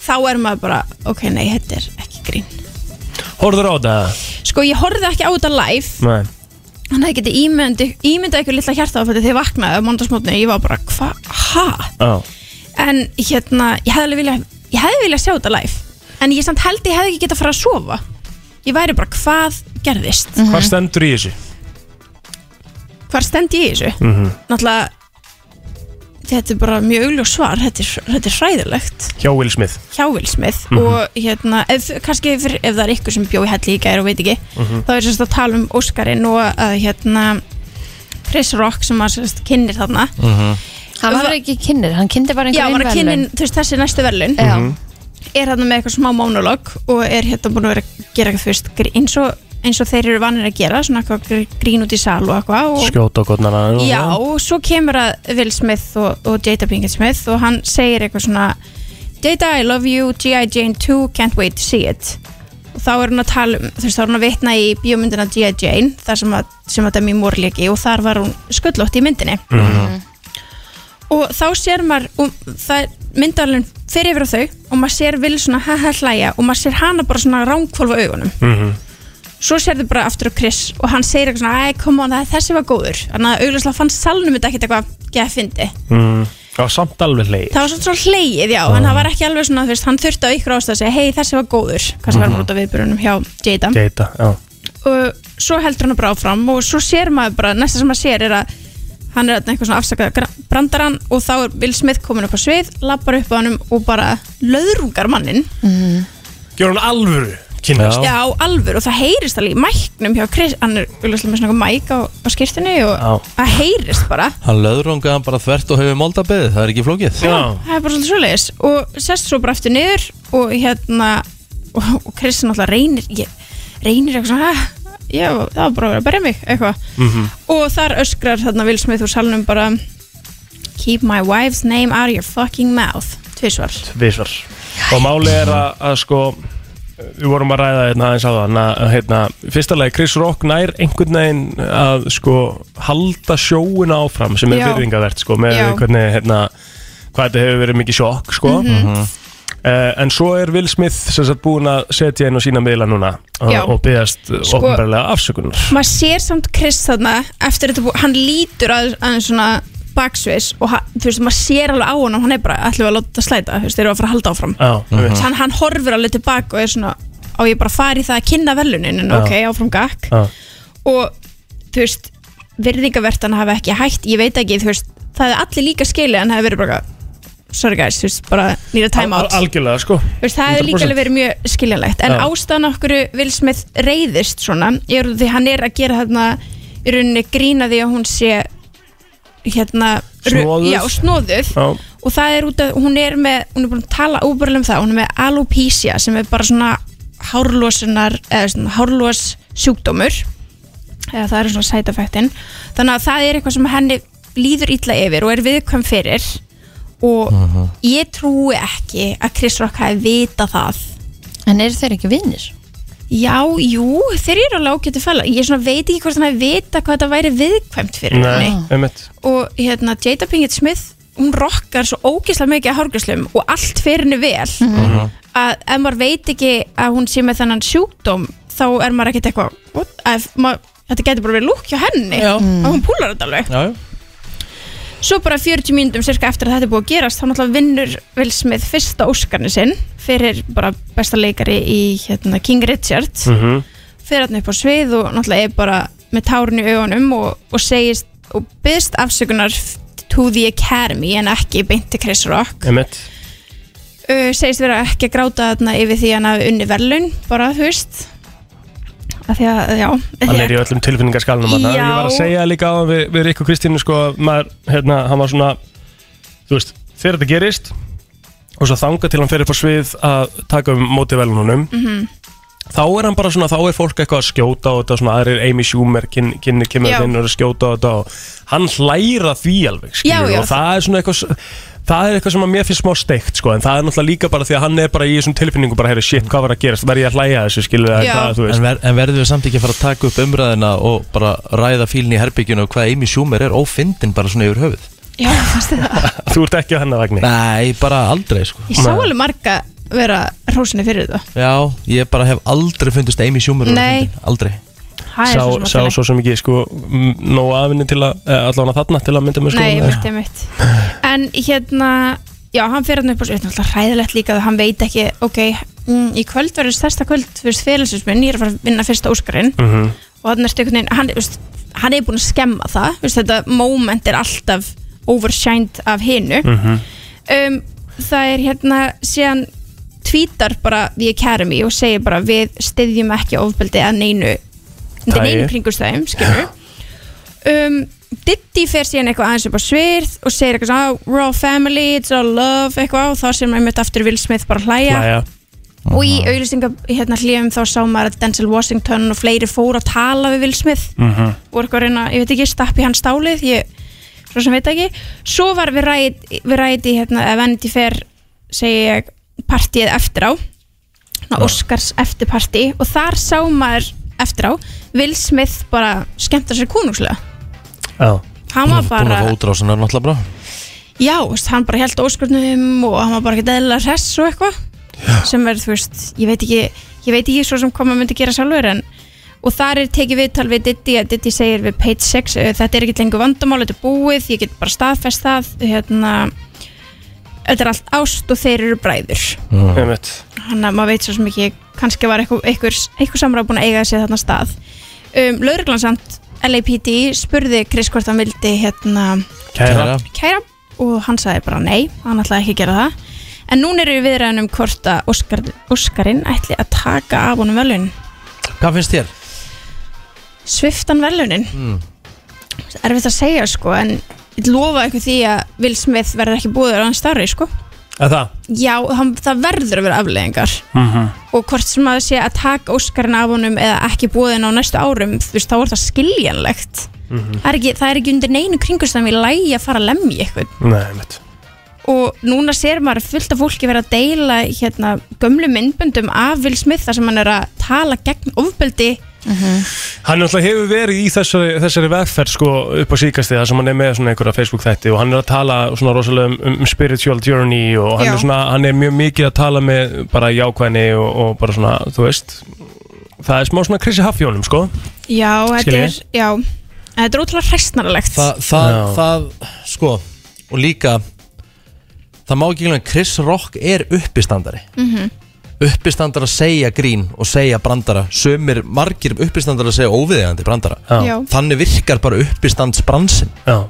H: þá er maður bara ok, nei, þetta er ekki grín
D: Horður á þetta?
H: sko, ég horfði ekki á þetta live
D: Nei
H: hann hefði getið ímyndað ímynda eitthvað litla hjartaðafætti þegar ég vaknaði á mándagsmótni ég var bara, hva, ha?
D: Já
H: en hérna, ég hefði alveg viljað ég hefði viljað sjá þetta live en ég samt held ég hefði ekki getað að fara að sofa ég væri bara hvað gerðist
D: Hvað stendur í þessu?
H: Mhm. hvar stend ég í þessu
D: Mhm.
H: náttúrulega þetta er bara mjög augljós svar þetta er, þetta er hræðilegt
D: Hjá Will Smith
H: hjá Will Smith
D: Mhm.
H: og hérna, ef, kannski fyrir, ef það er ykkur sem bjó í helli í gæri og veit ekki
D: Mhm.
H: þá er sérst að tala um Óskarinn og að hérna Chris Rock sem að sérst kynir þarna
C: Hann var ekki kynir, hann kynnti bara
H: Já,
C: einhver
H: hann er kynin, þú veist, þessi næstu
O: Mhm.
H: verðlun
C: Já.
H: er hann með eitthvað smá monolog og er hérna búin að vera að gera eitthvað fyrst eins og, eins og þeir eru vanir að gera svona eitthvað gr- grín út í sal og eitthvað og,
D: Skjóta og gotnana
H: Já, og svo kemur að Will Smith og, og Jada Pinkett Smith og hann segir eitthvað svona Jada, I love you, G.I. Jane 2, can't wait to see it og þá er hann að tala um, þú veist, þá er hann að vitna í bíómyndina G.I. Jane, þar sem að, sem að Demi Moore leki og þar var hún skullótt í myndinni
O: Mhm.
H: og þá sér maður og það er myndalinn fyrir yfir á þau og maður sér vil svona haha hlæja og maður sér hana bara svona ránkvolfa augunum svo sér þau bara aftur á Chris og hann segir eitthvað svona, æ, come on, það- þessi var góður þannig að augljóslega fannst salnum þetta ekkert eitthvað geða fyndi,
D: Mm, Það var samt alveg leið
H: það var svona svona hleið já, en það var ekki alveg svona, þú veist, hann þurfti á ykkur ástæð að segja, hei, þessi var góður, kannski var hann út af viðbjörunum hjá Jada
D: Geita, já
H: og svo heldur hann bara áfram og svo sér maður bara, næsta sem maður sér er að hann er þarna eitthvað svona afsakað gra- brandarann og þá er Will Smith komin upp á svið lappar upp á hannum og bara löðrungar mannin
C: mm.
D: Gjör hann alvöru kynast
H: Já, alvör og það heyrist alveg í mæknum hjá Chris, hann er auðvitað með svona mæk á, á skýrtunni
A: Já.
H: og það heyrist bara
A: Hann löðrungaði hann bara þvert og hefur moldabeðið, það er ekki flókið
H: það er bara svolítið svoleiðis og sest svo bara aftur niður og hérna og, og Chris náttúrulega reynir ég, reynir eitthvað svona "Ah, já, það var bara að vera að berja mig eitthvað og þar öskrar þarna Will Smith úr salnum bara keep my wife's name out of your fucking mouth tvisvar
D: Tvisvar Og máli er að, að sko Við vorum að ræða hérna aðeins á það hérna, Fyrsta lagi Chris Rock nær einhvern veginn að sko halda sjóuna áfram sem er
H: Já.
D: virðingavert sko með
H: Já.
D: hvernig hérna hvað þetta hefur verið mikið sjokk sko
H: Mhm.
D: Eh, en svo er Will Smith sem sagt búin að setja inn á sína miðla núna
H: Já.
D: og, og beðast
H: Sko-
D: sko, ofnbarlega afsökunar
H: maður sér samt Chris þarna eftir þetta búið, hann lítur að, aðeins svona baksviss og hann, þú veist, maður sér alveg á hann og hann er bara ætlum við að láta þetta slæta, þú veist, þeir eru að fara að halda áfram
D: Já, einmitt.
H: hann, hann horfur alveg tilbaka og er svona á ég bara að fara í það að kynna velunin en
D: Já.
H: ok, áfram gakk
D: Já.
H: og þú veist, virðingavertan hafa ekki hætt, ég veit ekki, þú veist það er allir líka skilið en það hefur verið bara sorry guys, þú veist, bara nýra time
D: Al-
H: out
D: al- Algjörlega sko
H: Þú veist, það hefur líka alveg verið mjög skiljanlegt en
D: Já.
H: ástæðan okkur Will Smith reyðist svona er út af því að hann er að gera þarna í rauninni grína því að hún sé hérna ru-
D: Snoðuð.
H: já, snóðuð
D: Já.
H: og það er út af, hún er með hún er búin að tala óbúrlega um það, hún er með alopecia sem er bara svona hárlósunar eða svona hárlós sjúkdómur eða það eru svona sætafættin þannig að það er eitthvað sem henni líður illa yfir og er viðkvæm fyrir og ég trúi ekki að Chris Rock hafi vita það
C: En eru þeir ekki vinnir?
H: Já, jú, þeir eru alveg ágættu fæla ég svona veit ekki hvort hann hafi vita hvað þetta væri viðkvæmt fyrir
D: Nei, einmitt
H: og hérna Jada Pinkett Smith hún rockar svo ógeðslega mikið að hárgjöslum og allt fyrir henni vel
D: Mhm.
H: að ef maður veit ekki að hún sé með þennan sjúkdóm þá er maður ekkert eitthvað "What?" Ef maður- þetta getur bara verið lúk hjá henni
A: Já.
C: Mm.
H: að hún púlar þetta alveg
A: Já, já.
H: Svo bara 40 mínútum cirka eftir að þetta er búið að gerast þá náttúrulega vinnur Will Smith fyrsta óskarni sinn fyrir bara besta leikari í hérna, King Richard
D: Mhm.
H: fyrir hann upp á svið og náttúrulega er bara með tárun í augunum um og, og segist og byðst afsökunar f- to the Academy en ekki beint til Chris Rock
D: Einmitt
H: uh, segist vera ekki að gráta þarna yfir því að hann hafi unni verðlun bara þú veist að því að, já
D: Hann er í öllum tilfinningaskalunum hann. Ég
H: Já.
D: var að segja líka á við, við Rík og Kristínu sko, að maður, hérna, hann var svona þú veist, þegar þetta gerist og svo þanga til hann fer upp á svið að taka um mótið velunum
H: Mhm.
D: þá er hann bara svona, þá er fólk eitthvað að skjóta á þetta, svona aðrir Amy Schumer kyn, kynni kemur
H: Já.
D: þetta inn og er að skjóta á þetta og hann hlæra því alveg skilur,
H: Já, já.
D: og það er svona eitthvað s- það er eitthvað sem að mér finnst smá steikt sko, en það er náttúrulega líka bara því að hann er bara í þessum tilfinningum bara, heyri, shit, hvað var að gerast, verð ég að hlæja að þessu skilur,
H: Já.
D: það, þú
A: En,
D: veist
A: ver, en verðum við samt ekki að fara að taka upp umræðina og bara ræða fílinn í herbyggjunu og hvað Amy Schumer er ófindin bara svona yfir höfuð
H: já, fannst þið það
D: Þú ert ekki á hennar vagni
A: Nei, bara aldrei sko
H: ég sá alveg marga vera hrósinni fyrir þetta
A: Já, ég bara hef aldrei fundist Amy Schumer vera
H: Nei.
A: fyndin, Aldrei
H: Það er
D: sá,
H: svo sem að
D: sá
H: finna.
D: svo sem ekki sko m- nóg afinni til að eh, allavega þarna til að mynda með sko
H: Nei, mitt er mitt En hérna, já, hann fyrir hann upp og svo náttúrulega hræðilegt líka að hann veit ekki ok, mm, í kvöld verður stærsta kvöld fyrir félagsins ég er að fara að vinna fyrsta óskarinn
D: Mhm.
H: og hann er einhvern veginn, hann, veist, hann er búin að skemma það veist, þetta moment er alltaf overshined af hinu
D: Mhm.
H: um, það er hérna síðan tvítar bara The Academy og segir bara við styðjum ekki ofbeldi að neinu undir
O: Tagi.
H: neinu kringustæðum skilur um, Diddy fer síðan eitthvað aðeins upp á svirð og segir eitthvað svona "Oh, we're all family, it's all love eitthvað og þá sem maður mitt aftur Will Smith bara hlæja
D: Hlæja.
H: og í auðlýsingar hérna hlýjum þá sá maður að Denzel Washington og fleiri fóru að tala við Will Smith
D: Mhm.
H: voru eitthvað að reyna, ég veit ekki, stapp í hans stálið ég svo sem veit ekki svo var við ræði, við ræði hérna, eða Vanity Fair segi ég partíið eftir á Ná, Oscars eftirparti og þar sá maður eftir á Will Smith bara skemmta sér konungslega
D: Já
H: hann var
A: Búin að
H: bara,
A: fá útrásunar náttúrulega bara
H: já, veist, hann bara held Óskarnum um og hann var bara ekki eðlilega hress og eitthvað sem er, þú veist, ég veit ekki ég veit ekki svo sem koma myndi gera sjálfur en og þar er tekið viðtal við Diddy að Diddy segir við Page 6 eh, þetta er ekki lengur vandamál, þetta er búið ég get bara staðfest það hérna, þetta er allt ást og þeir eru bræður
D: einmitt
H: hann að maður veit svo sem ekki kannski var eitthvað, eitthvað, eitthvað samráð búin að eiga sér þarna stað um, lauruglan samt LAPD spurði Chris hvort hann vildi hérna
A: Kæra.
H: kæra og hann sagði bara nei, hann ætlaði ekki að gera það en núna eru við viðræðan um hvort að Óskar, Óskarinn ætli að taka af honum velunin
A: Hvað finnst þér?
H: sviftan velunin
A: Mm.
H: erfitt að segja sko en ég lofa ykkur því að Will Smith verður ekki búður á hann starri sko
D: Að það?
H: já, hann, það verður að vera afleðingar og hvort sem að sé að taka Óskarinn af honum eða ekki búðin á næstu árum þú veist, þá er það skiljanlegt það er ekki, það er ekki undir neinu kringustam í lægi að fara að lemja ykkur
D: Nei, mitt
H: og núna sér maður fullt af fólki vera að deila hérna gömlu myndböndum af Will Smith þar sem hann er að tala gegn ofbeldi
D: Hann náttúrulega hefur verið í þessari, þessari vegferð sko upp á síkasti þar sem hann er með svona einhverja Facebook þætti og hann er að tala svona rosalega um, um spiritual journey og hann
H: Já.
D: er, svona, hann er mjög mikið að tala með bara jákvæðni og, og bara svona, þú veist það er smá svona krissi hafjónum sko
H: já, þetta
D: Skil
H: er,
D: ég.
H: já, þetta er ótrúlega hræstnarlegt
A: Þa, það, það, sko Og líka Það má ekki glemja, Chris Rock er uppistandari Uppistandara segja grín og segja brandara Sumir margir uppistandara segja óviðegandi brandara
H: Já. Já.
A: Þannig virkar bara uppistandsbransin
D: Já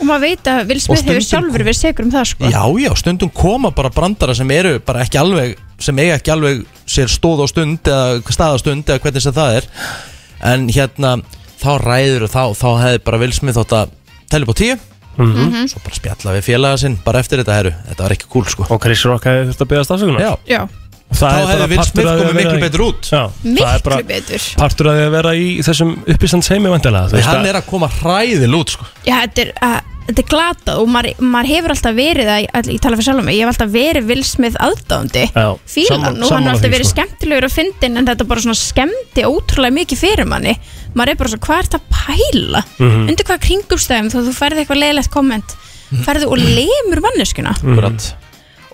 H: og maður veit að Will Smith hefur
A: stundum-
H: sjálfur verið segur um það sko
A: Já, já, stundum koma bara brandara sem eru bara ekki alveg sem eiga ekki alveg sér stóð á stund eða stað á stund eða hvernig sem það er en hérna, þá ræður þá, þá hefði bara vilsmið þótt að telja upp á tíu
D: Mhm.
A: svo bara spjalla við félaga sinn bara eftir þetta heru, þetta var ekki kúl sko
D: og Chris Rock hefði þurft að beðast afsökunar
A: Já,
H: Já.
A: Þá hefði Will Smith komið miklu betur út.
D: Já,
A: Miklu
D: það er bara
H: betur.
D: Partur að því að vera í þessum uppistands heimi vandilega
A: Nei, hann er að koma hræðil út sko
H: Já, þetta er, að, þetta er glatað og maður, maður hefur alltaf verið, að, að, ég tala fyrir sjálf um mig, ég hef alltaf verið Will Smith aðdáðandi.
D: Já,
H: Fílan,
D: sammá-
H: og hann
D: sammála
H: er alltaf
D: því,
H: verið
D: sko.
H: skemmtilegur að fyndin en þetta bara svona skemmti ótrúlega mikið fyrir manni. Maður er bara svona, hvað er þetta að pæla?
A: Mhm.
H: Undir hvað kringumstæðum þú, þú færði eitthvað leiðilegt komment, færði og lemur manneskuna.
A: Akkurat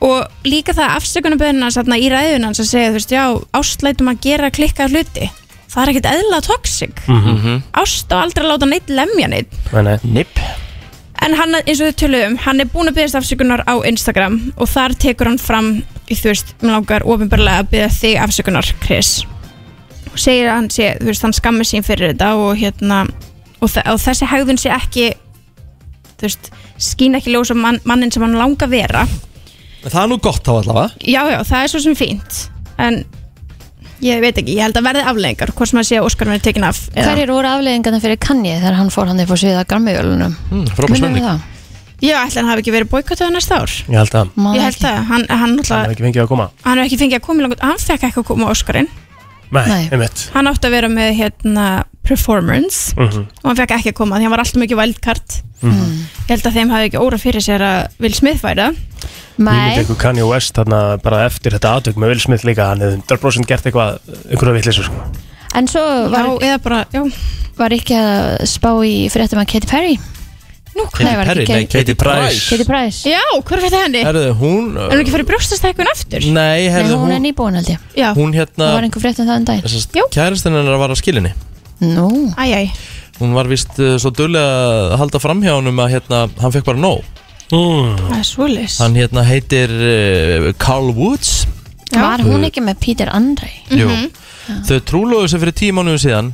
H: Og líka það afsökunarbyrðina þarna í ræðunan sem segja, þú veist, já, ástlætum að gera klikkað hluti. Það er ekkert eðla toxic.
A: Mhm.
H: Ást á aldrei að láta neitt lemja neitt.
A: Nipp
H: En hann, eins og þau töluðum, hann er búin að byggja afsökunar á Instagram og þar tekur hann fram, í, þú veist, mér langar ofinbarlega að byggja þig afsökunar, Chris. Og segir að hann sé, þú veist, hann skammir sín fyrir þetta og hérna, og, þe- og þessi hegðun sé ekki, þú veist, skín ekki ljósa mann, mannin sem hann langar vera.
A: En Það er nú gott þá allavega
H: Já, já, það er svo sem fínt, en ég veit ekki, ég held að verði afleðingar, hvort sem að sé að Óskar verði tekin af. eða-
C: Hverjir voru afleðingarna fyrir Kanye þegar hann fór hann upp á sviða grammivjölunum?
A: Mm,
H: Ég ætla hann hafi ekki verið boykotað næsta ár.
D: Ég held að
H: Ég held það, hann, hann,
D: Hann
H: náttúrulega-
D: er ekki fengið að koma
H: hann hefur ekki fengið að koma í langt hann fekk ekki að koma á Óskarinn
D: Nei, einmitt
H: hann átti að vera með hérna performance
D: Mhm.
H: og hann fekk ekki að koma því hann var alltaf mikið wildcard
C: Mm.
D: Mhm.
H: ég held að þeim hafi ekki óra fyrir sér að Will Smith væri
D: Ég myndi ykkur Kanye West þarna bara eftir þetta aðtök með Will Smith líka hann hefði 100% gert eitthvað, einhverja vitleysu sko.
C: En svo var,
H: já, bara, já.
C: var ekki að spá í fréttum að Katy Perry
H: Nú,
A: Katy
C: Nei, var ekki
A: Perry,
C: Katy-
A: nei, Katy Price.
C: Katy Price
H: Já, hvað fyrir henni?
A: Herðu, hún
H: er hún ekki fyrir brjóstastækun aftur?
A: Nei, herðu,
C: Nei, hún er
A: hún,
C: nýbúin held ég
H: Já,
A: hún
C: það var
A: hérna
C: einhver fréttum það en dag
A: Kærastinn hennar var á skilinni
C: Nú
H: Æjæj
A: Hún var vist uh, svo dullega að halda fram hjá honum að hérna, hann fekk bara nóg
D: mm.
H: Það er svolis
A: Hann hérna heitir uh, Carl Woods
C: Var hún ekki með Peter Andre?
H: Mhm.
A: Jú. Þau trúlóðu sig fyrir tíu mánuðum síðan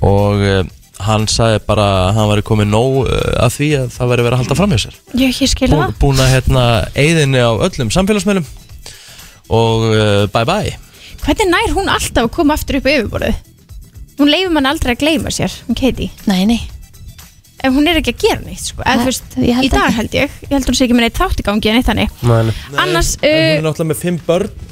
A: og uh, hann sagði bara að hann væri komið nóg uh, af því að það væri verið að halda fram hjá sér
H: ég ekki skil
A: Bú,
H: það
A: Búin að hérna eigðinni á öllum samfélagsmiðlum og uh, bye bye
H: hvernig nær hún alltaf að koma aftur upp á yfirborðið? Hún leifir mann aldrei að gleyma sér hún Katie
C: Nei, nei
H: ef hún er ekki að gera neitt sko. Eð,
C: Nei,
H: veist,
C: ég held
H: í dag
C: ekki.
H: held ég, ég held hún sé ekki með neitt þátt í gangi en eitt hannig
D: Nei,
H: Annars,
A: en
H: uh,
A: Hún er náttúrulega með fimm börn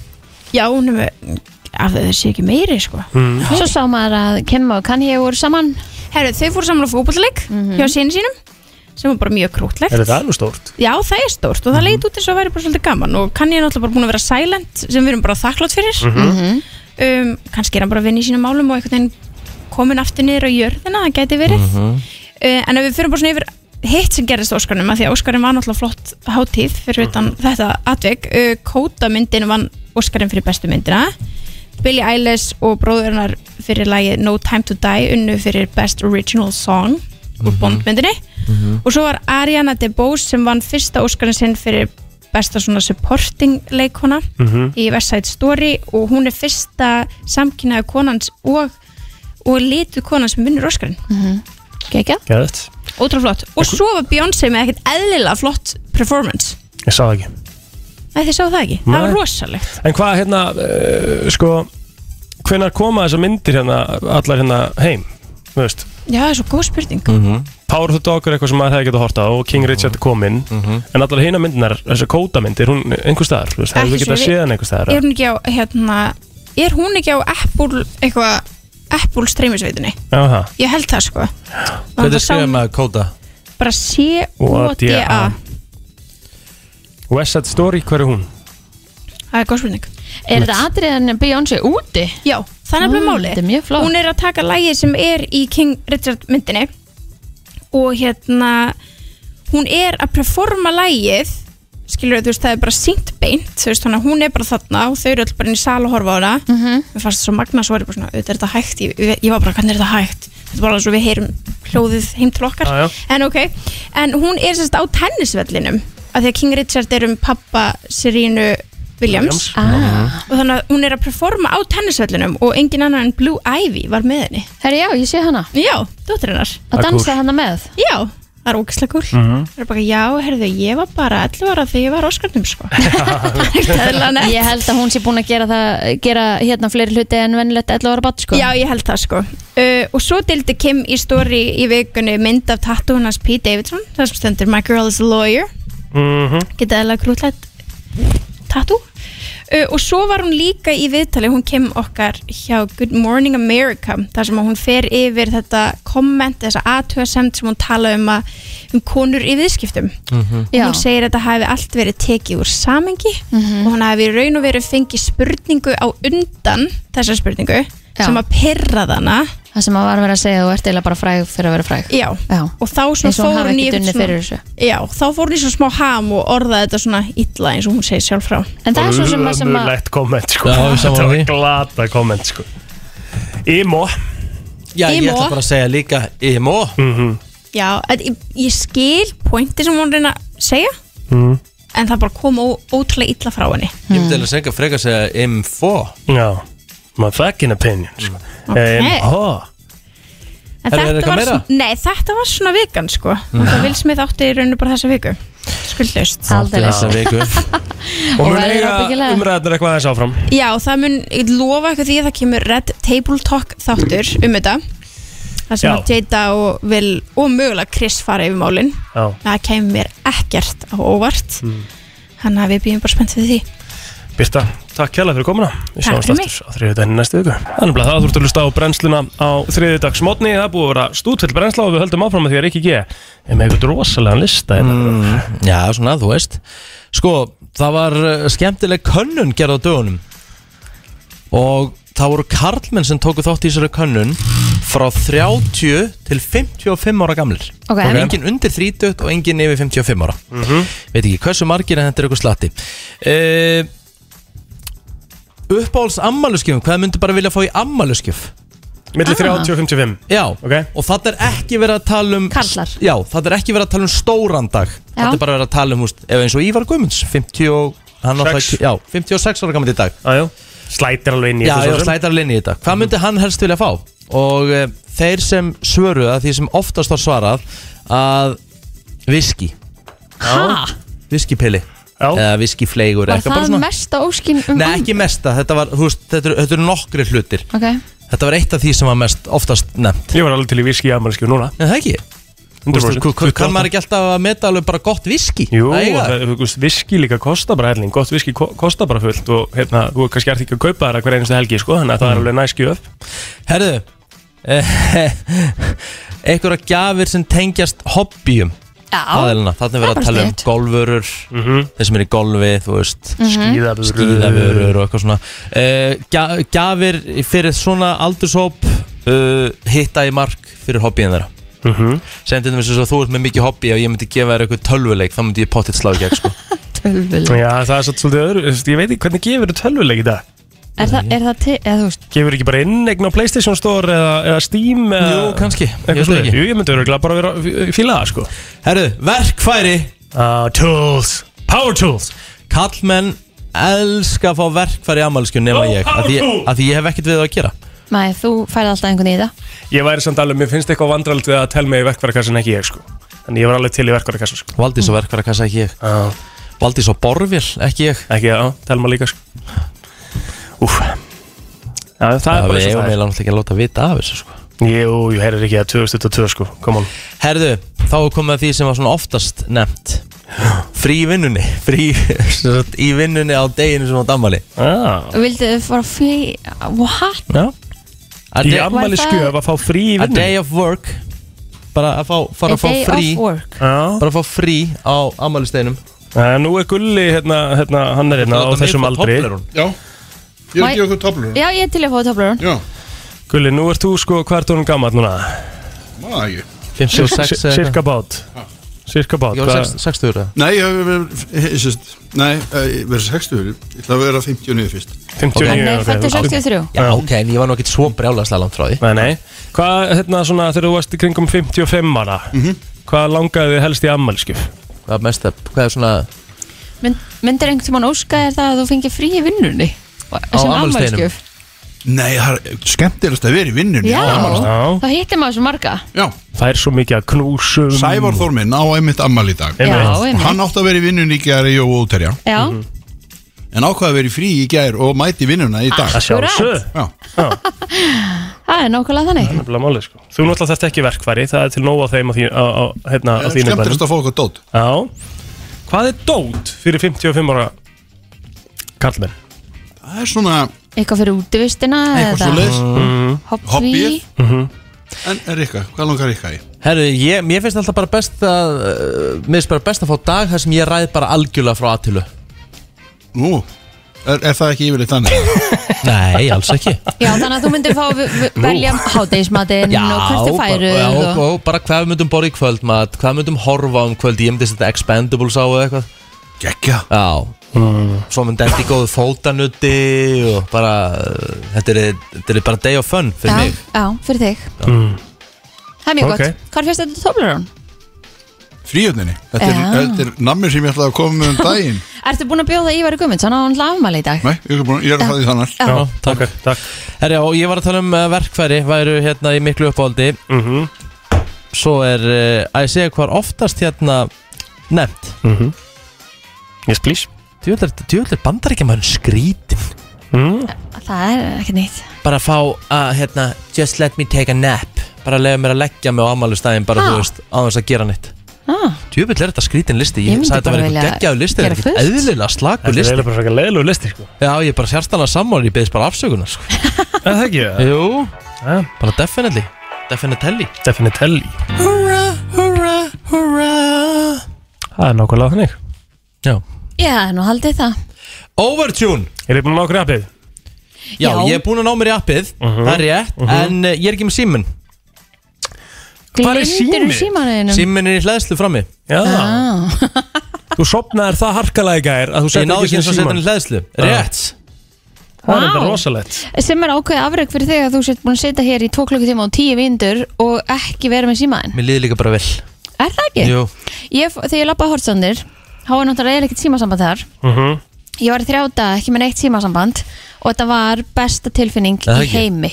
H: já hún er með af þau sé ekki meiri sko
A: mm.
C: Svo sá maður að Kim og Kanye voru saman
H: Herru, þau fóru saman á fókbóluleik hjá sinni sínum sem var bara mjög krútlegt
D: Er þetta nú stórt?
H: Já, það er stórt og það leit út eins og væri bara svolítið gaman og kann ég náttúrulega bara búin að vera silent sem við erum bara þakklátt fyrir
D: Mhm.
H: um, kannski er hann bara að vinna í sínum málum og einhvern veginn komin aftur niður á jörðina það gæti verið uh, en ef við fyrir bara svona yfir hitt sem gerðist á Óskarnum að því að Óskarinn var náttúrulega flott hátíð fyrir utan þetta atvik uh, Kóta myndin vann Óskarinn fyrir bestu myndina Billie Eilish og bróðurnar fyrir lagið No Time To Die unnu fyrir Best Original Song úr Bond myndinni og svo var Ariana DeBose sem vann fyrsta Óskarinn sinn fyrir besta svona supporting leikona
D: Mhm.
H: í West Side Story og hún er fyrsta samkynnaði konans og og litu kona sem vinnur Óskarinn mm -hmm. Gekja,
D: Gæðið
H: ótrúlega flott og svo var Beyoncé með ekkert eðlilega flott performance,
D: Ég sá það ekki
H: Nei, þið sáu það ekki það var
D: Nei.
H: rosalegt
D: En hvað hérna, uh, sko Hvenær koma þessar myndir hérna Allar hérna heim, þú veist
H: Já, það er svo góð spurning
D: Power of the Dog er eitthvað sem maður hefði getið að horta á og King Richard er kominn en allar hina myndinar, þessar kótamyndir, hún einhver staðar, þú veist, hefði
H: Ekki
D: getið að
H: svo
D: séð
H: við-
D: hann einhver staðar
H: er hún ekki á, hérna er hún ekki á Apple eitthvað Apple streymisveitunni
D: Jaha.
H: ég held það sko
A: Þetta er skrifað með kóta
H: bara C-O-D-A
D: West Side Story, hver er hún?
H: það er góð spurning
C: Er þetta atriðan Beyoncé úti?
H: Já, þannig er
C: Ah,
H: máli
C: þetta er mjög flott.
H: hún er að taka lægið sem er í King Richard myndinni og hérna hún er að performa lægið skilur þú veist, það er bara sínt beint þú veist, þannig að hún er bara þarna og þau eru öll bara inn í sal og horfa á hana mér fannst það svo magna svo er ég bara svona, auðvitað er þetta hægt ég, ég- ég var bara, hvernig er þetta hægt þetta er bara alveg svo við heyrum hljóðið heim til okkar
D: Ah, Já, já.
H: en ok, en hún er sérst á tennisvellinum af því að King Richard er um pappa Sirínu
D: Williams.
H: Williams,
D: Ah.
H: og þannig að hún er að performa á tennisvellinum og engin annar en Blue Ivy var með henni
C: Herri já, ég sé hana
H: Já, dóttir hennar
C: Að dansa hana með
H: Já, það er ógæslega kúl
C: Mhm.
H: Það er bara, já, herðu, ég var bara 11 ára þegar ég var á Óskarnum, sko
C: Ég held að hún sé búin að gera, það, gera hérna fleiri hluti en venilegt 11 ára bat sko.
H: Já, ég held það sko uh, Og svo dildi Kim í stóri í vikunni mynd af tattúunars Pete Davidson Það sem stendur My Girl is a Lawyer
D: Mhm.
H: Geta eða grútlegt tattú uh, Og svo var hún líka í viðtali Hún Kim okkar hjá Good Morning America þar sem að hún fer yfir þetta komment Þessa aðtöðasemt sem hún tala um, að, um konur í viðskiptum
C: Já.
H: Hún segir að þetta hafi allt verið tekið úr samengi og hún hafi í raun og verið fengið spurningu á undan þessa spurningu
C: Já.
H: sem að pyrra þarna
C: Það sem að var að vera að segja þú ert eiginlega bara fræg fyrir að vera fræg
H: Já.
C: Já.
H: og þá svona
C: Eins og hún hafi
H: fór hún
C: ekkert
H: í eitthvað
C: unnið
H: svona-
C: fyrir þessu.
H: Já, þá fór hún í svona smá ham og orðaði þetta svona illa eins og hún segir sjálf frá En það er svo sem að sem að
D: Ömurlegt komment, sko
A: Já, við saman
D: Þetta var
A: því.
D: glata komment, sko Imo
A: Já, ég
H: Imo.
A: ætla bara að segja líka Imo
D: Mhm.
H: Já, að, ég, ég skil pointi sem hún reyna að segja
A: Mhm.
H: en það bara kom ó, ótrúlega illa frá henni
A: Ég myndi alveg að segja frekar að segja Imfo
D: Já, maður fucking opinion, sko
H: Ok.
D: Imo
H: En
D: Er- er
H: þetta
D: eitthvað
H: var,
D: meira?
H: svona, nei, þetta var svona vikan sko
D: Mhm.
H: og það vil smið átti í rauninu bara þessa viku skuldlaust
D: Aldeilis. Þessa viku. Og
H: Og
D: mun
H: verður
D: eiga
H: ábyggilega.
D: umræðnir eitthvað aðeins áfram
H: Já, það mun, ég lofa eitthvað því að það kemur Red Table Talk þáttur um þetta Það sem
D: Já.
H: að Jada og, Will, og mögulega Chris fara yfir málin
D: Já.
H: Það kemur mér ekkert á óvart
D: Mm.
H: Þannig að við býjum bara spennt við því
D: Birta, takk kjærlega fyrir komuna Við
H: Takk
D: sjáumst
H: fyrir mig.
D: aftur á þriðjudaginn í næstu viku Þannig að það þú ert að hlusta á brennsluna á þriðjudags mótni Það er búið að vera stútfell brennsla og við höldum áfram með því að Rikki G er með eitthvað rosalega lista mm,
A: Já, svona, þú veist Sko, það var uh, skemmtileg könnun gerð á dögunum Og það voru karlmenn sem tóku þátt í þessari könnun Frá 30 til 55 ára gamlir
C: Ok.
A: En enginn undir 30 og enginn yfir 55 ára Veit ekki hversu margir en þetta er eitthvað slatti uh, Uppáhalds ammáluskjöfum, hvað myndu bara vilja fá í ammáluskjöf?
D: Milli 30 og 55
A: Já, og það er ekki verið að tala um
C: Karlar
A: Já, það er ekki verið að tala um stóran dag
C: Já.
A: Þetta er bara verið að tala um, húst, ef eins og Ívar Guðmunds 50 og, hann náttúrulega ekki- já, 56 ára gammal í dag
D: Ajá, slætir alveg inn í
A: Já, já,
D: þetta svo sem.
A: slætar alveg inn í þetta Hvað myndi hann helst vilja fá? Og e, þeir sem svöruða, því sem oftast var svarað Að viski
C: Ha?
A: Viskipili Eða viskifleigur
C: Var
A: eitthvað bara
C: það
A: svona.
C: mesta óskin um
A: Nei, ekki mesta, þetta var, þú veist, þetta eru- þetta eru nokkri hlutir
C: Ok,
A: Þetta var eitt af því sem var mest oftast nefnt
D: Ég var alveg til í viski afmælskjöf núna
A: En það ekki Þú veist, hva- hva- Kann maður ekki alltaf að meta alveg bara gott viski?
D: Jú,
A: Að eiga?
D: það, þú veist, viski líka kostar bara helling Gott viski ko kostar bara fullt Og hérna, þú kannski ert ekki að kaupa þeirra hver einustu helgi sko, Þannig að það
A: Mhm.
D: er alveg næskjöf
A: Herðu Ekkur að gjafir sem tengjast hobbyum
C: Já.
A: Aðeina, Þannig að vera
C: Það er
A: að tala um
C: bara
A: golfurur
D: Mhm.
A: Þeir sem er í golfi, þú veist
C: Mhm. Skíðavörur.
A: Skíðavörur og eitthvað svona uh, gja- Gjafir fyrir svona aldurshóp uh, Hitta í mark fyrir hobbyin þeirra
D: mm -hmm.
A: Sem til þess að þú ert með mikið hobby Ef ég myndi gefa þér eitthvað tölvuleik Þá myndi ég pottitt slá í gegn sko.
C: tölvuleik
D: Já, það er svolítið svolítið öðru þú veist, Ég veit ekki hvernig gefur þetta tölvuleik í dag
C: er, þa er það til, eða þú veist
D: Gefur ekki bara innegn á Playstation Store eða, eða Steam eða
A: Jú, kannski,
D: Ég,
A: ég veit ekki.
D: Jú, ég myndi öruglega bara vera að fíla það sko
A: Herru, verkfæri
D: uh, Tools, power tools
A: Kallmenn elska að fá verkfæri í amalskjun nema ég að því, að því ég hef ekkert við það að gera
C: Nei, þú færði alltaf einhvern í það
D: Ég væri samt alveg, mér finnst eitthvað vandrald við að tel mig í verkvarakassin ekki ég sko Þannig ég var alveg til í verkvarakassin sko
A: Valdís á verkvarakassa ekki ég
D: ah.
A: Valdís á borvél ekki ég
D: Ekki, já, telma líka sko Úf Já, það, er bara
A: við
D: eins
A: eigum
D: og
A: eiginlega
D: það
A: náttúrulega ekki að láta vita af þessu sko
D: Jú, jú, heyrir ekki að 2022 sko, come on
A: Herðu, þá er komið að því sem var svona oftast nefnt Frí í vinnunni Frí sem sagt, í vinnunni á deginu sem á dammali
D: Já
C: Vildu þið fara frí What?
A: Já A
D: Í
A: day-
D: afmælisgjöf að fá frí í
A: A
D: vinnunni.
A: day of work Bara að fá, fara
C: A
A: að fá
C: day of
A: frí
C: work.
A: Bara að fá frí á afmælisteginum
D: Æ, Nú er Gulli, hérna, hérna, hann er hérna á
A: Þetta er
D: þessum
A: mér frá
D: aldri
A: Toblerone.
D: Já
C: Ég er að gefa ykkur töflur Já, ég er til að fá töflur
D: Já Gulli, nú ert þú sko, hvað ert þú gammal núna?
P: Má ekki
A: 56 eða
D: Cirka
A: eitthvað.
D: bát Cirka bát
A: Ég var sex- 60 eða?
P: Nei, ég hef verið sérst, Nei, eh, ég hef verið 60 Ég ætla að vera 59 fyrst
D: 59, Hann er ok. fæddur 63.
A: Já, ok, en ég var nú ekkert svo brjálaðslega langt frá því
D: Nei, nei Hvað, hérna svona, þegar þú varst í kringum 55 ára
P: Mhm.
D: Hvað langaði þið helst í ammælskjöf?
A: Hvað mest að, hvað er svona
C: Mynd, Myndir einhvern tímann óska þér það að þú fengir frí í vinnunni Sem afmælskjöf
P: Nei, það er skemmtilegast að vera í vinnunni
C: Já,
P: á afmælisdaginn.
C: þá hittir maður svo marga
P: Já
D: Það er svo mikið að knúsum
P: Sævar Þór minn á einmitt ammali í dag
C: Já, einmitt.
P: Og Hann átti að vera í vinnunni í gæri og úterja
C: Já,
A: Mhm.
P: En ákvaði að vera í frí í gæri og mæti í vinnuna í
C: Ah.
P: dag
D: Að sjálfsögðu.
P: Já
C: það er nákvæmlega þannig
D: Nefnilega málið sko Þú náttúrulega þarft ekki verkfæri, það er til nóg á þeim á, því, á, á, hérna, á
P: Það er
D: þínu
P: skemmtilegast að fá eitthvað dót
D: Já Hvað er dót fyrir 55 ára karlmenn?
P: Það er svona
C: Eitthvað fyrir útivistina
P: Eitthvað
C: eða
P: svoleiðis.
D: Mhm.
C: Hobby
P: En Rikka, hvað langar Rikka í?
A: Herru, ég, mér finnst alltaf bara best að uh, Mér finnst bara best að fá dag þar sem ég ræð bara algjörlega frá aðtölu
P: Nú, er, er það ekki yfirleitt þannig?
A: Nei, alls ekki
C: Já, þannig að þú myndir fá v- v-
A: Nú.
C: velja hádegismatinn og hvert þú færu
A: bara, já, og,
C: og...
A: og bara hvað við myndum borða í kvöldmat Hvað við myndum horfa um kvöld Ég myndi setja Expendables á eða eitthvað
P: Gekja
A: Já Svo myndi endi góð fótanutti Og bara uh, Þetta er, þetta er bara day of fun fyrir
C: Já,
A: mig
C: já, fyrir þig
A: mm.
C: Það er mjög
A: Ok.
C: gott Hvar fyrst þetta Toblerón?
P: Fríöfninni Þetta er,
C: Já.
P: þetta er nammi sem ég ætlaði að koma með um daginn
C: Ertu búin að bjóða Ívar Gummins? Hann á hann afmæli í dag
P: Nei, ég er, búin, ég er að fara því þannig
C: Já.
D: Ah. takk, okay, takk.
A: Herja, og ég var að tala um uh, verkfæri væru hérna í miklu uppáldi
D: -hmm.
A: Svo er uh, að ég segja hvað er oftast hérna nefnt
D: mm -hmm. Yes please
A: Djúðlega bandar ekki maður skrítin
D: mm.
C: Það er ekki nýtt
A: Bara fá að hérna Just let me take a nap Bara leiða mér að leggja mig á ammálistæðin Bara þú
C: Ha.
A: veist á þess að gera neitt
C: ah,
A: Djúðlega er þetta skrítin listi
C: Ég
A: Ég
C: myndi
A: sagði þetta
C: bara
A: var eitthvað
C: vilja
A: geggjaðu listi Það er
C: gera
A: ekkert
C: fullt.
A: eðlilega slaku
D: Þetta er
A: listi
D: eiginlega bara frekar leiðilegu listi sko
A: Já, ég er bara sérstanlega sammála Ég beðist bara afsökunar sko.
D: Er það ekki?
A: Jú,
D: ja.
A: bara definitely Definitelli
D: Definitelli
A: Húra, húra, húra
D: Það er nákvæmlega þannig
C: Já, nú haldið það
A: Overtune
D: Er þið búin að ná grafið?
A: Já,
C: Já.
A: ég er búin að ná mér í appið
D: Mhm.
A: Það er rétt En uh, ég er ekki með símin
C: Glindur símanuðinum
A: Símin er í hlæðslu frammi
D: Já
C: ah,
D: Þú sopnaðir það harkalega í gær að þú
A: Ég
D: settir
A: náði ekki eins og setja hann í
D: símann.
A: hlæðslu
D: Já.
A: Rétt
D: Það er þetta
C: Vá.
D: rosalegt
C: Sem er ákveðið afreg fyrir þig að þú sett búin að setja hér í 2 klukkutíma og 10 vindur og ekki vera með símaðin
A: Mér líði líka bara vel
C: Er það ekki?
A: Jú
C: Ég, þegar ég lappaði hortsandir, þá var náttúrulega eiginlega ekkert símasamband þar.
D: Mhm,
C: Ég var í þrjá daga ekki með neitt símasamband og þetta var besta tilfinning
A: Er það
C: í
A: ekki?
C: heimi.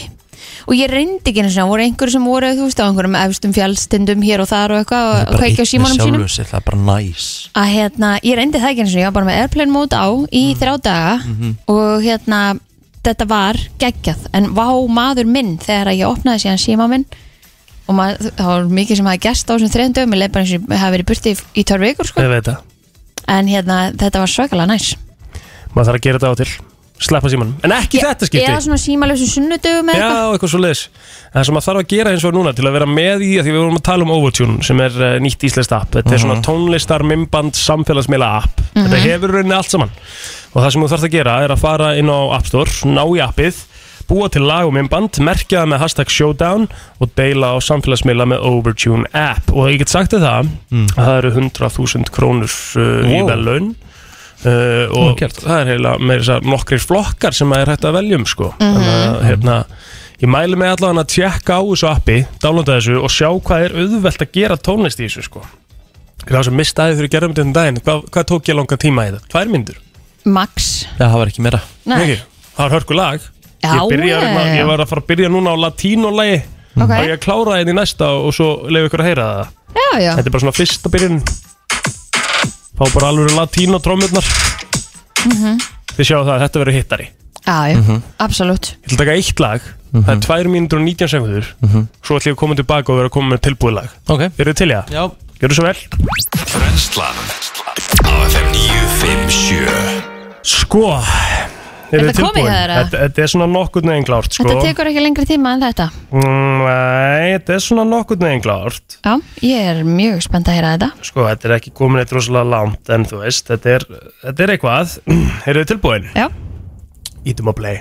C: Og ég reyndi ekki einu sinni, það voru einhverju sem voru, þú veist, á einhverjum efstum fjallstindum hér og þar og eitthvað og- og kveikja á símanum sínum.
A: sér, Það er bara næs
C: Að hérna, ég reyndi það ekki einu sinni, ég var bara með airplane mode á í
D: Mm.
C: þrjá daga
A: Mhm.
C: og hérna, þetta var geggjað. En vá maður minn þegar að ég opnaði síðan síma minn og maður, það var mikið sem hafi gerst á þessum þrejum dögum, ég leið bara eins og ég hafi verið burti í, í törr vikur, sko.
D: Ég veit það
C: En hérna, þetta var svakalega næs
D: Maður þarf að gera þetta á og til Sleppa símanum En ekki þetta skipti
C: Ég er svona símalösu sunnudögum eða eitthvað
D: Já, eitthvað svo leis Það sem maður þarf að gera eins og núna til að vera með í að því við vorum að tala um Overtune sem er uh, nýtt íslenskt app Þetta er svona
A: Mhm.
D: tónlistar, mimband, samfélagsmiðla app Þetta hefur rauninni allt saman og það sem þú þarfst að gera er að fara inn á App Store ná í appið, búa til lag og mimband merkja það með hashtag showdown og deila á samfélagsmiðla með Overtune app og ég get sagt þér það að það eru 100.000 krónur uh, í
A: Wow.
D: velun Uh, og það er heila með þess að nokkrir flokkar sem er hægt að veljum sko. þannig að hérna, ég mæli mig allavega að tjekka á þessu appi dálanda þessu og sjá hvað er auðvelt að gera tónlist í þessu sko. það sem mistaði fyrir gerðum þetta um daginn hvað, hvað tók ég langan tíma í þetta? Tvær myndur?
C: Max
A: Já, það var ekki meira
C: Nei.
D: það var hörku lag
C: Já,
D: ég, byrja, hérna-
C: já, já.
D: ég var að fara að byrja núna á latínolagi
C: Ok.
D: og ég klára þetta í næsta og svo leiðu ykkur að heyra það
C: Já, já
D: Þetta er bara svona fyrsta byrjun Fá bara alveg latín og trómurnar
C: Mhm.
D: Þið sjáu það að þetta verður hittari Ég
C: Já, já,
D: Mhm.
C: absolutt
D: ætla að taka eitt lag Það er 2 mínútur og 19 sekundur Svo ætla ég að koma tilbaka og vera að koma með tilbúið lag
A: okay.
D: Eru þið til í það?
A: Já
D: Gjörðu svo vel
B: Brenslan Á FM 957
D: Sko Eru
C: Þetta
D: þið
C: komið
D: tilbúin?
C: hjá þér, eða?
D: Þetta, þetta er svona nokkurn veginn klárt sko.
C: Þetta tekur ekki lengri tíma en þetta
D: Mm, Nei, þetta er svona nokkurn veginn klárt
C: Já, ég er mjög spennt að heyra þetta
D: Sko, þetta er ekki komin eitt rosalega langt En þú veist, þetta er, þetta er eitthvað Eru þið tilbúin?
C: Já
D: Ítum að play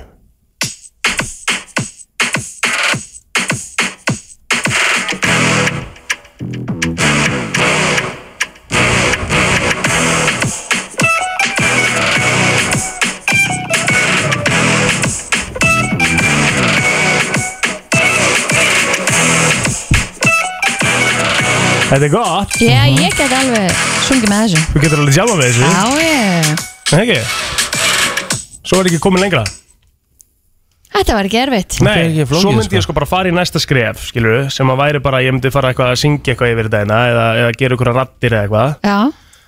D: Þetta er gott
C: Já, ég get alveg sungið með þessu
D: Þú getur alveg sjálfa með þessu
C: Já, ég
D: Nei, ekki Svo er ekki komin lengra
C: Þetta var ekki erfitt
D: Nei, svo myndi ég sko bara fara í næsta skref skilur, sem að væri bara að ég myndi fara eitthvað að syngja eitthvað yfir dagina eða, eða gera ykkur að rattir eða eitthvað
C: Já,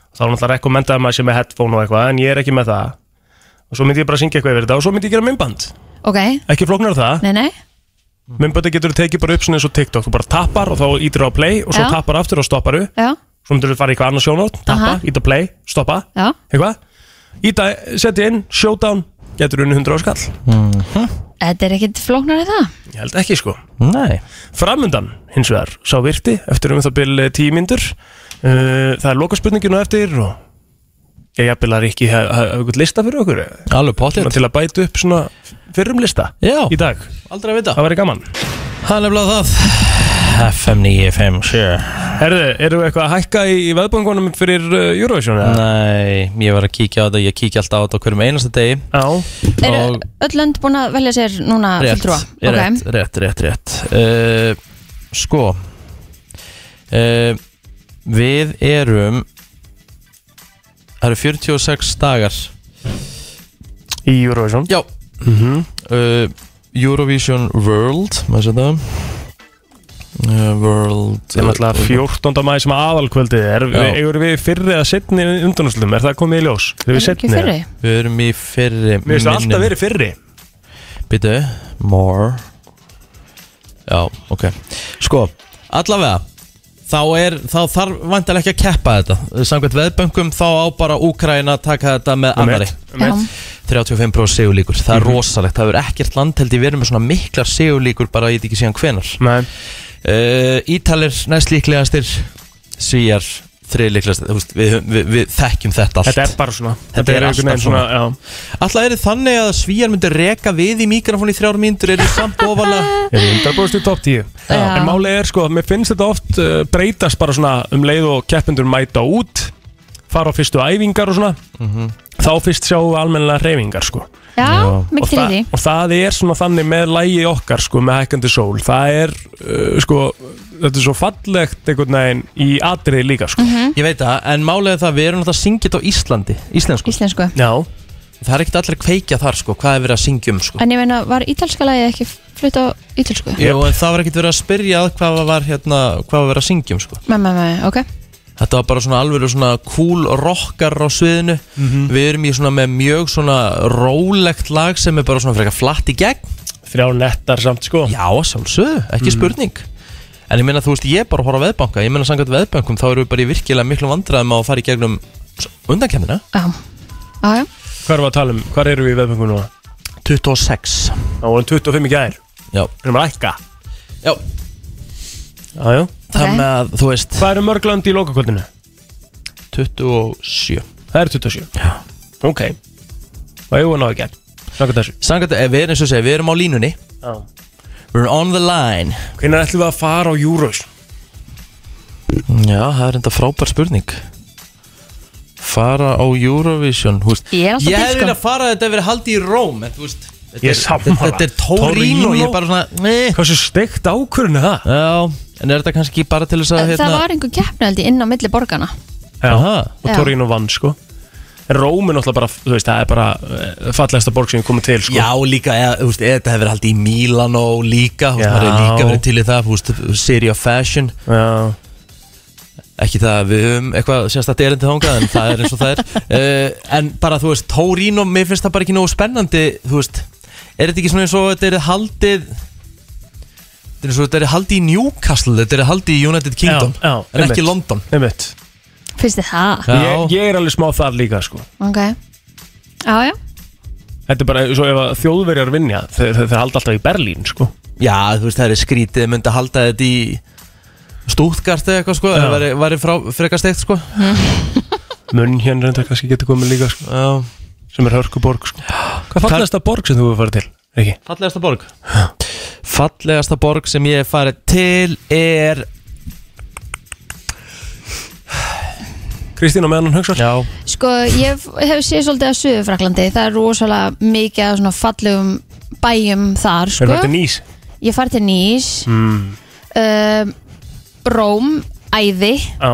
D: þá er náttúrulega rekommendaði maður sem er headphone og eitthvað en ég er ekki með það og svo myndi ég bara syngja eitthvað yfir þetta og svo myndi ég gera mymband
C: ok,
D: ekki flóknar það,
C: nei, nei
D: mymbandi getur þú tekið bara upp svona eins og TikTok, þú bara tappar og þá ítir á play og svo
C: Já.
D: tappar aftur og stopparu
C: Já,
D: svo myndir þú fara í eitthvað annað sjónort, tappa,
C: Aha.
D: íta play, stoppa
C: já,
D: eitthvað, íta, setja inn, showdown getur unni 100 áskall
C: þetta er ekkit flóknar en það
D: Ég held ekki sko
A: Nei
D: Framundan hins vegar sá virti eftir um það byrja tíu myndur uh, Það er lokaspurninginu eftir og ég jafnvel að Rikki hafa haf, eitthvað lista fyrir okkur
A: Alveg potlétt.
D: Til að bæta upp svona fyrrum lista
A: Já
D: Í dag
A: Aldrei að vita
D: Það væri gaman
A: Það er nefnilega það FM 957
D: Herðu, eru eitthvað að hækka í, í veðbankunum fyrir uh, Eurovision? eða?
A: Nei, ég var að kíkja á þetta Ég kíkja alltaf á þetta á hverjum einasta degi
D: Já
C: Eru
A: Og
C: öll lönd búin að velja sér núna
A: rétt,
C: fulltrúa?
A: er
C: Ok.
A: rétt, rétt, rétt, rétt uh, Sko uh, Við erum Það eru 46 dagar
D: Í Eurovision?
A: Já
D: Mhm.
A: uh, Eurovision World Maður sér það uh, World eh,
D: Það er náttúrulega 14. maður sem aðalkvöldið er
A: Já.
D: Egur við fyrri eða setni undanúslum? Er það komið í ljós? Erum við seinni eða?
A: Við erum í fyrri
D: Mér finnst það alltaf verið fyrri Um
A: Býtu, more Já, ok Sko, allavega Þá, er, þá þarf vantilega ekki að keppa þetta Samkvæmt veðböngum þá á bara Úkraina að taka þetta með
D: Einmitt,
A: annari
D: einmitt.
A: 35% sigurlíkur, það er
D: Mhm.
A: rosalegt Það verður ekkert land held ég verið með svona miklar sigurlíkur bara ég veit ekki síðan hvenar uh, Ítalir næst líklegastir Svíjar þriðlíklegastir Þú veist, við, við, við þekkjum þetta allt
D: Þetta er bara svona
A: Þetta er
D: einhvern
A: alltaf
D: veginn
A: svona,
D: svona,
A: Alltaf er þið þannig að svíjar myndir reka við í mikrofón í þrjár mínútur Er þið samt ofalega
D: Er þið 100% í top 10 En málið er sko, mér finnst þetta oft uh, breytast bara svona um leið og keppendur mæta út fara á fyrstu æfingar og svona
A: Mhm.
D: þá fyrst sjáum við almennilega reyfingar sko
C: Já,
D: og,
C: mikið til í því
D: og það er svona þannig með lægi okkar sko, með hækkandi sól það er uh, sko, þetta er svo fallegt einhvern veginn í atriði líka sko
A: Ég veit það, en málega það við erum náttúrulega syngið á Íslandi Íslensku
C: Íslensku
D: Já
A: Það er ekkert allir að kveikja þar sko, hvað er verið að syngja um sko
C: En ég meina, var ítalska lagið ekki flutt á ítalsku?
A: Jú, en það var ekkert verið að spyrja að hvað var hérna, hvað var verið að syngja um sko
C: Mæ, mæ, mæ, ok
A: Þetta var bara svona alveg svona cool rockar á sviðinu
D: Mhm.
A: Við erum í svona með mjög svona rólegt lag sem er bara svona frekar flatt í gegn
D: Þrjá nettar samt sko
A: Já, sjálfsögðu, ekki spurning En ég meina þú veist, ég er bara að horfa á veðbanka Ég meina samkvæmt veðbankum, þá erum við bara í virkilega miklu vandræðum á að fara í gegnum undankemmina
C: Já, já
D: Hvað erum við að tala um? Hvað erum við í veðböngu núna?
A: 26
D: Það vorum 25 í gær
A: Já
D: Við erum að ækka
A: Já
D: Jájá
A: Það með að, þú veist
D: Hvað eru mörg lönd í lokakvöldinu?
A: 27
D: Það eru 27 Já Ok Og ég var náðu ekki Samkvæmt þessu
A: Samkvæmt, eh, við erum eins og segja, við erum á línunni
D: Já
A: We're on the line
D: Hvernig ætlum við að fara á Euros?
A: Já, það er enda frábær spurning Fara á Eurovision húst.
C: Ég er alltaf
A: Ég
C: til,
A: hefði
C: sko.
A: viljað fara að þetta hefði verið haldið í Róm En þú veist þetta
D: Ég
A: er-
D: er sammála
A: Þetta er Torino Ég er bara svona nei.
D: Hversu steikt ákvörðinu það?
A: Já, en er þetta kannski bara til þess að
C: Það
A: hérna,
C: var einhver keppnældi inn á milli borgana
D: Já Og
C: Já.
D: Torino vann sko en Róm er náttúrulega bara, þú veist, það er bara fallegsta borg sem við komum til, sko
A: Já, líka, eða, þú veist, eða þetta hefur haldið í Mílan og líka, þú veist, maður er líka verið til í það, þú veist, City of Fashion
D: Já
A: Ekki það að við höfum eitthvað sérstætt erindi þangað, en það er eins og það er uh, En bara, þú veist, Torino, mér finnst það bara ekki nógu spennandi, þú veist Er þetta ekki svona eins og þetta er haldið Þetta er eins og þetta er haldið í Newcastle, þetta er haldið í United Kingdom
D: já,
A: En ekki
D: einmitt.
A: London
D: Einmitt
C: Finnst þið það?
D: ég, ég er alveg smá þar líka, sko
C: Ok Já, já
D: Þetta er bara, svo ef að þjóðverjar vinja, þeir, þeir, þeir halda alltaf í Berlín, sko
A: Já, þú veist, það er skrítið myndi að halda þetta í Stuttgart eða eitthvað, sko,
D: Já.
A: það væri, væri frá, frekar steikt, sko
D: Munn hérna reyndar kannski getur komið líka, sko
A: Já
D: Sem er hörkuborg, sko Hvað fallegasta borg sem þú hefur farið til, Riki?
A: Fallegasta borg Fallegasta borg sem ég hef farið til er
D: Kristín og meðan hún hugsar
A: Já
C: Sko, ég hef- hef séð svolítið að Suðurfraklandi Það er rosalega mikið af svona fallegum bæjum þar, sko
D: Erum þetta nýs?
C: Ég fari til Nýs
D: Mm.
C: um, Róm, Æði
D: Já,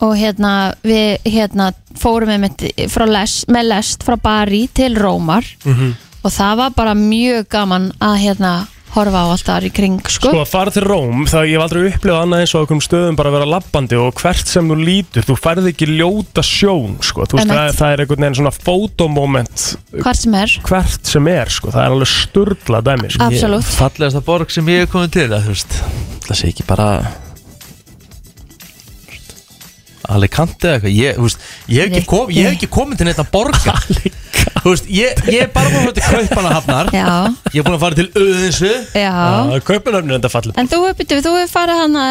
C: og hérna við hérna, fórum einmitt frá lest, með lest frá Bari til Rómar
D: mhm
C: og það var bara mjög gaman að hérna horfa á allt þar í kring sko.
D: Sko að fara til Róm, þá ég hef aldrei upplifað annað eins og okkur stöðum bara að vera labbandi og hvert sem þú lítur, þú færð ekki ljóta sjón, sko, þú veist,
C: Emmett.
D: það, það er einhvern veginn svona fotomoment
C: Hvar sem er
D: hvert sem er, sko, það er alveg sturla dæmi, sko.
C: Absolutt.
A: Fallegasta borg sem ég hef komið til, að, þú veist Það sé ekki bara Alicante eða eitthvað Ég, þú veist, ég hef ekki, kom, ég hef ekki komið til neitt að borga Þú veist, ég, ég er bara búin að fara til Kaupanahafnar
C: Já.
A: Ég er búin að fara til Öðinsu
C: Já.
D: Kaupanahafnir er þetta fallið
C: En þú, byrju, þú hefur farið hana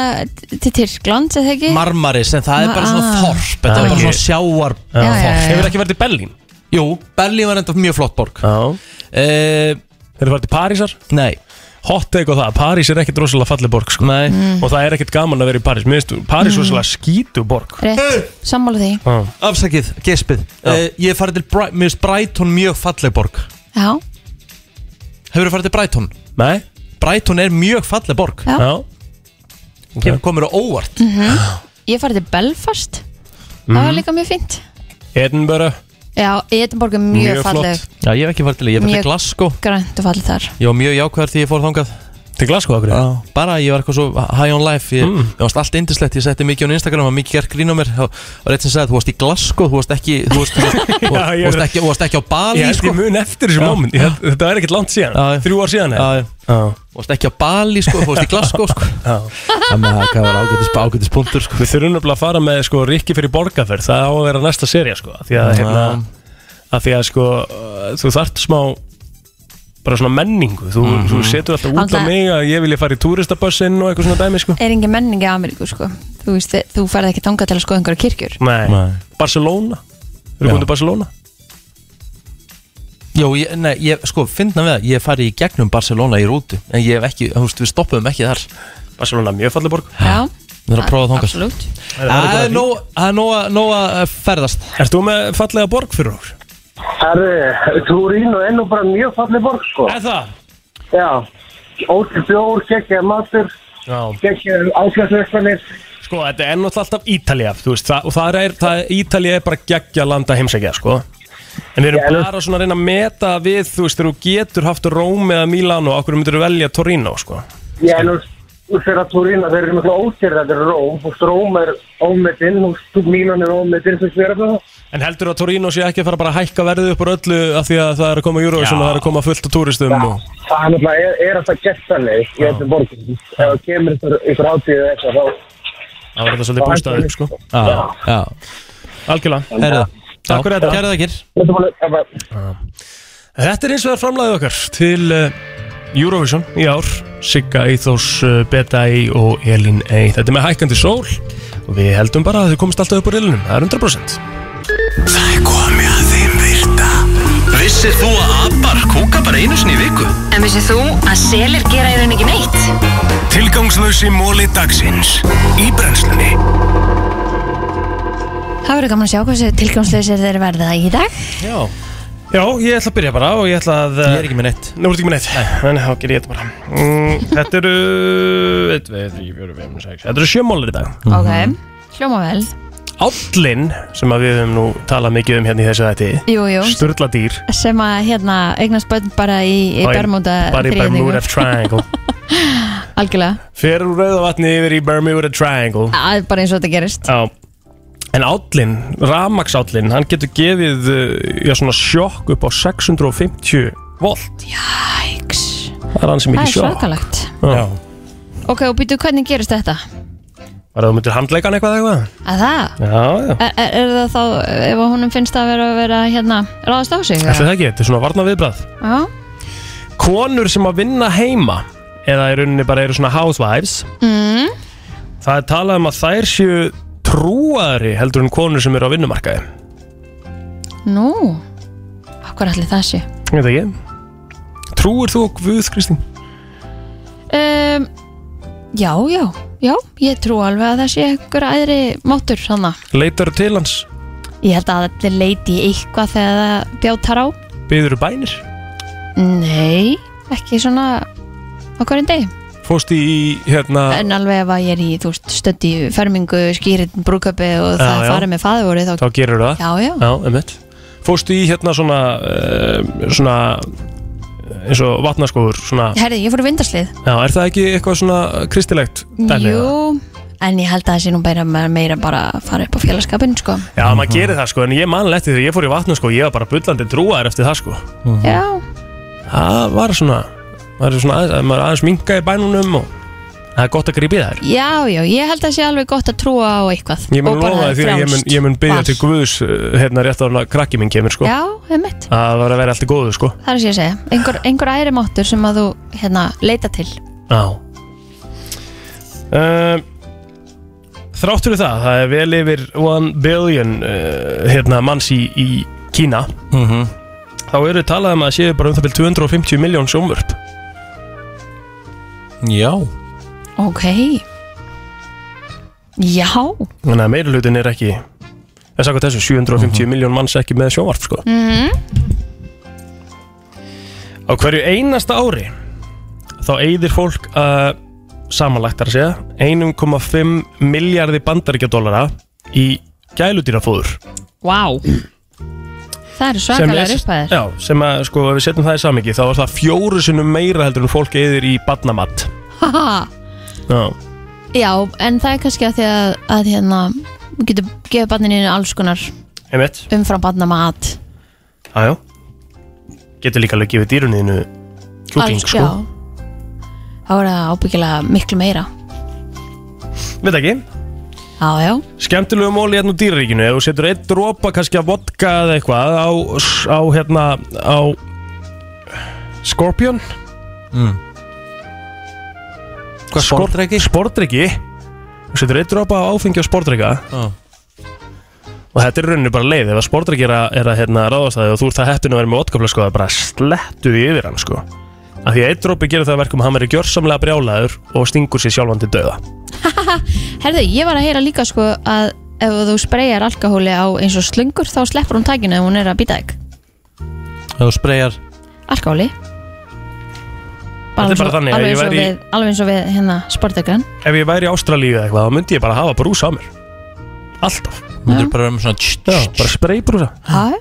C: til Tyrkland, eða ekki?
A: Marmaris, en það er bara svona
C: Ah.
A: þorp Þetta er bara svona sjáar
C: Já, já, já.
D: Hefur ekki verið til Berlín?
A: Jú, Berlín var enda mjög flott borg
D: Já
A: Þeir
D: eru farið til Parísar?
A: Nei
D: Hot take og það, París er ekkert rosalega fallið borg, sko
A: Nei
C: Mm.
D: Og það er ekkert gaman að vera í París, mér finnst París
C: Mm.
D: rosalega skítu borg
C: Rétt, sammála því
A: Afsakið, gespið uh, Ég hef farið til Bri- mér finnst Brighton mjög falleg borg
C: Já,
A: Hefur þið farið til Brighton?
D: Nei
A: Brighton er mjög falleg borg
C: Já. Já.
A: Kemur komur á óvart
C: mm ég farið til Belfast Það var líka mjög fínt
D: Edinburgh
C: Já, Edinborg er mjög, falleg
A: Já, ég hef ekki farið til, ég hef farið
C: Mjög
A: til Glasgow
C: Grænt og falleg þar
A: Ég var mjög jákvæður því ég fór þangað
D: Til Glasgow okkur?
A: Já, Mm. bara ég var eitthvað svo high on life Ég, ég varst allt indislegt, ég setti mikið á Instagram Það var mikið gert grín á mér Það var eitt sem sagði, þú varst í Glasgow, þú varst ekki Þú varst, þú varst, þú
D: Já, ég
A: varst, ekki, þú varst ekki á Bali
D: Ég held
A: sko.
D: ég mun eftir þessu
A: Já.
D: moment, ég held- þetta er ekkert langt síðan, þrjú ár síðan eða?
A: Þú varst ekki á Bali, sko, þú varst í Glasgow sko. Þannig að það var ágætis, ágætis punktur sko.
D: Við þurfum nefnilega að fara með sko, Rikki fyrir borgarferð Það á að vera næsta serja sko, af Því að,
A: Já.
D: hérna, að, því að sko, uh, þú þart smá bara svona menningu Þú,
A: Mhm.
D: þú setur alltaf út á
C: Alltaf-
D: mig að ég vilja fara í túristabössinn og eitthvað svona dæmi sko.
C: Er engin menning í Ameríku, sko Þú veist, þú farið ekki þangað til að skoða einhverja kirkjur
D: Nei. Barcelona Þú komið til Barcelona
A: Jó, ég, nei, ég, sko, finna við það Ég fari í gegnum Barcelona í rútu En ég hef ekki, þú veist, við stoppum ekki þar
D: Barcelona, mjög falleg borg
C: Já,
A: Við erum að prófa þangast
C: Absolutt
A: Það er nóg- það er nóg að- nóg að ferðast
D: Erst þú með fallega borg fyrir okkur?
Q: Herri, Torino er nú bara mjög fallið borg, sko.
D: Er það?
Q: Já. Ótið bjór, geggjaði matur, geggjaði áfjöldsveistanir.
D: Sko, þetta er náttúrulega alltaf Ítalía þú veist, það, og það er, það, Ítalía er bara geggja landa heimsækja, sko En við erum bara svona að reyna að meta við, þú veist, þegar þú getur haft Róm eða Milano, okkur myndir þú velja Torino, sko
Q: Ég er nú nú fyrir að Torino, þeir eru náttúrulega ótyrða, þetta er Róm, og Róm er ómetinn, og Mílan er ómetinn, sem sverja það.
D: En heldur að Torino sé ekki að fara bara að hækka verðið upp úr öllu af því að það er að koma Eurovision og það er að koma fullt af túristum og...
Q: Það er náttúrulega, er, er alltaf gert þannig, ég hefði borgum. Ef það kemur ykkur ykkur átíð eða eitthvað, þá...
D: Það var þetta svolítið bústað upp, sko
A: Já, já
D: Algjörlega
A: Heyrðu, já,
D: Takk fyrir þetta
A: kærar þakkir.
D: Þetta er eins og það framlæðið okkar til uh, Eurovision í ár Sigga Eithós, uh, Beta Ei og Elin Ei Þetta er með hækkandi sól og við heldum bara að þau komist alltaf upp úr ilunum Það er 100%
B: Það er komið að þeim virta Vissir þú að abar kúka bara einu sinni í viku?
O: En vissið þú að selir gera í raun ekki neitt?
B: Tilgangslösi móli dagsins Í brennslunni
C: Það verður gaman að sjá hversu tilgangslösir þeir verða í dag
D: Já Já, ég ætla að byrja bara og ég ætla að Ég er
A: ekki með neitt
D: Nú er ekki með neitt Þannig þá ger ég þetta bara mm, Þetta eru 1, 2, 3, 4, 5, 6 Þetta eru sjö mólar í dag
C: Ok, Mhm. hljóma vel
D: Állin, sem að við höfum nú talað mikið um hérna í þessu þætti
C: Jú, jú.
D: Sturla dýr
C: sem að hérna eignast bönn bara í, í
D: Á, í-
C: Bermuda
D: Bara í
C: þríhyrningu.
D: Bermuda Triangle
C: algjörlega,
D: Fer úr rauðavatni yfir í Bermuda Triangle
C: það er bara eins og þetta gerist
D: Já En állin, rafmaksállin, hann getur gefið uh, já, svona sjokk upp á 650 volt
C: Jæks
D: Það er hann sem
C: það
D: ekki
C: er
D: sjokk
C: svakalegt
D: Já,
C: ok, og býtu hvernig gerist þetta?
D: var það myndir handleikan eitthvað eða eitthvað?
C: að það?
D: Já, já
C: Er, er, er það þá, ef að honum finnst það að vera, vera hérna, ráðast á sig?
D: Ætli það ekki, þetta er svona varna viðbrað
C: Já,
D: Konur sem að vinna heima eða í rauninni bara eru svona housewives
C: mm.
D: Það er talað um að þær séu trúari heldur en konur sem eru á vinnumarkaði
C: nú Akkur allir það sé
D: Ég veit ekki Trúir þú á Guð, Kristín?
C: um, Já, já, já, ég trú alveg að það sé einhver æðri máttur hana
D: Leitar til hans,
C: Ég held að allir leiti í eitthvað þegar það bjátar á
D: byður bænir
C: Nei, ekki svona á hverjum degi
D: Fóst í hérna
C: En alveg ef að ég er í, þú veist, stödd í fermingu, skýrin, brúköpi og
D: Já,
C: það
D: já.
C: farið með faðurvorið
D: Þá gerur það
C: Já, já.
D: Já, einmitt. Fórstu í hérna svona uh, Svona eh, eins og vatnaskóður svona,
C: Herði, ég fór í vindarslið
D: Já, er það ekki eitthvað svona kristilegt dæmi, eða?
C: Jú, en ég held að það sé nú meira, meira bara að fara upp á félagskapin sko.
D: Já, maður gerir það sko, en ég manlega eftir þegar ég fór í vatna sko, ég var bara bullandi trúar eftir það sko
C: Já,
D: Það var svona, maður er svona aðeins, maður aðeins minga í bænunum og það er gott að grípa í þær
C: já, já, ég held að það sé alveg gott að trúa á eitthvað
D: Ég mun
C: Og bara
D: lofa því að ég mun,
C: frjálst
D: ég mun byggja
C: val.
D: til Guðs uh, hérna rétt ára krakki minn kemur sko
C: Já, einmitt,
D: Það var að vera allt í góðu sko
C: það er sem ég að segja Einhver, einhver æri máttur sem að þú hérna, leita til
D: Já um, Þráttur við það, það er vel yfir 1 billion uh, hérna, manns í, í Kína
A: Mhm.
D: Þá eru talað um að séu bara um það byrjum 250 miljón sjónvörp
A: Já
C: Ok Já
D: Þannig að meira hlutin er ekki Það er sagt þessu, 750 miljón manns ekki með sjónvarp sko.
C: mm.
D: Á hverju einasta ári Þá eyðir fólk uh, Samanlagt er að segja 1,5 miljardi bandaríkjadólara Í gæludýrafóður
C: Vá Það eru
D: sem
C: svakalega
D: er-
C: uppæðir
D: Já, sem að sko, ef við setjum það í samingi Þá er það fjóru sinnum meira heldur en fólk eyðir í badnamatt
C: Haha.
D: Já,
C: Já, en það er kannski að því að, að hérna, þú getur gefið barninu alls konar
D: einmitt
C: umfram barna mat
D: Jájá Getur líka alveg gefið dýrunniðinu Kjúkling
C: Alls-
D: sko
C: já. Þá er það ábyggilega miklu meira
D: Veit ekki
C: Já, já,
D: Skemmtilegu móli hérna úr dýraríkinu Ef þú setur einn dropa kannski að vodka eða eitthvað Á, á hérna Á Scorpion
A: mm.
D: Hvað sportreiki? Sportreiki Þú setur einn dropa á áfengi á sportreika
A: ah.
D: Og þetta er í rauninni bara leið Ef að sportreiki er að, er að hérna, ráðast að þig Og þú ert það heppin að vera með vodkafla sko Það er bara slettu yfir hann sko Af því að einn dropi gerir það að verkum að Hann verið gjörsamlega brjálaður og stingur sér sjálfan til döða
C: herðu, ég var að heyra líka sko að ef þú spreyjar alkohóli á eins og slungur þá sleppur hún takinu ef hún er að býta þig
A: Þú spreyjar
C: Alkohóli
D: Þetta er bara þannig
C: alveg,
D: að ég
C: eins og
D: væri í-
C: við, alveg eins og við hérna sportökran
D: Ef ég væri í Ástralíu eða eitthvað Þá myndi ég bara hafa brúsa á mér Alltaf
A: Myndir bara vera með svona tss,
D: Já, bara spraybrúsa
C: Það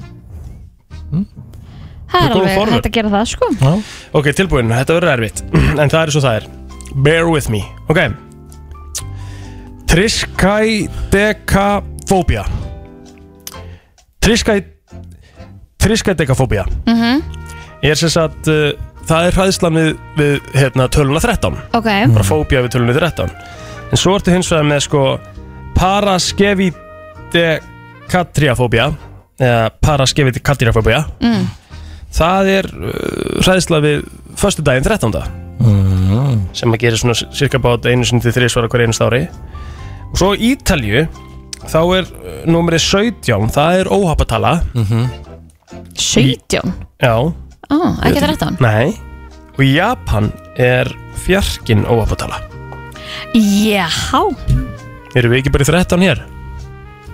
D: Með
C: er
D: góðum
C: alveg
D: forvörn.
C: hægt að gera það sko
D: Ok, tilbúin, þetta verður erfitt En það er svo það er Bear with me Ok Triskaidekafóbía Triskai Triskaidekafóbía
C: mm
D: Er sem sagt uh, Það er hræðslan við, við hérna, töluna 13
C: Ok,
D: Bara fóbía við töluna 13 En svo ertu hins vegar með sko Paraskevidekatriafóbía Eða paraskevidekatriafóbía
C: mm.
D: Það er uh, hræðsla við Föstudaginn 13.
A: mm.
D: sem að gera svona cirka bát einu sinni til þriðsvara hver einast ári og svo í Ítalju þá er uh, númerið 17 það er óhappatala mm -hmm.
C: 17?
D: Já
C: Ó, ekki 13
D: Nei og í Japan er fjarkinn óhappatala
C: Já,
D: Erum við ekki bara í 13 hér?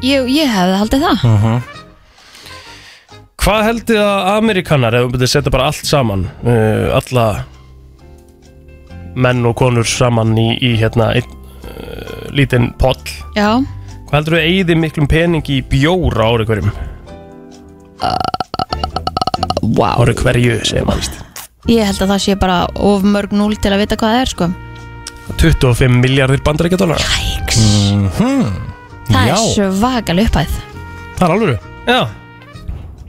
C: ég, ég hefði haldið það
D: Mm -hmm. Hvað heldur þið að Amerikanar ef við byrjuð að setja bara allt saman uh, alla menn og konur saman í, í hérna einn, uh, eh, lítinn poll
C: Já,
D: Hvað Hvað heldur þú eigði miklum pening í bjór á ári hverjum?
C: Vá
D: Ári hverju, segir maður víst.
C: Ég held að það sé bara of mörg núl til að vita hvað það er sko
D: 25 miljardir bandaríkjadólar
C: Jæks
D: mm -hmm.
C: Það
D: Já,
C: er svakal upphæð
D: það er alveg Já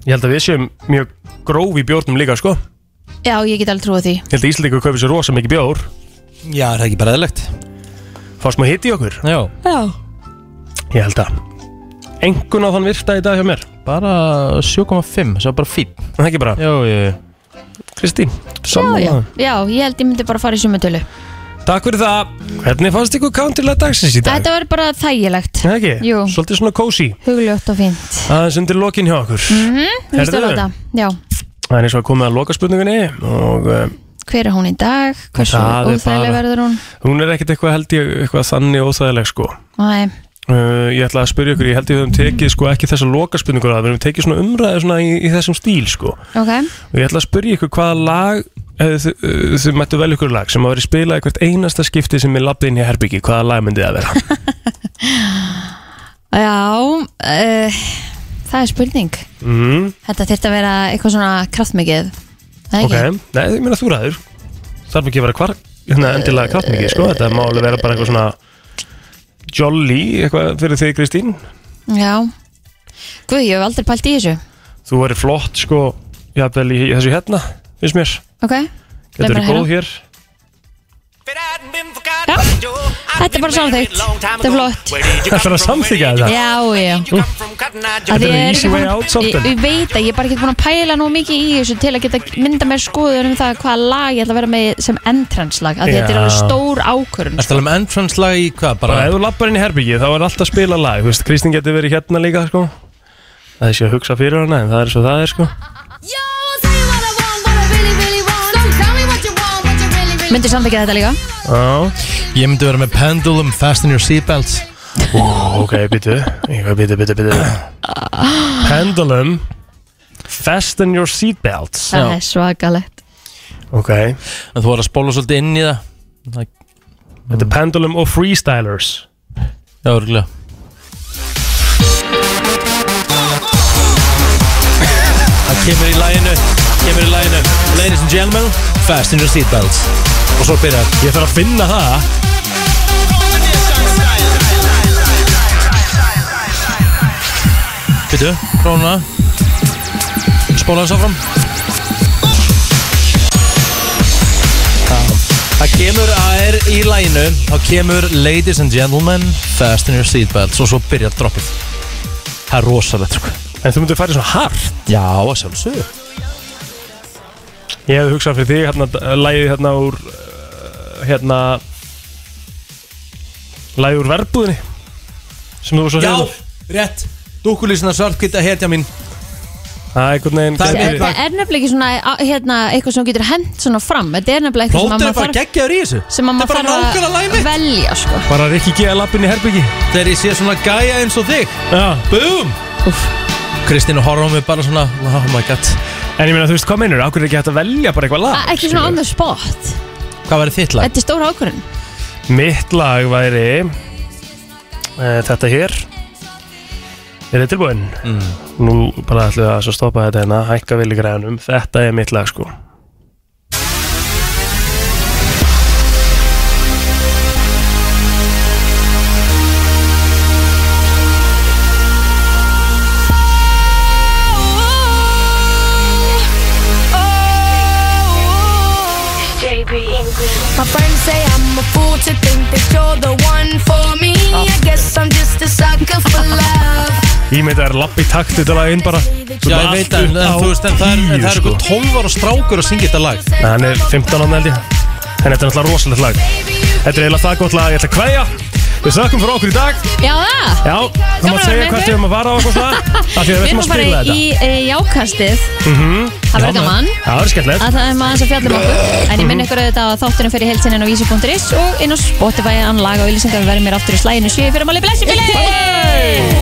D: Ég held að við séum mjög gróf í bjórnum líka, sko
C: Já, ég get alveg trúið því
D: Ég held að Íslandingur kaupið sér rosa mikið bjór Já, er það ekki bara eðlegt Fást maður hitt í okkur? Já
C: Já
D: Ég held að Engun á þann virta í dag hjá mér Bara 7,5, það er bara fín Það er ekki bara Jó, ég Kristín,
C: Já, já,
D: sammála
C: já, ég held ég myndi bara fara í sumatölu
D: Takk fyrir það Hvernig fannst ykkur countrilega dagsins í dag?
C: Þetta var bara þægilegt
D: Það ekki?
C: Jú.
D: Svolítið svona kósi
C: Hugljótt og fínt
D: Aðeins undir lokin hjá okkur
C: Mhm, Þú veist að
D: Heyrðu.
C: láta Já,
D: Það er eins og að koma að loka spurningunni Og uh,
C: hver er hún í dag? Hversu
D: Það er
C: óþægileg
D: bara-
C: verður hún?
D: hún er ekkert eitthvað held ég Eitthvað þannig óþægileg sko
C: Nei,
D: Uh, ég ætla að spyrja ykkur, ég held ég við höfum tekið sko ekki þessa lokaspurningur að við höfum tekið svona umræðu svona í, í þessum stíl sko
C: ok
D: og ég ætla að spyrja ykkur hvaða lag hefði þið, uh, þið mættu vel ykkur lag sem að vera spilað í hvert einasta skipti sem ég labdi inn í herbyggi hvaða lag myndi það vera
C: Já, uh, það er spurning
D: mm,
C: Þetta þyrfti að vera eitthvað svona kraftmikið Það er
D: ok,
C: ekki?
D: nei, ég meina þú ræður þarf ekki að vera hvar hérna, endilega kraftmikið sko, þetta má alveg vera bara eitthvað svona jolly eitthvað fyrir þig Kristín
C: Já Guð, ég hef aldrei pælt í þessu
D: þú verið flott sko, jafnvel í, í þessu hérna finnst mér,
C: Ok Leið
D: þetta
C: mér
D: er
C: að heyra.
D: góð hér
C: Já, þetta er bara samþygt Þetta er flott
D: Þetta er að samþyggja þetta
C: Já, já
D: Þetta er easy way out
C: ég,
D: samtun
C: ég veit að ég er bara ekki búin að pæla nú mikið í þessu til að geta mynda mér skoður um það hvaða lag ég ætla að vera með sem entrance lag af því að þetta er
D: Já.
C: alveg stór ákvörun
D: Það er um entrance lag í hvað bara? Ef þú lappar inn í herbyggið þá er alltaf að spila lag þú veist, Kristín getur verið hérna líka sko. Það er sér að hugsa fyrir hana en það er svo það er sko.
C: Myndu samþykja þetta líka?
D: oh.
A: Ég myndi vera með Pendulum, Fasten Your Seatbelts
D: Ó, ok, býtu Eitthvað býtu, býtu, býtu Pendulum Fasten your seatbelts
C: Það er svakalegt
D: Ok En þú var að spóla svolítið inn í það Þetta er Pendulum og Freestylers Já, örgulega
A: Það kemur í læginu Kemur í læginu Ladies and gentlemen Fasten your seatbelts Og svo byrjar Ég þarf að finna það Býtu, prófuna Spóla þess áfram Já. Það kemur að er í læginu Þá kemur Ladies and gentlemen Fasten your seatbelts Og svo byrjar droppið Það er rosalegt sko
D: En þú myndir færi svona hart
A: Já, að sjálfsögðu
D: Ég hefði hugsað fyrir því hérna, Læðið hérna úr uh, Hérna Læðið úr verbúðinni Sem þú var svo
A: Já,
D: hrifin af.
A: rétt Dúkulísina svartkvita hetja mín
D: Það er einhvern veginn
A: Það er mitt
C: Þetta
A: lag
C: er nefnilega ekki svona á- hérna, eitthvað sem þú getur hent svona fram Þetta er nefnilega eitthvað sem
A: Plóter
C: að
A: er
C: maður
A: bara
C: þarf-
A: geggjaður í þessu
C: sem að maður
A: bara
C: þarf að velja sko.
D: Bara Rikki G. að lappin í herbyggi
A: Þegar ég sé svona gæja eins og þig
D: Já
A: Búm Kristín horfum við bara svona Oh my god
D: En ég meina þú veist hvað meinur Akkur er ekki hægt að velja bara eitthvað lag
C: A- Ekki svona on the spot
A: Hvað væri þitt
C: Þetta er stór ákvörun
D: Mitt lag væri uh, Þetta hér Er þetta tilbúin? Mm. Nú bara ætlum við að svo stoppa þetta hérna Hækka vilja græðanum Þetta er mitt lag sko
R: My friends say I'm a fool to think that you're the one for me. I guess I'm just a sucker for love.
D: Ég meina það er lapp í takt Þetta lag inn bara
A: Já, ég veit að, en þú veist, en það er- en það er einhver 12 ára strákur að syngja þetta lag
D: Hann er 15 ára held ég En þetta er náttúrulega rosalegt lag Þetta er eiginlega það gott lag Ég ætla að kveðja Við þökkum fyrir okkur í dag
C: Já það
D: Já, þú
C: Gaman
D: mátt
C: að
D: segja
C: vera
D: hvað
C: með
D: þið um að vara á okkur svona Af því að við
C: Við
D: ætlum að
C: erum bara
D: spila
C: í
D: þetta
C: e, jákastið
D: Mhm.
C: Það verður
D: Já,
C: gaman.
D: Það verður skemmtilegt
C: að það er maður sem fjallum okkur en ég minn ykkur auðvitað að þátturinn fyrir heilsininn á vísi.is og inn á Spotify, anlag og ylýsingar við verðum mér aftur í slæginu 7 fyrir máli blessi fyrir